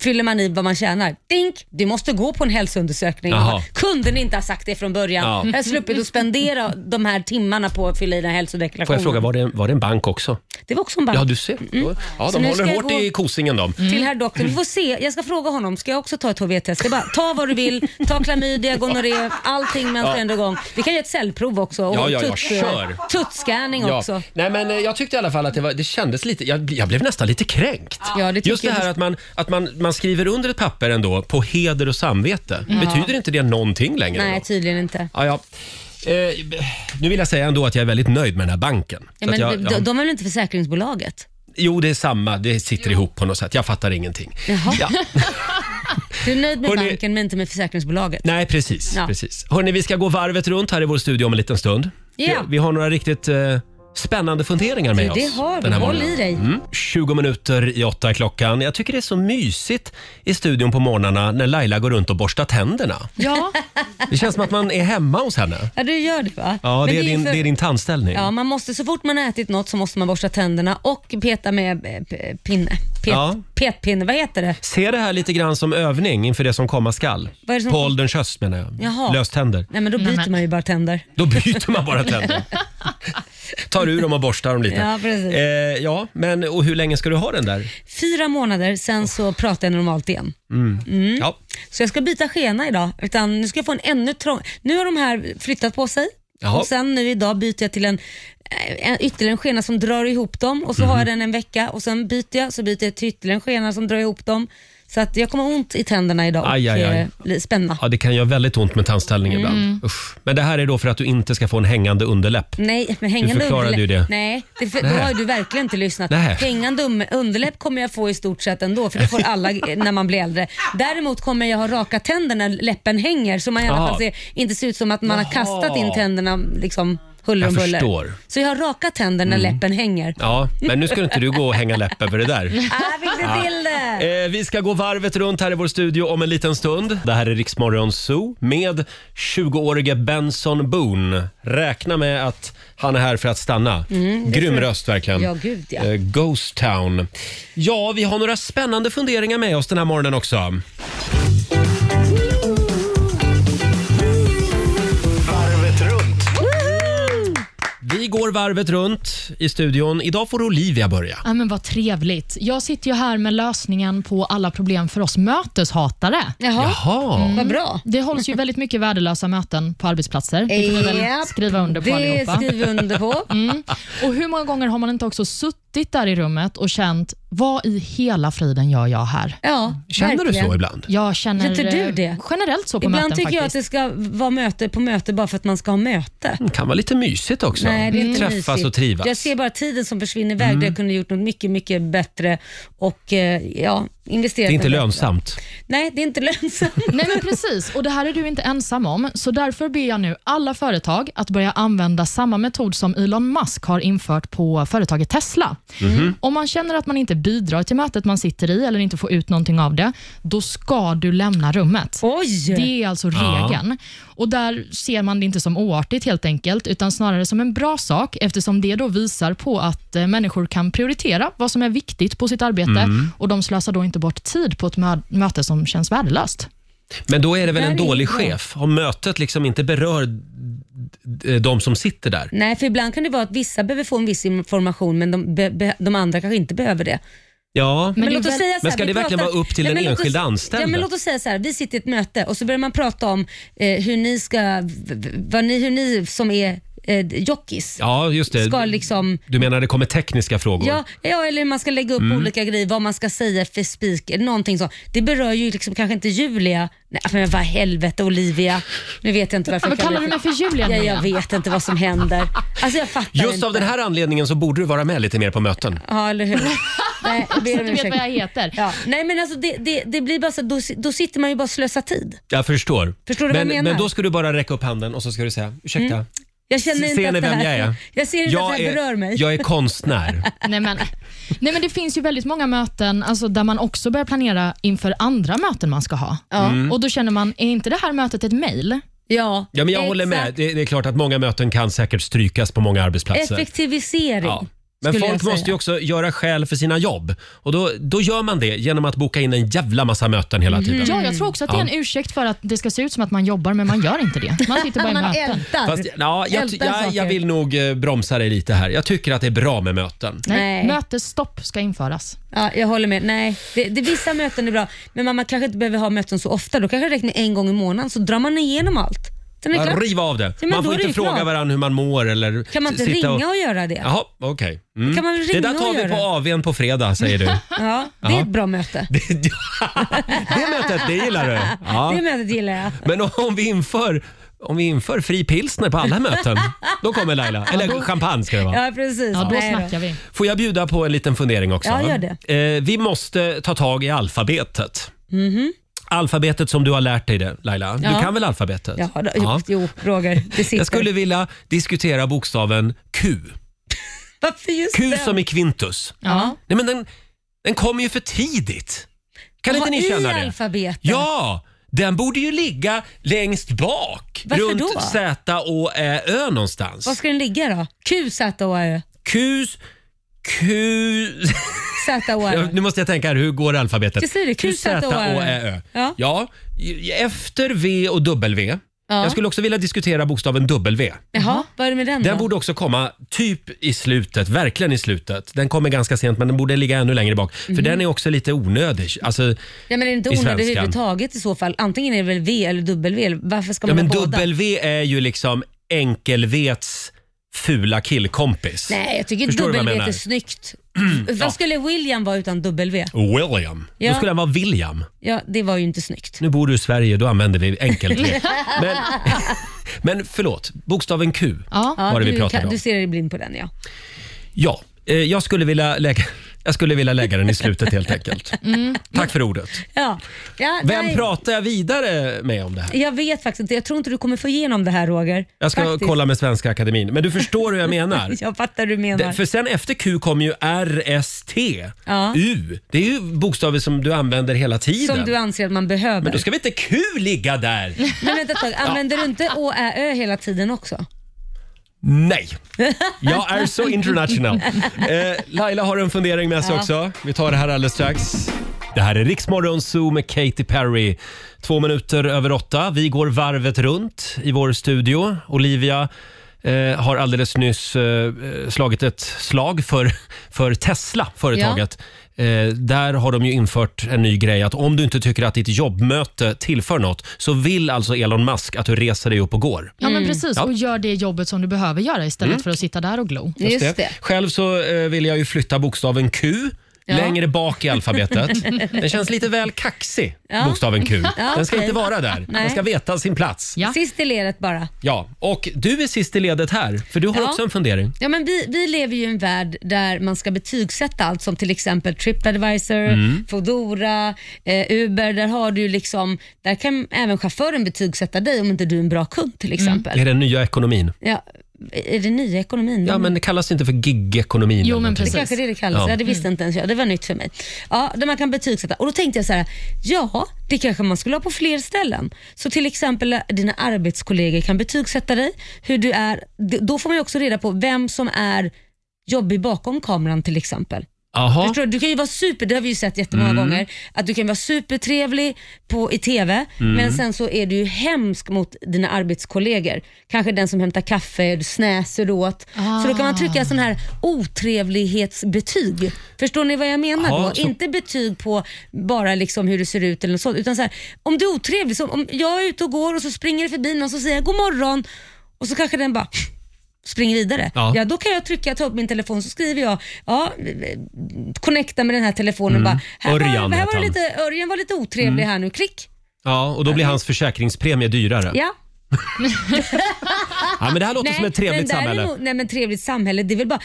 [SPEAKER 2] fyller man i vad man tjänar. Dink! Du måste gå på en hälsoundersökning.
[SPEAKER 1] Jaha.
[SPEAKER 2] Jag bara, Kunde ni inte ha sagt det från början?
[SPEAKER 1] Ja.
[SPEAKER 2] Jag har sluppit att spendera de här timmarna på att fylla i den här hälsodeklarationen.
[SPEAKER 1] Får jag fråga, var det, var det en bank också?
[SPEAKER 2] Det var också en bank.
[SPEAKER 1] Ja, du ser. Ja,
[SPEAKER 2] Mm. Så
[SPEAKER 1] de
[SPEAKER 2] nu ska
[SPEAKER 1] håller
[SPEAKER 2] jag
[SPEAKER 1] hårt
[SPEAKER 2] gå- Mm,
[SPEAKER 1] i kosingen de.
[SPEAKER 2] till herr doktorn. Vi får se. Jag ska fråga honom, ska jag också ta ett HIV-test? Det är bara, ta vad du vill, ta klamydia, gonorré, allting men på en gång. Vi kan göra ett cellprov också och
[SPEAKER 1] Ja, ja, ja,
[SPEAKER 2] tutt-
[SPEAKER 1] kör.
[SPEAKER 2] tuttscanning
[SPEAKER 1] Ja.
[SPEAKER 2] också.
[SPEAKER 1] Nej, men eh, jag tyckte i alla fall att det, var, det kändes lite, jag, jag blev nästan lite kränkt.
[SPEAKER 2] Ja, det tycker
[SPEAKER 1] Just det här
[SPEAKER 2] jag.
[SPEAKER 1] att, man, att man, man skriver under ett papper ändå på heder och samvete. Betyder inte det någonting längre?
[SPEAKER 2] Nej,
[SPEAKER 1] då?
[SPEAKER 2] tydligen inte.
[SPEAKER 1] ja, ja. Eh, nu vill jag säga ändå att jag är väldigt nöjd med den här banken. Så
[SPEAKER 2] Ja, men
[SPEAKER 1] att jag,
[SPEAKER 2] de,
[SPEAKER 1] jag-
[SPEAKER 2] de är väl inte försäkringsbolaget?
[SPEAKER 1] Jo, det är samma. Det sitter ihop på något sätt. Jag fattar ingenting.
[SPEAKER 2] Jaha.
[SPEAKER 1] Ja.
[SPEAKER 2] Du är nöjd med
[SPEAKER 1] Hörrni-
[SPEAKER 2] banken men inte med försäkringsbolaget?
[SPEAKER 1] Nej, precis.
[SPEAKER 2] Ja.
[SPEAKER 1] precis. Hörni, vi ska gå varvet runt här i vår studio om en liten stund.
[SPEAKER 2] Ja.
[SPEAKER 1] Vi, vi har några riktigt eh, spännande funderingar med
[SPEAKER 2] Du, det
[SPEAKER 1] oss.
[SPEAKER 2] har vi.
[SPEAKER 1] den här
[SPEAKER 2] Håll
[SPEAKER 1] morgonen.
[SPEAKER 2] i dig.
[SPEAKER 1] Mm. 20 minuter i åtta är klockan. Jag tycker det är så mysigt i studion på morgnarna när Laila går runt och borstar tänderna.
[SPEAKER 3] Ja,
[SPEAKER 1] Det känns som att man är hemma hos henne.
[SPEAKER 2] Ja, du gör det va?
[SPEAKER 1] Ja,
[SPEAKER 2] Men
[SPEAKER 1] det är,
[SPEAKER 2] ju
[SPEAKER 1] din,
[SPEAKER 2] för-
[SPEAKER 1] det är din tandställning.
[SPEAKER 2] Ja, man måste, så fort man har ätit något så måste man borsta tänderna och peta med eh, p- pinne. Pet,
[SPEAKER 1] Ja.
[SPEAKER 2] Petpinne, vad heter det?
[SPEAKER 1] Se det här lite grann som övning inför det som komma skall.
[SPEAKER 2] Vad är det som-
[SPEAKER 1] På ålderns höst menar jag.
[SPEAKER 2] Jaha.
[SPEAKER 1] Löständer.
[SPEAKER 2] Nej men då byter man ju bara tänder.
[SPEAKER 1] Då byter man bara tänder. Tar ur dem och borstar dem lite.
[SPEAKER 2] Ja, precis.
[SPEAKER 1] Eh, ja, men och hur länge ska du ha den där?
[SPEAKER 2] Fyra månader, sen så pratar jag normalt igen. Mm.
[SPEAKER 1] Ja.
[SPEAKER 2] Så jag ska byta skena idag. Utan nu ska jag få en ännu trång... Nu har de här flyttat på sig.
[SPEAKER 1] Jaha.
[SPEAKER 2] Och sen nu idag byter jag till en, eh, en ytterligare en skena som drar ihop dem och så
[SPEAKER 1] Mhm.
[SPEAKER 2] har jag den en vecka och sen byter jag, så byter jag till ytterligare en skena som drar ihop dem. Så att jag kommer ha ont i tänderna idag och
[SPEAKER 1] Aj, aj, aj.
[SPEAKER 2] eh, bli- spänna.
[SPEAKER 1] ja, det kan göra väldigt ont med tandställning
[SPEAKER 2] Mm.
[SPEAKER 1] ibland. Usch. Men det här är då för att du inte ska få en hängande underläpp.
[SPEAKER 2] Nej, men hängande
[SPEAKER 1] förklarade
[SPEAKER 2] underlä-
[SPEAKER 1] ju det.
[SPEAKER 2] Nej, det för,
[SPEAKER 1] Nej.
[SPEAKER 2] då har ju du verkligen inte lyssnat.
[SPEAKER 1] Nej.
[SPEAKER 2] Hängande um- underläpp kommer jag få i stort sett ändå, för det får alla eh, när man blir äldre. Däremot kommer jag ha raka tänder när läppen hänger, så man i alla
[SPEAKER 1] Jaha.
[SPEAKER 2] fall ser, inte ser ut som att man
[SPEAKER 1] Jaha.
[SPEAKER 2] har kastat in tänderna. Liksom. huller
[SPEAKER 1] Jag
[SPEAKER 2] om buller.
[SPEAKER 1] förstår. Mm.
[SPEAKER 2] Så jag har raka tänder när läppen hänger.
[SPEAKER 1] Ja, men nu ska inte du gå och hänga läppen för det där.
[SPEAKER 2] Ah, fick du till det?
[SPEAKER 1] Eh, vi ska gå varvet runt här i vår studio om en liten stund. Det här är Riksmorgon Zoo med 20-årige Benson Boone. Räkna med att han är här för att stanna.
[SPEAKER 2] Mm,
[SPEAKER 1] Grym röst verkligen.
[SPEAKER 2] Ja, gud, ja.
[SPEAKER 1] Eh, Ghost Town. Ja, vi har några spännande funderingar med oss den här morgonen också.
[SPEAKER 5] Varvet runt.
[SPEAKER 1] Vi går varvet runt i studion. Idag får Olivia börja.
[SPEAKER 3] Ja, men vad trevligt. Jag sitter ju här med lösningen på alla problem för oss möteshatare.
[SPEAKER 2] Jaha,
[SPEAKER 1] Jaha.
[SPEAKER 2] vad bra.
[SPEAKER 3] Det hålls ju väldigt mycket värdelösa möten på arbetsplatser. Det kan vi väl
[SPEAKER 2] Japp,
[SPEAKER 3] skriva under på
[SPEAKER 2] Det
[SPEAKER 3] allihopa.
[SPEAKER 2] skriver vi under på.
[SPEAKER 3] Mm. Och hur många gånger har man inte också suttit där i rummet och känt, vad i hela friden gör jag här?
[SPEAKER 2] Ja,
[SPEAKER 1] Känner du
[SPEAKER 2] verkligen.
[SPEAKER 1] så ibland?
[SPEAKER 3] Jag känner
[SPEAKER 2] Sätter du
[SPEAKER 3] eh,
[SPEAKER 2] det?
[SPEAKER 3] generellt så på
[SPEAKER 2] Ibland
[SPEAKER 3] möten
[SPEAKER 2] tycker jag att
[SPEAKER 3] faktiskt.
[SPEAKER 2] det ska vara möte på möte bara för att man ska ha möte.
[SPEAKER 1] Det kan vara lite mysigt också.
[SPEAKER 2] Nej, det är inte
[SPEAKER 1] Träffas
[SPEAKER 2] mysigt.
[SPEAKER 1] och trivas. Mm.
[SPEAKER 2] Jag ser bara tiden som försvinner iväg där jag kunde gjort något mycket, mycket bättre och eh, ja, investerat.
[SPEAKER 1] Det är inte
[SPEAKER 2] något bättre.
[SPEAKER 1] lönsamt.
[SPEAKER 2] Nej, det är inte lönsamt.
[SPEAKER 3] Nej men precis, och det här är du inte ensam om. Så därför ber jag nu alla företag att börja använda samma metod som Elon Musk har infört på företaget Tesla. Om man känner att man inte bidrar till mötet man sitter i eller inte får ut någonting av det, då ska du lämna rummet.
[SPEAKER 2] Oj!
[SPEAKER 3] Det är alltså
[SPEAKER 1] Ja.
[SPEAKER 3] regeln. Och Där ser man det inte som oartigt, helt enkelt, utan snarare som en bra sak, eftersom det då visar på att eh, människor kan prioritera vad som är viktigt på sitt arbete och de slösar då inte bort tid på ett mö- möte som känns värdelöst.
[SPEAKER 1] Men då är det väl
[SPEAKER 2] Där
[SPEAKER 1] en
[SPEAKER 2] är
[SPEAKER 1] dålig
[SPEAKER 2] det.
[SPEAKER 1] chef om mötet liksom inte berör eh, de som sitter där.
[SPEAKER 2] Nej, för ibland kan det vara att vissa behöver få en viss information men de, be, be, de andra kanske inte behöver det.
[SPEAKER 1] Ja,
[SPEAKER 3] Men
[SPEAKER 2] Men,
[SPEAKER 3] det är
[SPEAKER 2] låt oss
[SPEAKER 3] väl-
[SPEAKER 2] säga så här,
[SPEAKER 1] Men ska
[SPEAKER 2] vi
[SPEAKER 1] det verkligen
[SPEAKER 2] pratar-
[SPEAKER 1] vara upp till den
[SPEAKER 2] men låt oss-
[SPEAKER 1] enskilda anställda?
[SPEAKER 2] Ja, men låt oss säga så här, vi sitter i ett möte och så börjar man prata om eh, hur ni ska, v- v- vad ni, hur ni som är eh, jockeys
[SPEAKER 1] ja just det.
[SPEAKER 2] ska liksom
[SPEAKER 1] Du menar det kommer tekniska frågor?
[SPEAKER 2] Ja, ja, eller hur man ska lägga upp
[SPEAKER 1] Mm.
[SPEAKER 2] olika grejer, vad man ska säga för spik, någonting så. Det berör ju liksom kanske inte Julia. Nej, men vad helvete Olivia. Nu vet jag inte varför
[SPEAKER 3] Vad kallar du mig för Julia
[SPEAKER 2] Ja,
[SPEAKER 3] nu
[SPEAKER 2] jag
[SPEAKER 3] igen?
[SPEAKER 2] vet inte vad som händer. Alltså jag fattar
[SPEAKER 1] Just
[SPEAKER 2] inte.
[SPEAKER 1] av den här anledningen så borde du vara med lite mer på möten.
[SPEAKER 2] Ja, eller hur. Nej, jag ber
[SPEAKER 3] Så
[SPEAKER 2] om
[SPEAKER 3] du vet
[SPEAKER 2] ursäkt.
[SPEAKER 3] vad jag heter.
[SPEAKER 2] Ja. Nej men alltså det, det, det blir bara så, då, si- då sitter man ju bara och slösar tid.
[SPEAKER 1] Jag förstår.
[SPEAKER 2] Förstår du vad
[SPEAKER 1] men,
[SPEAKER 2] jag menar?
[SPEAKER 1] men då ska du bara räcka upp handen och så ska du säga ursäkta.
[SPEAKER 2] Jag känner
[SPEAKER 1] Ser
[SPEAKER 2] inte
[SPEAKER 1] ni
[SPEAKER 2] att det
[SPEAKER 1] vem
[SPEAKER 2] här,
[SPEAKER 1] jag är?
[SPEAKER 2] Jag ser inte att det här berör mig.
[SPEAKER 1] jag är konstnär.
[SPEAKER 3] Nej, men, nej, men det finns ju väldigt många möten alltså, där man också börjar planera inför andra möten man ska ha. Och Då känner man, är inte det här mötet ett mejl?
[SPEAKER 2] Ja,
[SPEAKER 1] Ja, men jag
[SPEAKER 2] exakt.
[SPEAKER 1] håller med. Det, det är klart att många möten kan säkert strykas på många arbetsplatser.
[SPEAKER 2] Effektivisering.
[SPEAKER 1] Alltså- Ja. Men
[SPEAKER 2] skulle
[SPEAKER 1] folk
[SPEAKER 2] jag säga.
[SPEAKER 1] måste ju också göra skäl för sina jobb. Och då, då gör man det genom att boka in en jävla massa möten hela
[SPEAKER 2] Mm.
[SPEAKER 1] tiden.
[SPEAKER 3] Ja, jag tror också att det är en ursäkt för att det ska se ut som att man jobbar, men man gör inte det. Man sitter bara i
[SPEAKER 2] Man
[SPEAKER 3] möten.
[SPEAKER 2] ältar.
[SPEAKER 1] Fast, ja, jag,
[SPEAKER 2] Ältar
[SPEAKER 1] jag, jag
[SPEAKER 2] saker.
[SPEAKER 1] vill nog eh, bromsa dig lite här. Jag tycker att det är bra med möten.
[SPEAKER 3] Nej.
[SPEAKER 2] Nej.
[SPEAKER 3] Mötesstopp ska införas.
[SPEAKER 2] Ja, jag håller med. Nej, det, det, vissa möten är bra, men man, man kanske inte behöver ha möten så ofta. Då kanske det räcker med en gång i månaden, så drar man igenom allt. Sen är det klart.
[SPEAKER 1] Riv av det.
[SPEAKER 2] men
[SPEAKER 1] man
[SPEAKER 2] då
[SPEAKER 1] får
[SPEAKER 2] är det
[SPEAKER 1] inte
[SPEAKER 2] ju
[SPEAKER 1] fråga
[SPEAKER 2] klart.
[SPEAKER 1] varandra hur man mår eller
[SPEAKER 2] Kan man inte
[SPEAKER 1] s- sitta
[SPEAKER 2] ringa och göra det?
[SPEAKER 1] Jaha, okej. Mm.
[SPEAKER 2] Kan man väl
[SPEAKER 1] Det
[SPEAKER 2] ringa
[SPEAKER 1] där
[SPEAKER 2] och
[SPEAKER 1] tar vi på
[SPEAKER 2] göra?
[SPEAKER 1] AWn på fredag, säger du.
[SPEAKER 2] Ja, det är ett bra möte.
[SPEAKER 1] det mötet, det gillar du. Ja.
[SPEAKER 2] Det mötet gillar jag.
[SPEAKER 1] Men om vi inför om vi inför fri pilsner på alla möten, då kommer Laila. Eller champagne ska det vara.
[SPEAKER 2] Ja, precis.
[SPEAKER 3] Ja, då
[SPEAKER 2] Nej då.
[SPEAKER 3] snackar vi.
[SPEAKER 1] Får jag bjuda på en liten fundering också?
[SPEAKER 2] Ja,
[SPEAKER 1] va?
[SPEAKER 2] gör det.
[SPEAKER 1] Eh, vi måste ta tag i alfabetet. Mm-hmm. Alfabetet som du har lärt dig det, Laila. Du
[SPEAKER 2] Ja.
[SPEAKER 1] kan väl alfabetet?
[SPEAKER 2] Ja, då, jo, jo, Roger, det sitter.
[SPEAKER 1] Jag skulle vilja diskutera bokstaven Q.
[SPEAKER 2] Varför just
[SPEAKER 1] Q
[SPEAKER 2] den?
[SPEAKER 1] som i Quintus.
[SPEAKER 3] Ja.
[SPEAKER 1] Nej, men den, den kom ju för tidigt. Kan
[SPEAKER 2] Jaha,
[SPEAKER 1] inte ni känna
[SPEAKER 2] i
[SPEAKER 1] det?
[SPEAKER 2] alfabetet?
[SPEAKER 1] Ja, den borde ju ligga längst bak.
[SPEAKER 2] Varför
[SPEAKER 1] runt
[SPEAKER 2] då?
[SPEAKER 1] Z, Å, Ä, Ö någonstans.
[SPEAKER 2] Var ska den ligga då? Q, Z, O, Ö.
[SPEAKER 1] Q... Q...
[SPEAKER 2] Z, O,
[SPEAKER 1] Ja,
[SPEAKER 2] Ö.
[SPEAKER 1] nu måste jag tänka här, hur går alfabetet?
[SPEAKER 2] Det säger det, Q, Z, O, Ä, Ö.
[SPEAKER 1] Ä, Ö. Ja.
[SPEAKER 2] Ja.
[SPEAKER 1] i- efter V och W.
[SPEAKER 2] Ja.
[SPEAKER 1] Jag skulle också vilja diskutera bokstaven W.
[SPEAKER 2] Jaha, vad är det med den,
[SPEAKER 1] Den
[SPEAKER 2] då?
[SPEAKER 1] borde också komma typ i slutet, verkligen i slutet. Den kommer ganska sent men den borde ligga ännu längre bak.
[SPEAKER 2] Mhm.
[SPEAKER 1] För den är också lite onödig. Alltså,
[SPEAKER 2] Nej, men det är inte
[SPEAKER 1] i
[SPEAKER 2] onödigt
[SPEAKER 1] svenskan.
[SPEAKER 2] överhuvudtaget i så fall. Antingen är det väl V eller W. eller Varför ska
[SPEAKER 1] ja,
[SPEAKER 2] man
[SPEAKER 1] men
[SPEAKER 2] ha båda?
[SPEAKER 1] W är ju liksom enkel-V:s fula killkompis.
[SPEAKER 2] Nej, jag tycker
[SPEAKER 1] Förstår du vad jag
[SPEAKER 2] W
[SPEAKER 1] menar?
[SPEAKER 2] är snyggt. Vad skulle William vara utan W?
[SPEAKER 1] William.
[SPEAKER 2] Ja.
[SPEAKER 1] Då skulle han vara William.
[SPEAKER 2] Ja, det var ju inte snyggt.
[SPEAKER 1] Nu bor du i Sverige, då använder vi enkelt V. men, men förlåt, bokstaven Q
[SPEAKER 3] Ja.
[SPEAKER 1] var det vi
[SPEAKER 2] du,
[SPEAKER 1] pratade
[SPEAKER 2] kan-
[SPEAKER 1] om.
[SPEAKER 2] du ser dig blind på den ja.
[SPEAKER 1] Ja, eh, jag skulle vilja lägga... Jag skulle vilja lägga den i slutet helt enkelt. Tack för ordet.
[SPEAKER 2] Ja. Ja,
[SPEAKER 1] Vem
[SPEAKER 2] Mm. nej,
[SPEAKER 1] pratar jag vidare med om det här?
[SPEAKER 2] Jag vet faktiskt inte. Jag tror inte du kommer få igenom det här Roger.
[SPEAKER 1] Jag ska
[SPEAKER 2] Faktiskt.
[SPEAKER 1] kolla med Svenska Akademin. Men du förstår hur jag menar.
[SPEAKER 2] Jag fattar hur du menar.
[SPEAKER 1] Det, för sen efter Q kommer ju R, S, T,
[SPEAKER 2] Ja.
[SPEAKER 1] U. Det är ju bokstäver som du använder hela tiden.
[SPEAKER 2] Som du anser att man behöver.
[SPEAKER 1] Men då ska vi inte Q ligga där?
[SPEAKER 2] Men vänta ett tag, använder du inte Å, Ä, Ö hela tiden också?
[SPEAKER 1] Nej. Jag är så international. Eh, Laila har en fundering med sig
[SPEAKER 2] Ja.
[SPEAKER 1] också. Vi tar det här alldeles strax. Det här är Riksmorgon Zoo med Katy Perry. Två minuter över åtta. Vi går varvet runt i vår studio. Olivia eh, har alldeles nyss eh, slagit ett slag för, för Tesla, företaget. Eh, där har de ju infört en ny grej att om du inte tycker att ditt jobbmöte tillför något så vill alltså Elon Musk att du reser dig upp och går.
[SPEAKER 3] Ja,
[SPEAKER 2] Mm.
[SPEAKER 3] men precis.
[SPEAKER 1] Ja.
[SPEAKER 3] Och gör det jobbet som du behöver göra istället för att sitta där och glo.
[SPEAKER 2] Just, det.
[SPEAKER 1] Själv så eh, vill jag ju flytta bokstaven Q längre bak i alfabetet. Den känns lite väl kaxig, bokstaven Q. Den ska
[SPEAKER 2] okej.
[SPEAKER 1] inte vara där. Den
[SPEAKER 2] Nej.
[SPEAKER 1] ska veta sin plats.
[SPEAKER 3] Ja.
[SPEAKER 2] Sist i ledet bara.
[SPEAKER 1] Ja, och du är sist i ledet här, för du har
[SPEAKER 2] Ja.
[SPEAKER 1] också en fundering.
[SPEAKER 2] Ja, men vi, vi lever ju i en värld där man ska betygsätta allt som till exempel Tripadvisor, Foodora, eh, Uber. Där, har du ju liksom, där kan även chauffören betygsätta dig om inte du är en bra kund till exempel.
[SPEAKER 1] Det är den nya ekonomin.
[SPEAKER 2] Ja, är det nya ekonomin?
[SPEAKER 1] Ja, men det kallas inte för gigekonomin.
[SPEAKER 3] Jo,
[SPEAKER 1] eller
[SPEAKER 3] men
[SPEAKER 1] någonting.
[SPEAKER 2] Det
[SPEAKER 3] precis.
[SPEAKER 2] kanske är det det kallas.
[SPEAKER 1] Ja.
[SPEAKER 2] Ja. det visste inte ens jag. Det var nytt för mig. Ja, där man kan betygsätta. Och då tänkte jag så här, ja, det kanske man skulle ha på fler ställen. Så till exempel eh, dina arbetskollegor kan betygsätta dig, hur du är. D- Då får man ju också reda på vem som är jobbig bakom kameran till exempel.
[SPEAKER 1] Jaha. Mm.
[SPEAKER 2] Förstår du? du kan ju vara super, det har vi ju sett jättemånga gånger, att du kan vara supertrevlig på, i TV,
[SPEAKER 1] Mm.
[SPEAKER 2] men sen så är du ju hemsk mot dina arbetskollegor. Kanske den som hämtar kaffe, du snäser åt. Så då kan man trycka sån här otrevlighetsbetyg. Förstår ni vad jag menar
[SPEAKER 1] Ja,
[SPEAKER 2] då?
[SPEAKER 1] så-
[SPEAKER 2] Inte betyg på bara liksom hur du ser ut eller något sånt, utan så här, om du är otrevlig, så om jag är ute och går och så springer det förbi någon som säger god morgon och så kanske den bara springer vidare.
[SPEAKER 1] Ja.
[SPEAKER 2] Ja. då kan jag trycka, ta upp min telefon så skriver jag, ja, connecta med den här telefonen bara. Här
[SPEAKER 1] Mm. Örjan
[SPEAKER 2] var, här
[SPEAKER 1] heter
[SPEAKER 2] var det
[SPEAKER 1] han. Mm.
[SPEAKER 2] lite, Örjan var lite otrevlig här nu, klick.
[SPEAKER 1] Ja, och då blir hans försäkringspremie dyrare. Ja.
[SPEAKER 2] Ja.
[SPEAKER 1] men det här låter som ett trevligt
[SPEAKER 2] men
[SPEAKER 1] samhälle.
[SPEAKER 2] däremot- Nej men trevligt samhälle, det är väl bara...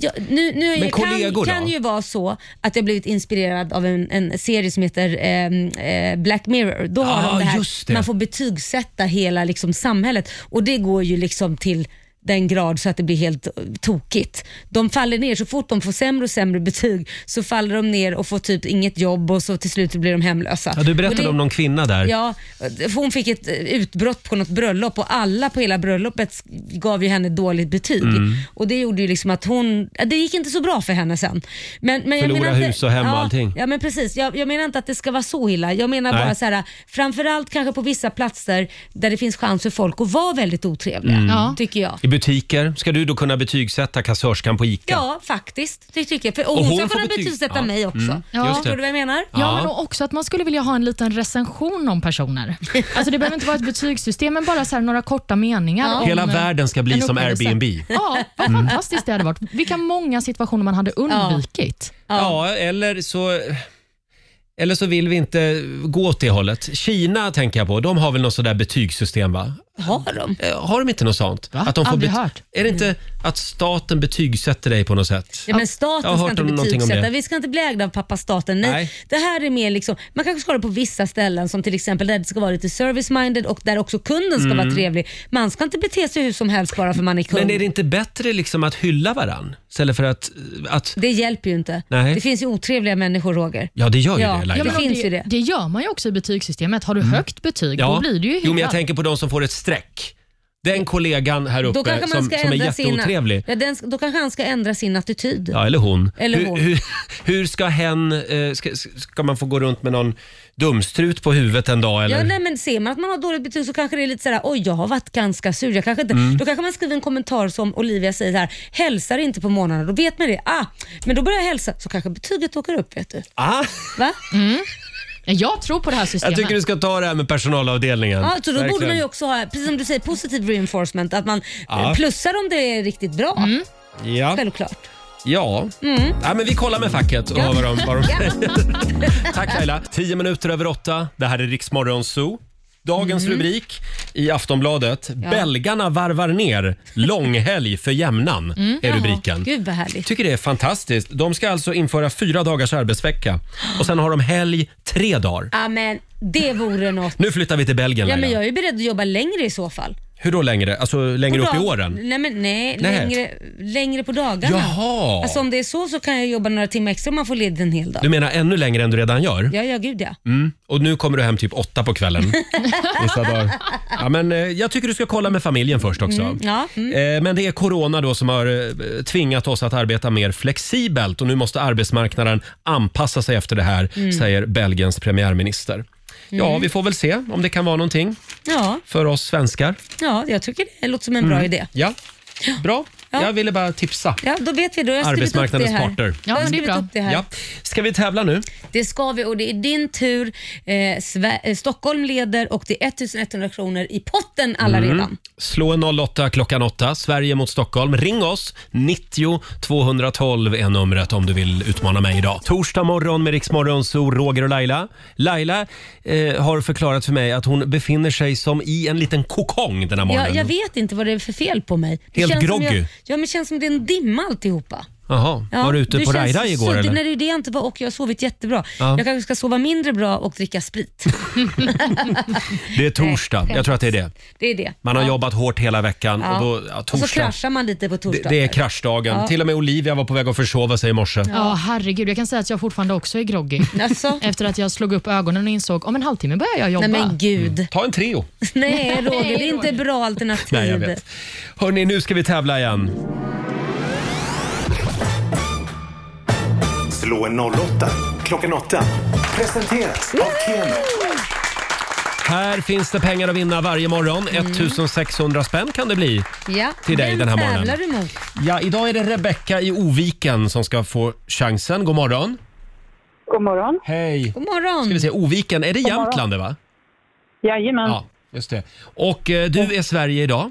[SPEAKER 2] Jag, nu nu
[SPEAKER 1] Men kollegor då?
[SPEAKER 2] kan, kan ju vara så att jag blivit inspirerad av en, en serie som heter ehm, eh, Black Mirror. Då har
[SPEAKER 1] Ah,
[SPEAKER 2] de det
[SPEAKER 1] just
[SPEAKER 2] här,
[SPEAKER 1] det.
[SPEAKER 2] man får betygsätta hela liksom, samhället och det går ju liksom till den grad så att det blir helt eh, tokigt. De faller ner, så fort de får sämre och sämre betyg så faller de ner och får typ inget jobb och så till slut så blir de hemlösa.
[SPEAKER 1] Ja, du
[SPEAKER 2] Och
[SPEAKER 1] berättade
[SPEAKER 2] det-
[SPEAKER 1] om någon kvinna där.
[SPEAKER 2] Ja, för hon fick ett eh, utbrott på något bröllop och alla på hela bröllopet sk- gav ju henne dåligt betyg.
[SPEAKER 1] Mm.
[SPEAKER 2] Och det gjorde ju liksom att hon, ja, det gick inte så bra för henne sen. Men, men jag
[SPEAKER 1] Förlora
[SPEAKER 2] menar inte,
[SPEAKER 1] hus och hem och
[SPEAKER 2] ja,
[SPEAKER 1] allting.
[SPEAKER 2] Ja men precis, jag, jag menar inte att det ska vara så illa. Jag menar
[SPEAKER 1] Nej.
[SPEAKER 2] bara så här, framförallt kanske på vissa platser där det finns chans för folk att vara väldigt otrevliga,
[SPEAKER 1] Mm.
[SPEAKER 3] Ja.
[SPEAKER 2] tycker jag.
[SPEAKER 1] I butiker. Ska du då kunna betygsätta kassörskan på ICA?
[SPEAKER 2] Ja, faktiskt. Det tycker jag. För, och,
[SPEAKER 1] Och
[SPEAKER 2] hon,
[SPEAKER 1] hon
[SPEAKER 2] ska
[SPEAKER 1] får
[SPEAKER 2] kunna
[SPEAKER 1] betyg.
[SPEAKER 2] betygsätta
[SPEAKER 1] Ja. Mm.
[SPEAKER 2] mig också.
[SPEAKER 1] Just
[SPEAKER 3] Ja.
[SPEAKER 1] det.
[SPEAKER 2] Förstår du vad jag menar?
[SPEAKER 1] Ja.
[SPEAKER 3] Ja, men också att man skulle vilja ha en liten recension om personer. Alltså Det behöver inte vara ett betygssystem, men bara så här några korta meningar.
[SPEAKER 2] Ja.
[SPEAKER 3] Om, eh,
[SPEAKER 1] Hela världen ska bli
[SPEAKER 3] en
[SPEAKER 1] som
[SPEAKER 3] upplevelse.
[SPEAKER 1] Airbnb. Mm.
[SPEAKER 3] Ja, vad fantastiskt det hade varit. Vilka många situationer man hade undvikit.
[SPEAKER 1] Ja, eller så... Eller så vill vi inte gå åt det hållet. Kina tänker jag på, de har väl något sådär betygssystem va?
[SPEAKER 2] Har de?
[SPEAKER 1] Eh, Har de inte något sånt?
[SPEAKER 3] Va?
[SPEAKER 1] de
[SPEAKER 3] Aldrig
[SPEAKER 1] bet-
[SPEAKER 3] hört.
[SPEAKER 1] Är det inte att staten betygsätter dig på något sätt?
[SPEAKER 2] Ja, men
[SPEAKER 1] Jag har
[SPEAKER 2] staten ska
[SPEAKER 1] hört
[SPEAKER 2] inte
[SPEAKER 1] om någonting om det.
[SPEAKER 2] betygsätta. Vi ska inte bli ägda av pappa staten. Nej.
[SPEAKER 1] Nej.
[SPEAKER 2] Det här är mer liksom, man kanske ska ha det på vissa ställen som till exempel där det ska vara lite service-minded och där också kunden ska vara trevlig. Man ska inte bete sig hur som helst bara för man är kund.
[SPEAKER 1] Mm. Men är det
[SPEAKER 2] det...
[SPEAKER 1] inte bättre liksom att hylla varann? Istället för att... att
[SPEAKER 2] hjälper ju inte.
[SPEAKER 1] Nej.
[SPEAKER 2] Det finns ju otrevliga människor Roger.
[SPEAKER 1] ja, det gör ju
[SPEAKER 2] Ja.
[SPEAKER 1] det
[SPEAKER 2] Ja,
[SPEAKER 1] Laila.
[SPEAKER 2] men-
[SPEAKER 3] och
[SPEAKER 2] finns ju det.
[SPEAKER 3] Det gör man ju också i betygssystemet. Har du högt betyg, då blir du ju hyllad.
[SPEAKER 1] jo, men jag tänker på de som får ett streck. Den kollegan här
[SPEAKER 2] Då
[SPEAKER 1] uppe
[SPEAKER 2] kanske man
[SPEAKER 1] som,
[SPEAKER 2] ska
[SPEAKER 1] som är
[SPEAKER 2] ändra sin,
[SPEAKER 1] jätteotrevlig.
[SPEAKER 2] ja, den, då kanske han ska ändra sin attityd.
[SPEAKER 1] Ja, eller hon.
[SPEAKER 2] Eller
[SPEAKER 1] hur,
[SPEAKER 2] hon.
[SPEAKER 1] Hur, hur ska hen... eh, Ska, ska man få gå runt med någon dumstrut på huvudet en dag? Eller?
[SPEAKER 2] Ja, nej, men ser man att man har dåligt betyg så kanske det är lite sådär, oj jag har varit ganska sur. Jag kanske inte,
[SPEAKER 1] Mm.
[SPEAKER 2] Då kanske man skriver en kommentar som Olivia säger här, hälsar inte på morgonen. Då vet man det. Ah, men då börjar jag hälsa så kanske betyget åker upp. Vet du.
[SPEAKER 1] ah,
[SPEAKER 2] Va?
[SPEAKER 3] Jag tror på det här
[SPEAKER 1] jag
[SPEAKER 3] systemet.
[SPEAKER 1] tycker du ska ta det här med personalavdelningen.
[SPEAKER 2] Ja, så då borde
[SPEAKER 1] Verkligen.
[SPEAKER 2] man ju också ha, precis som du säger, positiv reinforcement. Att man eh,
[SPEAKER 1] Ja. Mm.
[SPEAKER 2] plussar om det är riktigt bra.
[SPEAKER 1] Ja,
[SPEAKER 2] Självklart.
[SPEAKER 1] ja.
[SPEAKER 2] Mm.
[SPEAKER 1] ja men vi kollar med facket och hör vad de, vad de säger. Tack Laila. Tio minuter över åtta. Det här är Riksmorgon Zoo. Dagens
[SPEAKER 2] Mm.
[SPEAKER 1] rubrik i Aftonbladet. Belgarna varvar ner långhelg för jämnan, är rubriken.
[SPEAKER 2] Mm. Gud vad härligt.
[SPEAKER 1] tycker det är fantastiskt. De ska alltså införa fyra dagars arbetsvecka och sen har de helg tre dagar.
[SPEAKER 2] Ja men det vore något.
[SPEAKER 1] Nu flyttar vi till Belgien
[SPEAKER 2] Ja, men
[SPEAKER 1] Laila.
[SPEAKER 2] jag är beredd att jobba längre i så fall.
[SPEAKER 1] Hur då längre? Alltså längre
[SPEAKER 2] På
[SPEAKER 1] upp i
[SPEAKER 2] dag-
[SPEAKER 1] åren?
[SPEAKER 2] Nej, men, nej,
[SPEAKER 1] Nej.
[SPEAKER 2] Längre, längre på dagarna.
[SPEAKER 1] Jaha!
[SPEAKER 2] Alltså om det är så så kan jag jobba några timmar extra om man får ledigt en hel dag.
[SPEAKER 1] Du menar ännu längre än du redan gör?
[SPEAKER 2] Ja, ja gud ja.
[SPEAKER 1] Mm. Och nu kommer du hem typ åtta på kvällen. Vissa dagar. Ja, men, eh, jag tycker du ska kolla med familjen först också.
[SPEAKER 2] Mm, ja,
[SPEAKER 1] Eh, Men det är corona då som har eh, tvingat oss att arbeta mer flexibelt och nu måste arbetsmarknaden anpassa sig efter det här,
[SPEAKER 2] Mm.
[SPEAKER 1] säger Belgiens premiärminister. Ja, vi får väl se om det kan vara någonting
[SPEAKER 2] Ja,
[SPEAKER 1] för oss svenskar.
[SPEAKER 2] ja jag tycker det låter som en bra idé.
[SPEAKER 1] Ja, bra.
[SPEAKER 2] Ja.
[SPEAKER 1] Jag ville bara tipsa.
[SPEAKER 2] Ja, då vet vi. Då har jag skrivit upp det
[SPEAKER 1] Arbetsmarknadens
[SPEAKER 2] här.
[SPEAKER 1] parter.
[SPEAKER 2] Då har jag
[SPEAKER 3] Ja, men det är
[SPEAKER 2] skrivit
[SPEAKER 3] bra.
[SPEAKER 2] upp det här.
[SPEAKER 1] Ja. Ska vi tävla nu?
[SPEAKER 2] Det ska vi och det är din tur. Eh, Sve- eh, Stockholm leder och det är 1100 kronor i potten alla
[SPEAKER 1] Mm.
[SPEAKER 2] redan.
[SPEAKER 1] Slå en 08 klockan 8, Sverige mot Stockholm. Ring oss! 90 212 är numret om du vill utmana mig idag. Torsdag morgon med Riksmorgon, så Roger och Laila. Laila eh, har förklarat för mig att hon befinner sig som i en liten kokong den här
[SPEAKER 2] Jag,
[SPEAKER 1] morgonen.
[SPEAKER 2] jag vet inte vad det är för fel på mig. Det
[SPEAKER 1] Helt
[SPEAKER 2] känns som
[SPEAKER 1] groggy.
[SPEAKER 2] jag- Ja, men det känns som det är en dimma alltihopa.
[SPEAKER 1] Jaha, var du ute
[SPEAKER 2] det
[SPEAKER 1] på
[SPEAKER 2] känns
[SPEAKER 1] rajda igår
[SPEAKER 2] så,
[SPEAKER 1] eller?
[SPEAKER 2] Det, nej, det är det jag inte var och jag har sovit jättebra.
[SPEAKER 1] Ja.
[SPEAKER 2] Jag kanske ska sova mindre bra och dricka sprit.
[SPEAKER 1] Det är torsdag, jag tror att det är det.
[SPEAKER 2] Det är det.
[SPEAKER 1] Man har jobbat hårt hela veckan
[SPEAKER 2] Ja.
[SPEAKER 1] och då, ja,
[SPEAKER 2] och så
[SPEAKER 1] torsdag.
[SPEAKER 2] kraschar man lite på
[SPEAKER 1] Det,
[SPEAKER 2] torsdagen.
[SPEAKER 1] det är kraschdagen. Till och med Olivia var på väg att försova sig i morse.
[SPEAKER 3] Ja, herregud. Jag kan säga att jag fortfarande också är groggy.
[SPEAKER 2] Alltså,
[SPEAKER 3] Efter att jag slog upp ögonen och insåg om en halvtimme börjar jag jobba.
[SPEAKER 2] nej men gud.
[SPEAKER 1] Ta en Treo.
[SPEAKER 2] Nej Roger, det är inte bra alternativ.
[SPEAKER 1] Nej, jag vet. Hörni, nu ska vi tävla igen.
[SPEAKER 5] Slå en 08 klockan 8. Presenteras av Keno.
[SPEAKER 1] Här finns det pengar att vinna varje morgon.
[SPEAKER 3] Mm.
[SPEAKER 1] 1600 spänn kan det bli.
[SPEAKER 2] Ja.
[SPEAKER 1] Till dig
[SPEAKER 2] Vem
[SPEAKER 1] den här
[SPEAKER 2] tävlar
[SPEAKER 1] morgonen.
[SPEAKER 2] du mot?
[SPEAKER 1] Ja, idag är det Rebecka i Oviken som ska få chansen. God morgon.
[SPEAKER 6] God morgon.
[SPEAKER 1] Hej.
[SPEAKER 2] God
[SPEAKER 1] Ska vi
[SPEAKER 2] morgon.
[SPEAKER 1] se, Oviken, är det Jämtland det va?
[SPEAKER 6] Jajamän.
[SPEAKER 1] Ja, just det. Och eh, du är Sverige idag.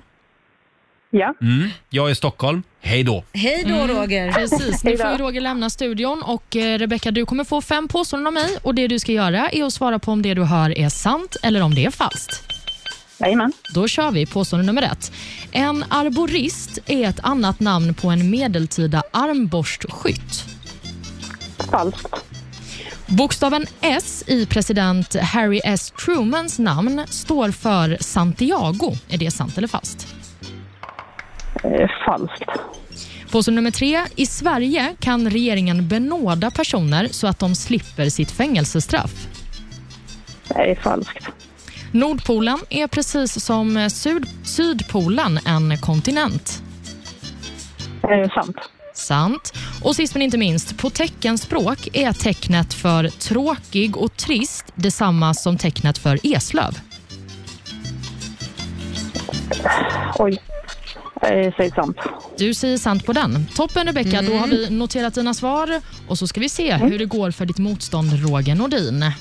[SPEAKER 6] Ja.
[SPEAKER 1] Mm. Jag är Stockholm. Hej då.
[SPEAKER 2] Hej då
[SPEAKER 1] Mm.
[SPEAKER 2] Roger.
[SPEAKER 3] Precis, nu
[SPEAKER 6] Hej då.
[SPEAKER 3] får ju Roger lämna studion och eh, Rebecca du kommer få fem påståenden av mig och det du ska göra är att svara på om det du hör är sant eller om det är falskt.
[SPEAKER 6] Jajamän.
[SPEAKER 3] Då kör vi påstående nummer ett. En arborist är ett annat namn på en medeltida armborstskytt.
[SPEAKER 6] Falskt.
[SPEAKER 3] Bokstaven S i president Harry S Trumans namn står för Santiago. Är det sant eller falskt?
[SPEAKER 6] Eh, falskt.
[SPEAKER 3] Påstående nummer tre. I Sverige kan regeringen benåda personer så att de slipper sitt fängelsestraff.
[SPEAKER 6] Nej, falskt.
[SPEAKER 3] Nordpolen är precis som syd- Sydpolen en kontinent.
[SPEAKER 6] Eh, sant.
[SPEAKER 3] Sant. Och sist men inte minst, på teckenspråk är tecknet för tråkig och trist detsamma som tecknet för eslöv.
[SPEAKER 6] Oj. Eh, säg sant.
[SPEAKER 3] Du säger sant på den. Toppen Rebecca, då har vi noterat dina svar och så ska vi se hur det går för ditt motstånd Roger Nordin.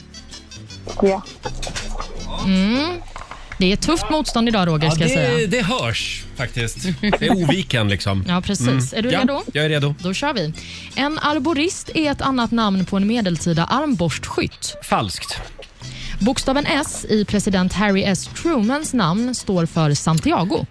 [SPEAKER 6] Ja.
[SPEAKER 3] Mm. Det är tufft motstånd idag Roger, ska jag
[SPEAKER 1] det,
[SPEAKER 3] säga.
[SPEAKER 1] det hörs faktiskt. Det är Oviken liksom.
[SPEAKER 3] Ja, precis. Är du redo?
[SPEAKER 1] Ja, jag är redo.
[SPEAKER 3] Då kör vi. En arborist är ett annat namn på en medeltida armborstskytt.
[SPEAKER 1] Falskt.
[SPEAKER 3] Bokstaven S i president Harry S Trumans namn står för Santiago.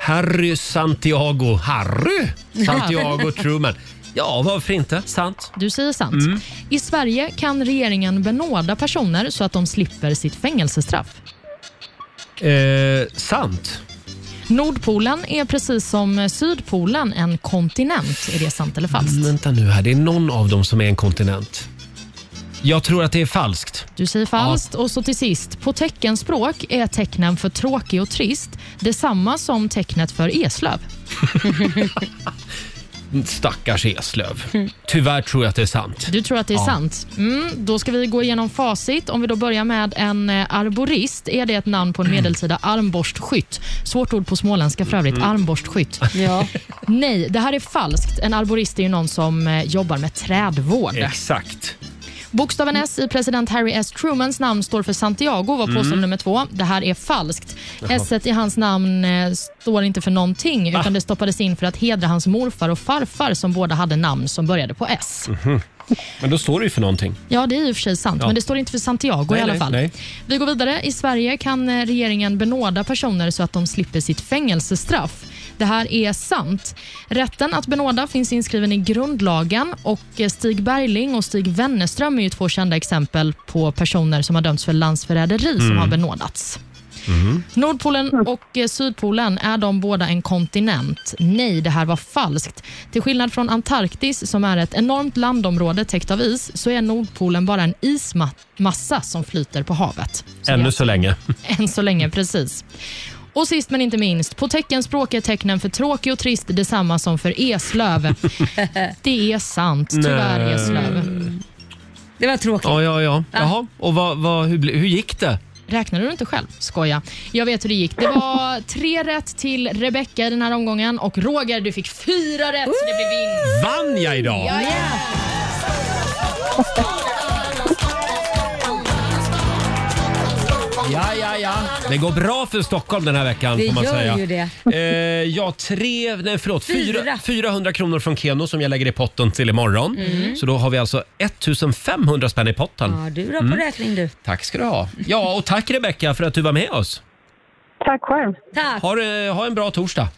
[SPEAKER 1] Harry Santiago. Harry Santiago Truman. Ja, varför inte? Sant.
[SPEAKER 3] Du säger sant. I Sverige kan regeringen benåda personer så att de slipper sitt fängelsestraff.
[SPEAKER 1] Eh, sant.
[SPEAKER 3] Nordpolen är precis som Sydpolen en kontinent. Är det sant eller falskt?
[SPEAKER 1] Vänta nu här, det är någon av dem som är en kontinent. Jag tror att det är falskt.
[SPEAKER 3] Du säger falskt. Och så till sist, på teckenspråk är tecknen för tråkig och trist detsamma som tecknet för eslöv.
[SPEAKER 1] Stackars Eslöv. Tyvärr tror jag att det är sant.
[SPEAKER 3] Du tror att det är sant? Mm, då ska vi gå igenom facit. Om vi då börjar med en eh, arborist. Är det ett namn på en medeltida armborstskytt? Svårt ord på småländska för övrigt. Armborstskytt.
[SPEAKER 2] Ja.
[SPEAKER 3] Nej, det här är falskt. En arborist är ju någon som eh, jobbar med trädvård.
[SPEAKER 1] Exakt.
[SPEAKER 3] Bokstaven S i president Harry S. Trumans namn står för Santiago, var påstående nummer två. Det här är falskt. S i hans namn eh, står inte för någonting, utan det stoppades in för att hedra hans morfar och farfar som båda hade namn som började på S.
[SPEAKER 1] Men då står det ju för någonting.
[SPEAKER 3] Ja, det är i och för sig sant,
[SPEAKER 1] Ja.
[SPEAKER 3] men det står inte för Santiago
[SPEAKER 1] Nej,
[SPEAKER 3] i alla
[SPEAKER 1] nej,
[SPEAKER 3] fall.
[SPEAKER 1] nej.
[SPEAKER 3] Vi går vidare. I Sverige kan eh, regeringen benåda personer så att de slipper sitt fängelsestraff. Det här är sant. Rätten att benåda finns inskriven i grundlagen och eh, Stig Bergling och Stig Wennerström är ju två kända exempel på personer som har dömts för landsförräderi
[SPEAKER 1] Mm.
[SPEAKER 3] som har benådats. Nordpolen och eh, Sydpolen, är de båda en kontinent? Nej, det här var falskt. Till skillnad från Antarktis, som är ett enormt landområde täckt av is, så är Nordpolen bara en ismassa som flyter på havet. Så
[SPEAKER 1] Ännu så länge.
[SPEAKER 3] det- Än så länge, precis. Och sist men inte minst, på teckenspråk är tecknen för tråkig och trist detsamma som för eslöv. Det är sant, tyvärr
[SPEAKER 1] Nej.
[SPEAKER 3] eslöv.
[SPEAKER 2] Det var tråkigt.
[SPEAKER 1] Ja, ja, ja. Jaha, och vad, vad, hur, bli- hur gick det?
[SPEAKER 3] Räknade du inte själv? Skoja. Jag vet hur det gick. Det var tre rätt till Rebecca i den här omgången och Roger, du fick fyra rätt så det blev vinst.
[SPEAKER 1] Vann jag idag? Ja, ja, ja. Det går bra för Stockholm den här veckan
[SPEAKER 2] Det
[SPEAKER 1] får man
[SPEAKER 2] gör
[SPEAKER 1] säga.
[SPEAKER 2] ju det.
[SPEAKER 1] Eh, ja, tre, nej förlåt, fyra.
[SPEAKER 2] Fyra.
[SPEAKER 1] 400 kronor från Keno som jag lägger i potten till imorgon. Så då har vi alltså 1500 spänn i potten.
[SPEAKER 2] Mm. Ja, du då på
[SPEAKER 1] Mm.
[SPEAKER 2] räkning du.
[SPEAKER 1] Tack ska du ha. Ja, och tack Rebecca för att du var med oss.
[SPEAKER 6] Tack själv.
[SPEAKER 2] Tack.
[SPEAKER 1] Ha, det- ha en bra torsdag.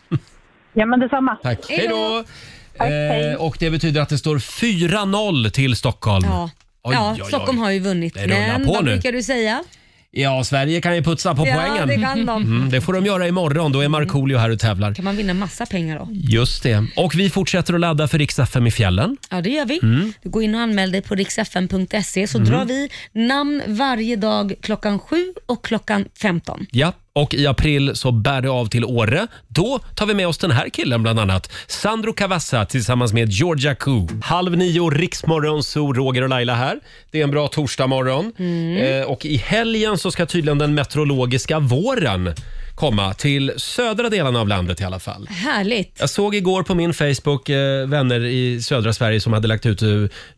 [SPEAKER 6] Ja, men detsamma.
[SPEAKER 1] Tack. Hej då!
[SPEAKER 6] hej.
[SPEAKER 1] Eh, och det betyder att det står 4-0 till Stockholm.
[SPEAKER 2] Ja.
[SPEAKER 1] Oj,
[SPEAKER 2] ja,
[SPEAKER 1] oj, oj.
[SPEAKER 2] Stockholm har ju vunnit.
[SPEAKER 1] Det rullar
[SPEAKER 2] Men
[SPEAKER 1] på
[SPEAKER 2] vad
[SPEAKER 1] nu.
[SPEAKER 2] brukar du säga?
[SPEAKER 1] Ja, Sverige kan ju putsa på
[SPEAKER 2] Ja,
[SPEAKER 1] poängen.
[SPEAKER 2] det kan Mm. de.
[SPEAKER 1] Mm, det får de göra imorgon. Då är Markoolio här och tävlar.
[SPEAKER 2] Kan man vinna massa pengar då?
[SPEAKER 1] Just det. Och vi fortsätter att ladda för riks FM i fjällen.
[SPEAKER 2] Ja, det gör vi.
[SPEAKER 1] Mm.
[SPEAKER 2] Du går in och anmäl dig på riksfn.se så drar vi namn varje dag klockan 7 och klockan 15.
[SPEAKER 1] Ja, och i april så bär det av till Åre. Då tar vi med oss den här killen bland annat. Sandro Cavazza tillsammans med Georgia Koo. Halv nio, Riksmorgon, så Roger och Laila här. Det är en bra torsdagmorgon. Eh, och i helgen så ska tydligen den meteorologiska våren komma till södra delarna av landet i alla fall.
[SPEAKER 2] Härligt.
[SPEAKER 1] Jag såg igår på min Facebook eh, vänner i södra Sverige som hade lagt ut eh,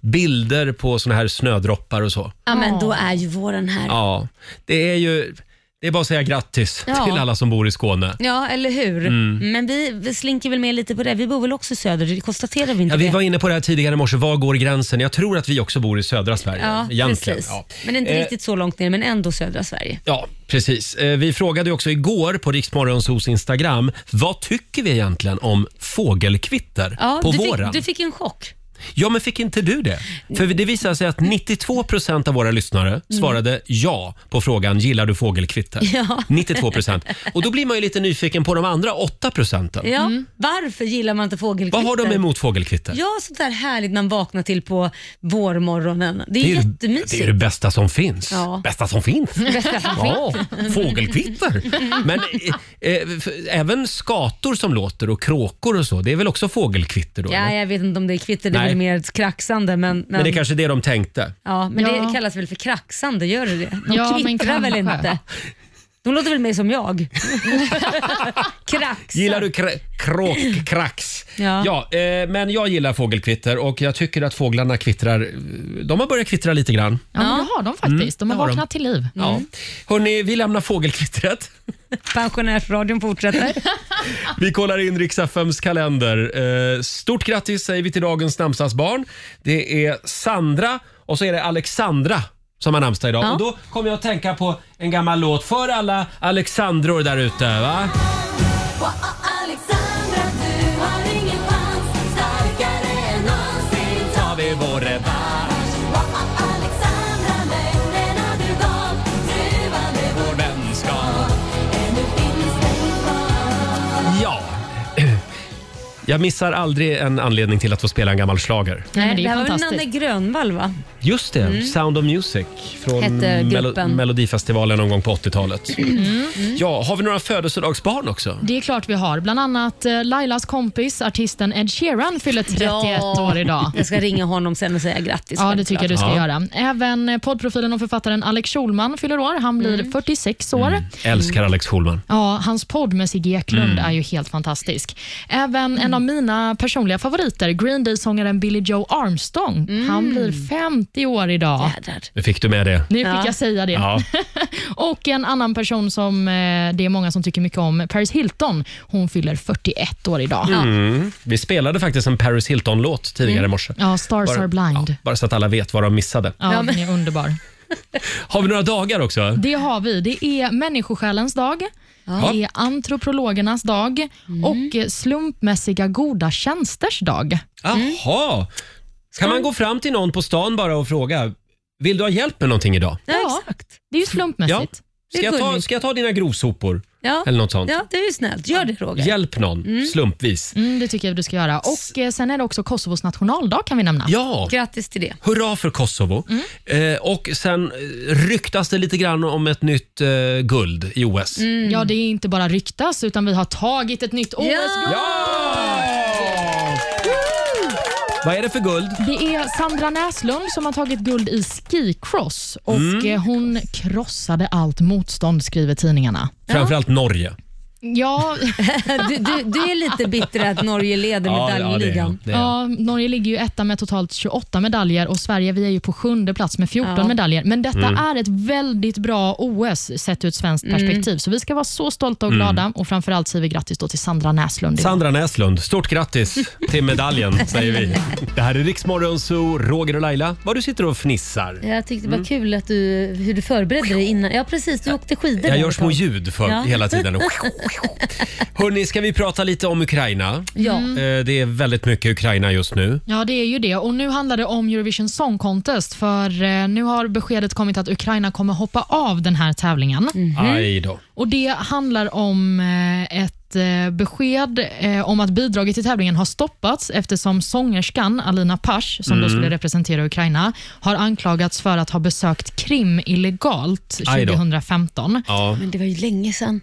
[SPEAKER 1] bilder på såna här snödroppar och så.
[SPEAKER 2] Ja, men då är ju våren här. Ja,
[SPEAKER 1] Ja, det är ju... Det är bara att säga grattis
[SPEAKER 3] Ja.
[SPEAKER 1] till alla som bor i Skåne.
[SPEAKER 2] eller hur?
[SPEAKER 1] Mm.
[SPEAKER 2] Men vi, vi slinker väl med lite på det. Vi bor väl också söder, det konstaterar vi inte
[SPEAKER 1] Ja, vi
[SPEAKER 2] det?
[SPEAKER 1] var inne på det här tidigare i morse. Var går gränsen? Jag tror att vi också bor i södra Sverige.
[SPEAKER 2] ja,
[SPEAKER 1] egentligen.
[SPEAKER 2] precis.
[SPEAKER 1] Ja.
[SPEAKER 2] Men inte
[SPEAKER 1] Eh,
[SPEAKER 2] riktigt så långt ner, men ändå södra Sverige.
[SPEAKER 1] Ja, precis. Eh, Vi frågade ju också igår på Riksmorgonsos Instagram. Vad tycker vi egentligen om fågelkvitter
[SPEAKER 2] Ja,
[SPEAKER 1] på
[SPEAKER 2] du,
[SPEAKER 1] våren?
[SPEAKER 2] Fick, du fick en chock.
[SPEAKER 1] Ja, men fick inte du det? För det visar sig att 92 procent av våra
[SPEAKER 2] Mm.
[SPEAKER 1] lyssnare svarade ja på frågan “Gillar du fågelkvitter?”
[SPEAKER 2] Ja.
[SPEAKER 1] 92 procent. Och då blir man ju lite nyfiken på de andra 8 procenten.
[SPEAKER 2] Ja. Varför gillar man inte fågelkvitter?
[SPEAKER 1] Vad har de emot fågelkvitter?
[SPEAKER 2] Ja, sånt där härligt man vaknar till på vårmorgonen. Det är,
[SPEAKER 1] ju-
[SPEAKER 2] jättemysigt.
[SPEAKER 1] det är det bästa som finns.
[SPEAKER 2] Ja. Mm.
[SPEAKER 1] Bästa som finns. ja, fågelkvitter. Men eh, eh, f- även skator som låter och kråkor och så, det är väl också fågelkvitter då?
[SPEAKER 2] Ja,
[SPEAKER 1] eller?
[SPEAKER 2] jag vet inte om det är kvitter, det är
[SPEAKER 1] Nej.
[SPEAKER 2] väl mer ett kraxande. Men, men,
[SPEAKER 1] Men det är kanske det de tänkte.
[SPEAKER 2] ja, men
[SPEAKER 3] Ja.
[SPEAKER 2] det kallas väl för kraxande, gör det det? De
[SPEAKER 3] Ja, men
[SPEAKER 2] kvittrar väl
[SPEAKER 3] kanske.
[SPEAKER 2] inte? De låter väl mer som jag? Kraxar.
[SPEAKER 1] Gillar du kr- kråkkrax?
[SPEAKER 2] Ja.
[SPEAKER 1] ja eh, men jag gillar fågelkvitter och jag tycker att fåglarna kvittrar. eh, De har börjat kvittra lite
[SPEAKER 2] Mm.
[SPEAKER 1] grann.
[SPEAKER 3] Ja, men det har de faktiskt. De
[SPEAKER 1] Mm, det har
[SPEAKER 3] har
[SPEAKER 1] de.
[SPEAKER 3] vaknat till liv.
[SPEAKER 1] Ja. Hörrni, vi lämnar fågelkvittret.
[SPEAKER 2] Pensionärsradion fortsätter.
[SPEAKER 1] Vi kollar in riks FMs kalender. Eh, Stort grattis säger vi till dagens namnsdagsbarn. Det är Sandra och så är det Alexandra som har namnsdag idag. Och då kommer jag att tänka på en gammal låt för alla Alexandror där ute. Va?
[SPEAKER 8] Alexandra, du har ingen chans Starkare än någonsin
[SPEAKER 1] Tar vi vår revansch,
[SPEAKER 8] Alexandra, lögnerna du gav Truvande
[SPEAKER 1] vår vänskap.
[SPEAKER 8] ännu finns den kvar
[SPEAKER 1] Ja. Jag missar aldrig en anledning till att få spela en gammal schlager.
[SPEAKER 3] Nej, men det
[SPEAKER 2] det
[SPEAKER 3] är
[SPEAKER 2] här
[SPEAKER 3] ju
[SPEAKER 2] var väl Nanne
[SPEAKER 3] fantastiskt.
[SPEAKER 2] Grönvall, va?
[SPEAKER 1] Just det, Sound of Music från
[SPEAKER 2] Mm. Hette gruppen. Mm.
[SPEAKER 1] Melo- Melodifestivalen någon gång på 80-talet. Ja, har vi några födelsedagsbarn också?
[SPEAKER 3] Det är klart vi har. Bland annat eh, Lailas kompis, artisten Ed Sheeran, fyller 31 år idag.
[SPEAKER 2] Jag ska ringa honom sen och säga grattis.
[SPEAKER 3] Ja, det tycker jag du ska
[SPEAKER 1] Ja.
[SPEAKER 3] göra. Även eh, poddprofilen och författaren Alex Schulman fyller år. Han blir 46 år.
[SPEAKER 1] Mm.
[SPEAKER 2] Mm.
[SPEAKER 1] Älskar Alex Schulman.
[SPEAKER 3] Ja, hans podd med Sigge Eklund är ju helt fantastisk. Även en av mina personliga favoriter, Green Day-sångaren Billy Joe Armstrong. Han blir 50 år idag.
[SPEAKER 2] Jädrar.
[SPEAKER 1] Nu fick du med det.
[SPEAKER 3] Nu fick jag säga det.
[SPEAKER 1] Ja.
[SPEAKER 3] Och en annan person som eh, det är många som tycker mycket om, Paris Hilton, hon fyller 41 år idag.
[SPEAKER 1] Mm. Vi spelade faktiskt en Paris Hilton-låt tidigare i
[SPEAKER 2] Mm.
[SPEAKER 1] morse.
[SPEAKER 3] Ja, Stars
[SPEAKER 1] Bara-
[SPEAKER 3] are blind.
[SPEAKER 1] Bara så att alla vet vad de missade.
[SPEAKER 3] Ja, den är underbar.
[SPEAKER 1] Har vi några dagar
[SPEAKER 2] Mm.
[SPEAKER 1] också?
[SPEAKER 3] Det har vi. Det är människosjälens dag, det är antroprologernas dag och eh, slumpmässiga goda tjänsters dag.
[SPEAKER 1] Jaha! Kan man gå fram till någon på stan bara och fråga Vill du ha hjälp med någonting idag?
[SPEAKER 2] Ja,
[SPEAKER 3] Ja.
[SPEAKER 2] exakt.
[SPEAKER 3] Det är ju slumpmässigt.
[SPEAKER 1] Ska
[SPEAKER 2] Det är
[SPEAKER 1] jag ta,
[SPEAKER 2] gulligt.
[SPEAKER 1] ska jag ta dina grovsopor?
[SPEAKER 2] Ja.
[SPEAKER 1] Eller något sånt.
[SPEAKER 2] ja, det är ju snällt. Gör det Roger.
[SPEAKER 1] Hjälp någon slumpvis.
[SPEAKER 3] Mm, det tycker jag du ska göra. Och eh, Sen är det också Kosovos nationaldag kan vi nämna.
[SPEAKER 1] Ja,
[SPEAKER 2] Grattis till det.
[SPEAKER 1] hurra för Kosovo.
[SPEAKER 2] Mm.
[SPEAKER 1] Eh, och sen eh, ryktas det lite grann om ett nytt eh, guld i
[SPEAKER 2] Mm.
[SPEAKER 1] OS.
[SPEAKER 3] Ja, det är inte bara ryktas, utan vi har tagit ett nytt OS-guld.
[SPEAKER 1] Ja! Vad är det för guld?
[SPEAKER 3] Det är Sandra Näslund som har tagit guld i skicross och eh, hon krossade allt motstånd, skriver tidningarna.
[SPEAKER 1] Framförallt Norge.
[SPEAKER 3] Ja,
[SPEAKER 2] Du, du, du är lite bitter att Norge leder medaljligan.
[SPEAKER 1] det är-
[SPEAKER 3] ja, Norge ligger ju etta med totalt 28 medaljer och Sverige vi är ju på sjunde plats med 14 medaljer. Men detta är ett väldigt bra OS sett ur ett svenskt perspektiv. Så vi ska vara så stolta och glada och framförallt säger vi grattis då till Sandra Näslund.
[SPEAKER 1] Sandra Näslund, stort grattis till medaljen säger vi. Det här är Riksmorgon Zoo, Roger och Laila. Vad du sitter och fnissar.
[SPEAKER 2] Jag tyckte
[SPEAKER 1] Mm.
[SPEAKER 2] det var kul att du, hur du förberedde dig innan. Ja precis, du åkte skidor. där
[SPEAKER 1] Jag gör
[SPEAKER 2] ett
[SPEAKER 1] små
[SPEAKER 2] tag.
[SPEAKER 1] ljud för
[SPEAKER 2] Ja.
[SPEAKER 1] hela tiden. Hörni, ska vi prata lite om Ukraina?
[SPEAKER 2] Ja.
[SPEAKER 1] Eh, Det är väldigt mycket Ukraina just nu.
[SPEAKER 3] Ja, det är ju det. Och Nu handlar det om Eurovision Song Contest, för eh, nu har beskedet kommit att Ukraina kommer hoppa av den här tävlingen.
[SPEAKER 1] Mm.
[SPEAKER 2] Mhm.
[SPEAKER 1] Aj då.
[SPEAKER 3] Och Det handlar om eh, ett eh, besked eh, om att bidraget till tävlingen har stoppats eftersom sångerskan Alina Pash, som
[SPEAKER 1] Mm.
[SPEAKER 3] då skulle representera Ukraina, har anklagats för att ha besökt Krim illegalt
[SPEAKER 1] Aj då.
[SPEAKER 3] 2015.
[SPEAKER 1] Ja,
[SPEAKER 2] Men det var ju länge sedan.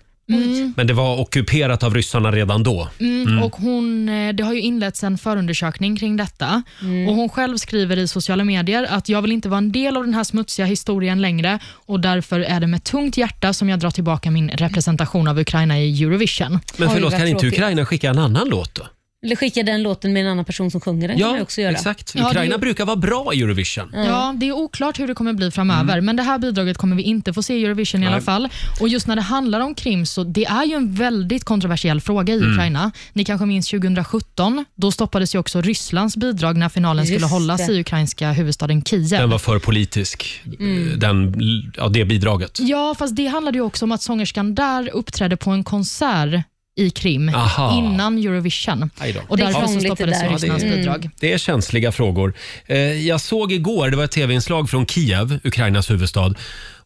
[SPEAKER 1] men det var ockuperat av ryssarna redan då.
[SPEAKER 3] Mm, Och hon, eh, det har ju inletts en förundersökning kring detta.
[SPEAKER 2] Mm.
[SPEAKER 3] Och Hon själv skriver i sociala medier att jag vill inte vara en del av den här smutsiga historien längre och därför är det med tungt hjärta som jag drar tillbaka min representation av Ukraina i Eurovision.
[SPEAKER 1] Men
[SPEAKER 2] Oj,
[SPEAKER 1] förlåt,
[SPEAKER 2] vad
[SPEAKER 1] kan inte
[SPEAKER 2] tråkigt.
[SPEAKER 1] Ukraina skicka en annan låt då?
[SPEAKER 2] Eller skicka den låten med en annan person som sjunger. Den kan man ju också göra.
[SPEAKER 1] exakt.
[SPEAKER 3] Ja, det-
[SPEAKER 1] Ukraina brukar vara bra i Eurovision.
[SPEAKER 3] Ja, Det är oklart hur det kommer bli framöver,
[SPEAKER 1] Mm.
[SPEAKER 3] men det här bidraget kommer vi inte få se i Eurovision i alla fall. Och Just när det handlar om Krim, så det är ju en väldigt kontroversiell fråga
[SPEAKER 1] Mm.
[SPEAKER 3] i Ukraina. Ni kanske minns 2017, då stoppades ju också Rysslands bidrag när finalen
[SPEAKER 2] Just
[SPEAKER 3] skulle hållas
[SPEAKER 2] det.
[SPEAKER 3] i ukrainska huvudstaden Kiev.
[SPEAKER 1] Den var för politisk,
[SPEAKER 2] Mm.
[SPEAKER 1] eh, den, ja, det bidraget.
[SPEAKER 3] Ja, fast det handlade ju också om att sångerskan där uppträdde på en konsert i Krim
[SPEAKER 1] Aha.
[SPEAKER 3] innan Eurovision.
[SPEAKER 1] Aj då.
[SPEAKER 3] Och
[SPEAKER 2] Det är
[SPEAKER 3] därför så
[SPEAKER 2] krångligt det
[SPEAKER 3] stoppades
[SPEAKER 2] där.
[SPEAKER 3] ju Rysslands
[SPEAKER 1] Ja, det är- Mm.
[SPEAKER 3] bidrag.
[SPEAKER 1] Det är känsliga frågor. Eh, Jag såg igår, det var ett tv-inslag från Kiev, Ukrainas huvudstad.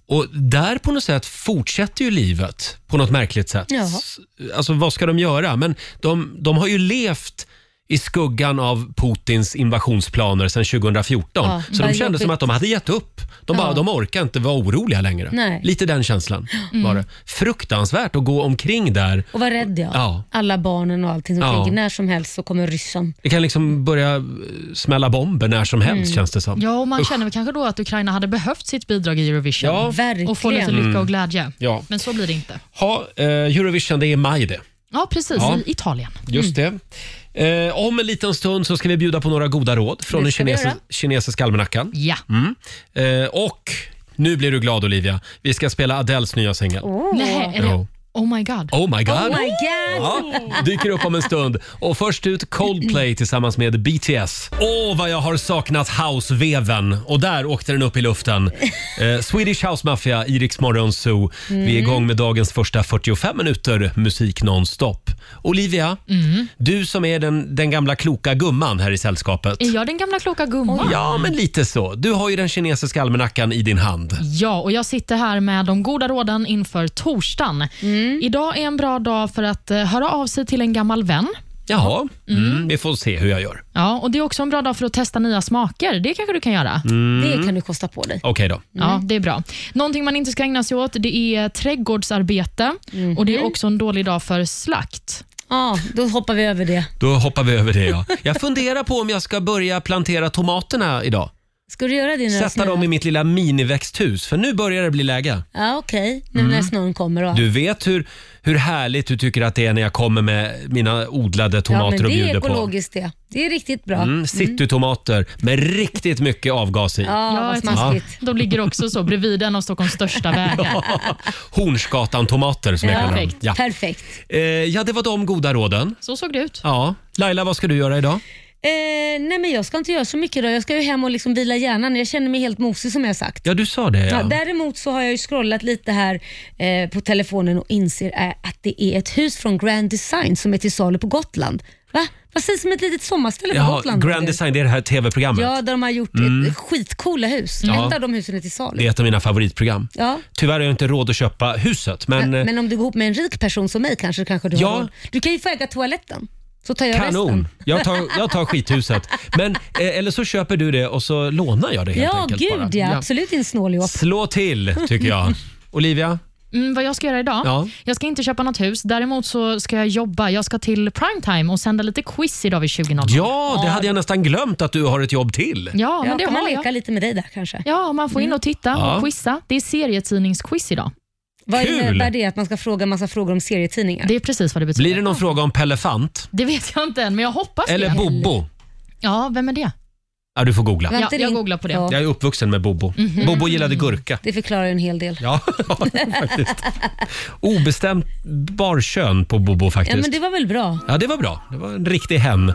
[SPEAKER 1] Och där på något sätt fortsätter ju livet på något märkligt sätt.
[SPEAKER 2] Jaha.
[SPEAKER 1] Alltså vad ska de göra? Men de, de har ju levt i skuggan av Putins invasionsplaner sedan 2014.
[SPEAKER 2] Ja,
[SPEAKER 1] så de
[SPEAKER 2] vad
[SPEAKER 1] kände som
[SPEAKER 2] jobbigt.
[SPEAKER 1] att de hade gett upp. De, bara,
[SPEAKER 2] Ja.
[SPEAKER 1] de orkar inte vara oroliga längre.
[SPEAKER 2] Nej. Mm.
[SPEAKER 1] Lite den känslan var det. Fruktansvärt att gå omkring där
[SPEAKER 2] Och vad rädd jag.
[SPEAKER 1] Ja.
[SPEAKER 2] Alla barnen och allting som
[SPEAKER 1] Ja.
[SPEAKER 2] tänker när som helst så kommer ryssen.
[SPEAKER 1] Det kan liksom börja eh, smälla bomber när som helst
[SPEAKER 2] Mm.
[SPEAKER 1] känns det som.
[SPEAKER 3] Ja, och man känner väl kanske då att Ukraina hade behövt sitt bidrag i Eurovision.
[SPEAKER 1] Ja.
[SPEAKER 2] Verkligen.
[SPEAKER 3] Och få lite lycka och glädje.
[SPEAKER 1] Ja.
[SPEAKER 3] Men så blir det inte.
[SPEAKER 1] Ha, eh, Eurovision det är i maj det.
[SPEAKER 3] Ja, precis.
[SPEAKER 1] Ja.
[SPEAKER 3] I Italien.
[SPEAKER 1] Just det.
[SPEAKER 2] Mm.
[SPEAKER 1] Eh, om en liten stund så ska vi bjuda på några goda råd från
[SPEAKER 2] Det
[SPEAKER 1] den
[SPEAKER 2] ska vi
[SPEAKER 1] kinesi-
[SPEAKER 2] göra.
[SPEAKER 1] kinesiska almanackan.
[SPEAKER 3] Ja.
[SPEAKER 1] Eh, och nu blir du glad Olivia. Vi ska spela Adeles nya singel. Oh.
[SPEAKER 3] Nej, är det... Oh my god.
[SPEAKER 1] my god.
[SPEAKER 2] Oh my god!
[SPEAKER 1] Ja, dyker upp om en stund. Och först ut Coldplay tillsammans med BTS. Åh, vad jag har saknat houseveven. Och där åkte den upp i luften. Eh, Swedish House Mafia, Iriks Morgonzoo. Vi är igång med dagens första 45 minuter musik nonstop. Olivia, du som är den, den gamla kloka gumman här i sällskapet.
[SPEAKER 3] Är jag den gamla kloka gumman?
[SPEAKER 1] Ja, men lite så. Du har ju den kinesiska almanackan i din hand.
[SPEAKER 3] Ja, och jag sitter här med de goda råden inför torsdagen.
[SPEAKER 2] Mm.
[SPEAKER 3] Idag är en bra dag för att eh, höra av sig till en gammal vän.
[SPEAKER 1] Jaha, mm, vi får se hur jag gör.
[SPEAKER 3] Ja, och Det är också en bra dag för att testa nya smaker. Det kanske du kan göra.
[SPEAKER 1] Mm.
[SPEAKER 2] Det kan du kosta på dig.
[SPEAKER 1] Okej då.
[SPEAKER 3] Ja, det är bra. Någonting man inte ska ägna sig åt det är trädgårdsarbete
[SPEAKER 1] Mm.
[SPEAKER 3] och det är också en dålig dag för slakt.
[SPEAKER 2] Ja, då hoppar vi över det.
[SPEAKER 1] Då hoppar vi över det ja. Jag funderar på om jag ska börja plantera tomaterna idag.
[SPEAKER 2] Ska du göra din
[SPEAKER 1] Sätta dem i mitt lilla miniväxthus, för nu börjar det bli läge.
[SPEAKER 2] Ja, okej. Nu när snön kommer då.
[SPEAKER 1] Mm. Du vet hur, hur härligt du tycker att det är när jag kommer med mina odlade
[SPEAKER 2] ja,
[SPEAKER 1] tomater
[SPEAKER 2] men
[SPEAKER 1] och
[SPEAKER 2] det är
[SPEAKER 1] bjuder på.
[SPEAKER 2] ekologiskt det. Det är riktigt bra.
[SPEAKER 1] Mm, citytomater med riktigt mycket avgas i.
[SPEAKER 2] Ja,
[SPEAKER 3] Ja,
[SPEAKER 2] vad
[SPEAKER 3] ett-
[SPEAKER 2] smaskigt.
[SPEAKER 3] De ligger också så bredvid en av Stockholms största vägar.
[SPEAKER 1] Hornsgatan-tomater som jag
[SPEAKER 3] Ja,
[SPEAKER 1] kallar dem.
[SPEAKER 3] perfekt.
[SPEAKER 1] Ja.
[SPEAKER 2] Perfekt.
[SPEAKER 1] Eh, ja, det var de goda råden.
[SPEAKER 3] Så såg det ut.
[SPEAKER 1] Ja. Laila, vad ska du göra idag?
[SPEAKER 2] Eh, nej men jag ska inte göra så mycket idag. Jag ska ju hem och liksom vila hjärnan. Jag känner mig helt mosig som jag sagt.
[SPEAKER 1] Ja, du sa det.
[SPEAKER 2] Ja,
[SPEAKER 1] Ja.
[SPEAKER 2] däremot så har jag ju scrollat lite här eh, på telefonen och inser eh, att det är ett hus från Grand Design som är till salu på Gotland. Va? Precis som ett litet sommarställe på
[SPEAKER 1] Jaha,
[SPEAKER 2] Gotland.
[SPEAKER 1] Grand Design, det är det här tv-programmet.
[SPEAKER 2] Ja, där de har gjort ett skitcoola hus. Ett av de husen är till salu.
[SPEAKER 1] Det är ett av mina favoritprogram.
[SPEAKER 2] Ja.
[SPEAKER 1] Tyvärr har jag inte råd att köpa huset, men,
[SPEAKER 2] Men,
[SPEAKER 1] eh,
[SPEAKER 2] om du går ihop med en rik person som mig kanske, kanske du
[SPEAKER 1] Ja.
[SPEAKER 2] har råd. Du kan ju få äga toaletten. Så tar jag
[SPEAKER 1] kanon.
[SPEAKER 2] resten.
[SPEAKER 1] Jag tar, jag tar skithuset. Men, eh, eller så köper du det och så lånar jag det helt
[SPEAKER 2] Ja,
[SPEAKER 1] enkelt. bara.
[SPEAKER 2] gud ja.
[SPEAKER 3] Ja.
[SPEAKER 2] Absolut inte snåljåp.
[SPEAKER 1] Slå till, tycker jag. Olivia?
[SPEAKER 3] Mm, vad jag ska göra idag?
[SPEAKER 1] Ja.
[SPEAKER 3] Jag ska inte köpa något hus. Däremot så ska jag jobba. Jag ska till primetime och sända lite quiz idag vid 20.00.
[SPEAKER 1] Ja, det hade jag nästan glömt att du har ett jobb till.
[SPEAKER 3] ja men
[SPEAKER 2] Ja,
[SPEAKER 3] det
[SPEAKER 2] kan man
[SPEAKER 3] har
[SPEAKER 2] leka
[SPEAKER 3] jag.
[SPEAKER 2] lite med dig där kanske?
[SPEAKER 3] Ja, man får in och titta
[SPEAKER 1] Ja.
[SPEAKER 3] och quizza. Det är serietidningsquiz idag.
[SPEAKER 2] Vad
[SPEAKER 1] Kul!
[SPEAKER 2] innebär det att man ska fråga massa frågor om serietidningar?
[SPEAKER 3] Det är precis vad det betyder.
[SPEAKER 1] Blir det någon fråga om Pellefant?
[SPEAKER 3] Det vet jag inte än, men jag hoppas
[SPEAKER 1] Eller
[SPEAKER 3] det.
[SPEAKER 1] Bobo?
[SPEAKER 3] Ja, vem är det?
[SPEAKER 1] Ja, du får googla.
[SPEAKER 2] Var
[SPEAKER 3] Ja,
[SPEAKER 2] inte
[SPEAKER 3] jag
[SPEAKER 2] det-
[SPEAKER 3] googlar på det.
[SPEAKER 2] Ja, Mhm.
[SPEAKER 1] Jag är uppvuxen med Bobo. Bobo gillade gurka.
[SPEAKER 2] det förklarar ju en hel del.
[SPEAKER 1] Ja, faktiskt. Obestämt barkön på Bobo
[SPEAKER 2] Ja,
[SPEAKER 1] faktiskt.
[SPEAKER 2] men det var väl bra.
[SPEAKER 1] Ja, det var bra. Det var en riktig hem.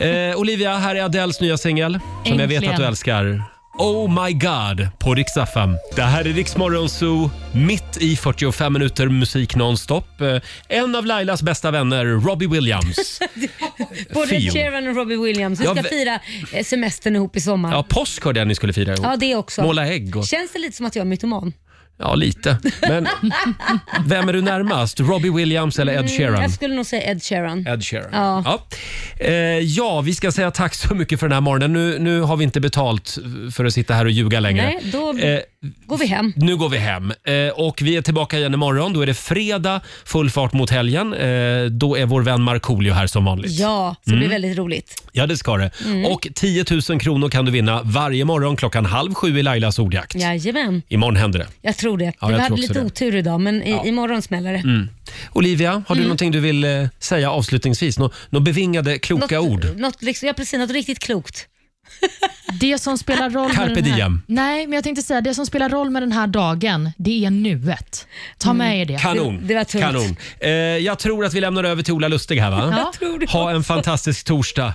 [SPEAKER 1] Eh, Olivia, här är Adeles nya singel som jag vet
[SPEAKER 3] Äntligen.
[SPEAKER 1] att du älskar. Oh my god på Rix FM. Det här är Rix Morgon Zoo, mitt i 45 minuter musik nonstop. Eh, En av Lailas bästa vänner, Robbie Williams.
[SPEAKER 2] Både
[SPEAKER 1] Feel.
[SPEAKER 2] Sharon och Robbie Williams. Vi
[SPEAKER 1] Ja,
[SPEAKER 2] ska
[SPEAKER 1] ve-
[SPEAKER 2] fira eh, semestern ihop i sommar.
[SPEAKER 1] Ja,
[SPEAKER 2] Ja,
[SPEAKER 1] påsk hörde jag ni skulle fira ihop.
[SPEAKER 2] det också.
[SPEAKER 1] Måla ägg och...
[SPEAKER 2] Känns det lite som att jag är mytoman?
[SPEAKER 1] Ja, lite. Men vem är du närmast? Robbie Williams eller Ed Sheeran?
[SPEAKER 2] Mm, Jag skulle nog säga Ed Sheeran.
[SPEAKER 1] Ed Sheeran.
[SPEAKER 2] Ja.
[SPEAKER 1] Ja. Eh, ja, vi ska säga tack så mycket för den här morgonen. Nu, nu har vi inte betalt för att sitta här och ljuga längre.
[SPEAKER 2] Nej, då
[SPEAKER 1] Eh,
[SPEAKER 2] går vi hem.
[SPEAKER 1] nu går vi hem eh, och vi är tillbaka igen imorgon. Då är det fredag, full fart mot helgen. Eh, då är vår vän Markoolio här som vanligt.
[SPEAKER 2] Ja, Mm. så
[SPEAKER 1] Mm.
[SPEAKER 2] det blir väldigt roligt.
[SPEAKER 1] Ja, det ska det. Och 10 000 kronor kan du vinna varje morgon klockan halv sju i Lailas ordjakt.
[SPEAKER 2] Jajamän,
[SPEAKER 1] Imorgon händer det.
[SPEAKER 2] jag tror det.
[SPEAKER 1] jag
[SPEAKER 2] vi
[SPEAKER 1] tror
[SPEAKER 2] hade
[SPEAKER 1] också
[SPEAKER 2] lite
[SPEAKER 1] det. Mm.
[SPEAKER 2] otur idag, men i, imorgon smäller det.
[SPEAKER 1] Olivia, har
[SPEAKER 2] Mm.
[SPEAKER 1] du någonting du vill eh, säga avslutningsvis? Nå- Några bevingade kloka ord?
[SPEAKER 2] Något, liksom, ja, precis, något riktigt klokt.
[SPEAKER 3] Det som spelar roll
[SPEAKER 1] Carpe
[SPEAKER 3] med den här...
[SPEAKER 1] diem.
[SPEAKER 3] Nej, men jag tänkte säga det som spelar roll med den här dagen, det är nuet. Ta med er det.
[SPEAKER 1] Kanon.
[SPEAKER 2] Det- det var tungt.
[SPEAKER 1] Kanon. Eh, jag tror att vi lämnar över till Ola Lustig här va?
[SPEAKER 3] Ja. Jag
[SPEAKER 2] tror det
[SPEAKER 1] ha en fantastisk torsdag.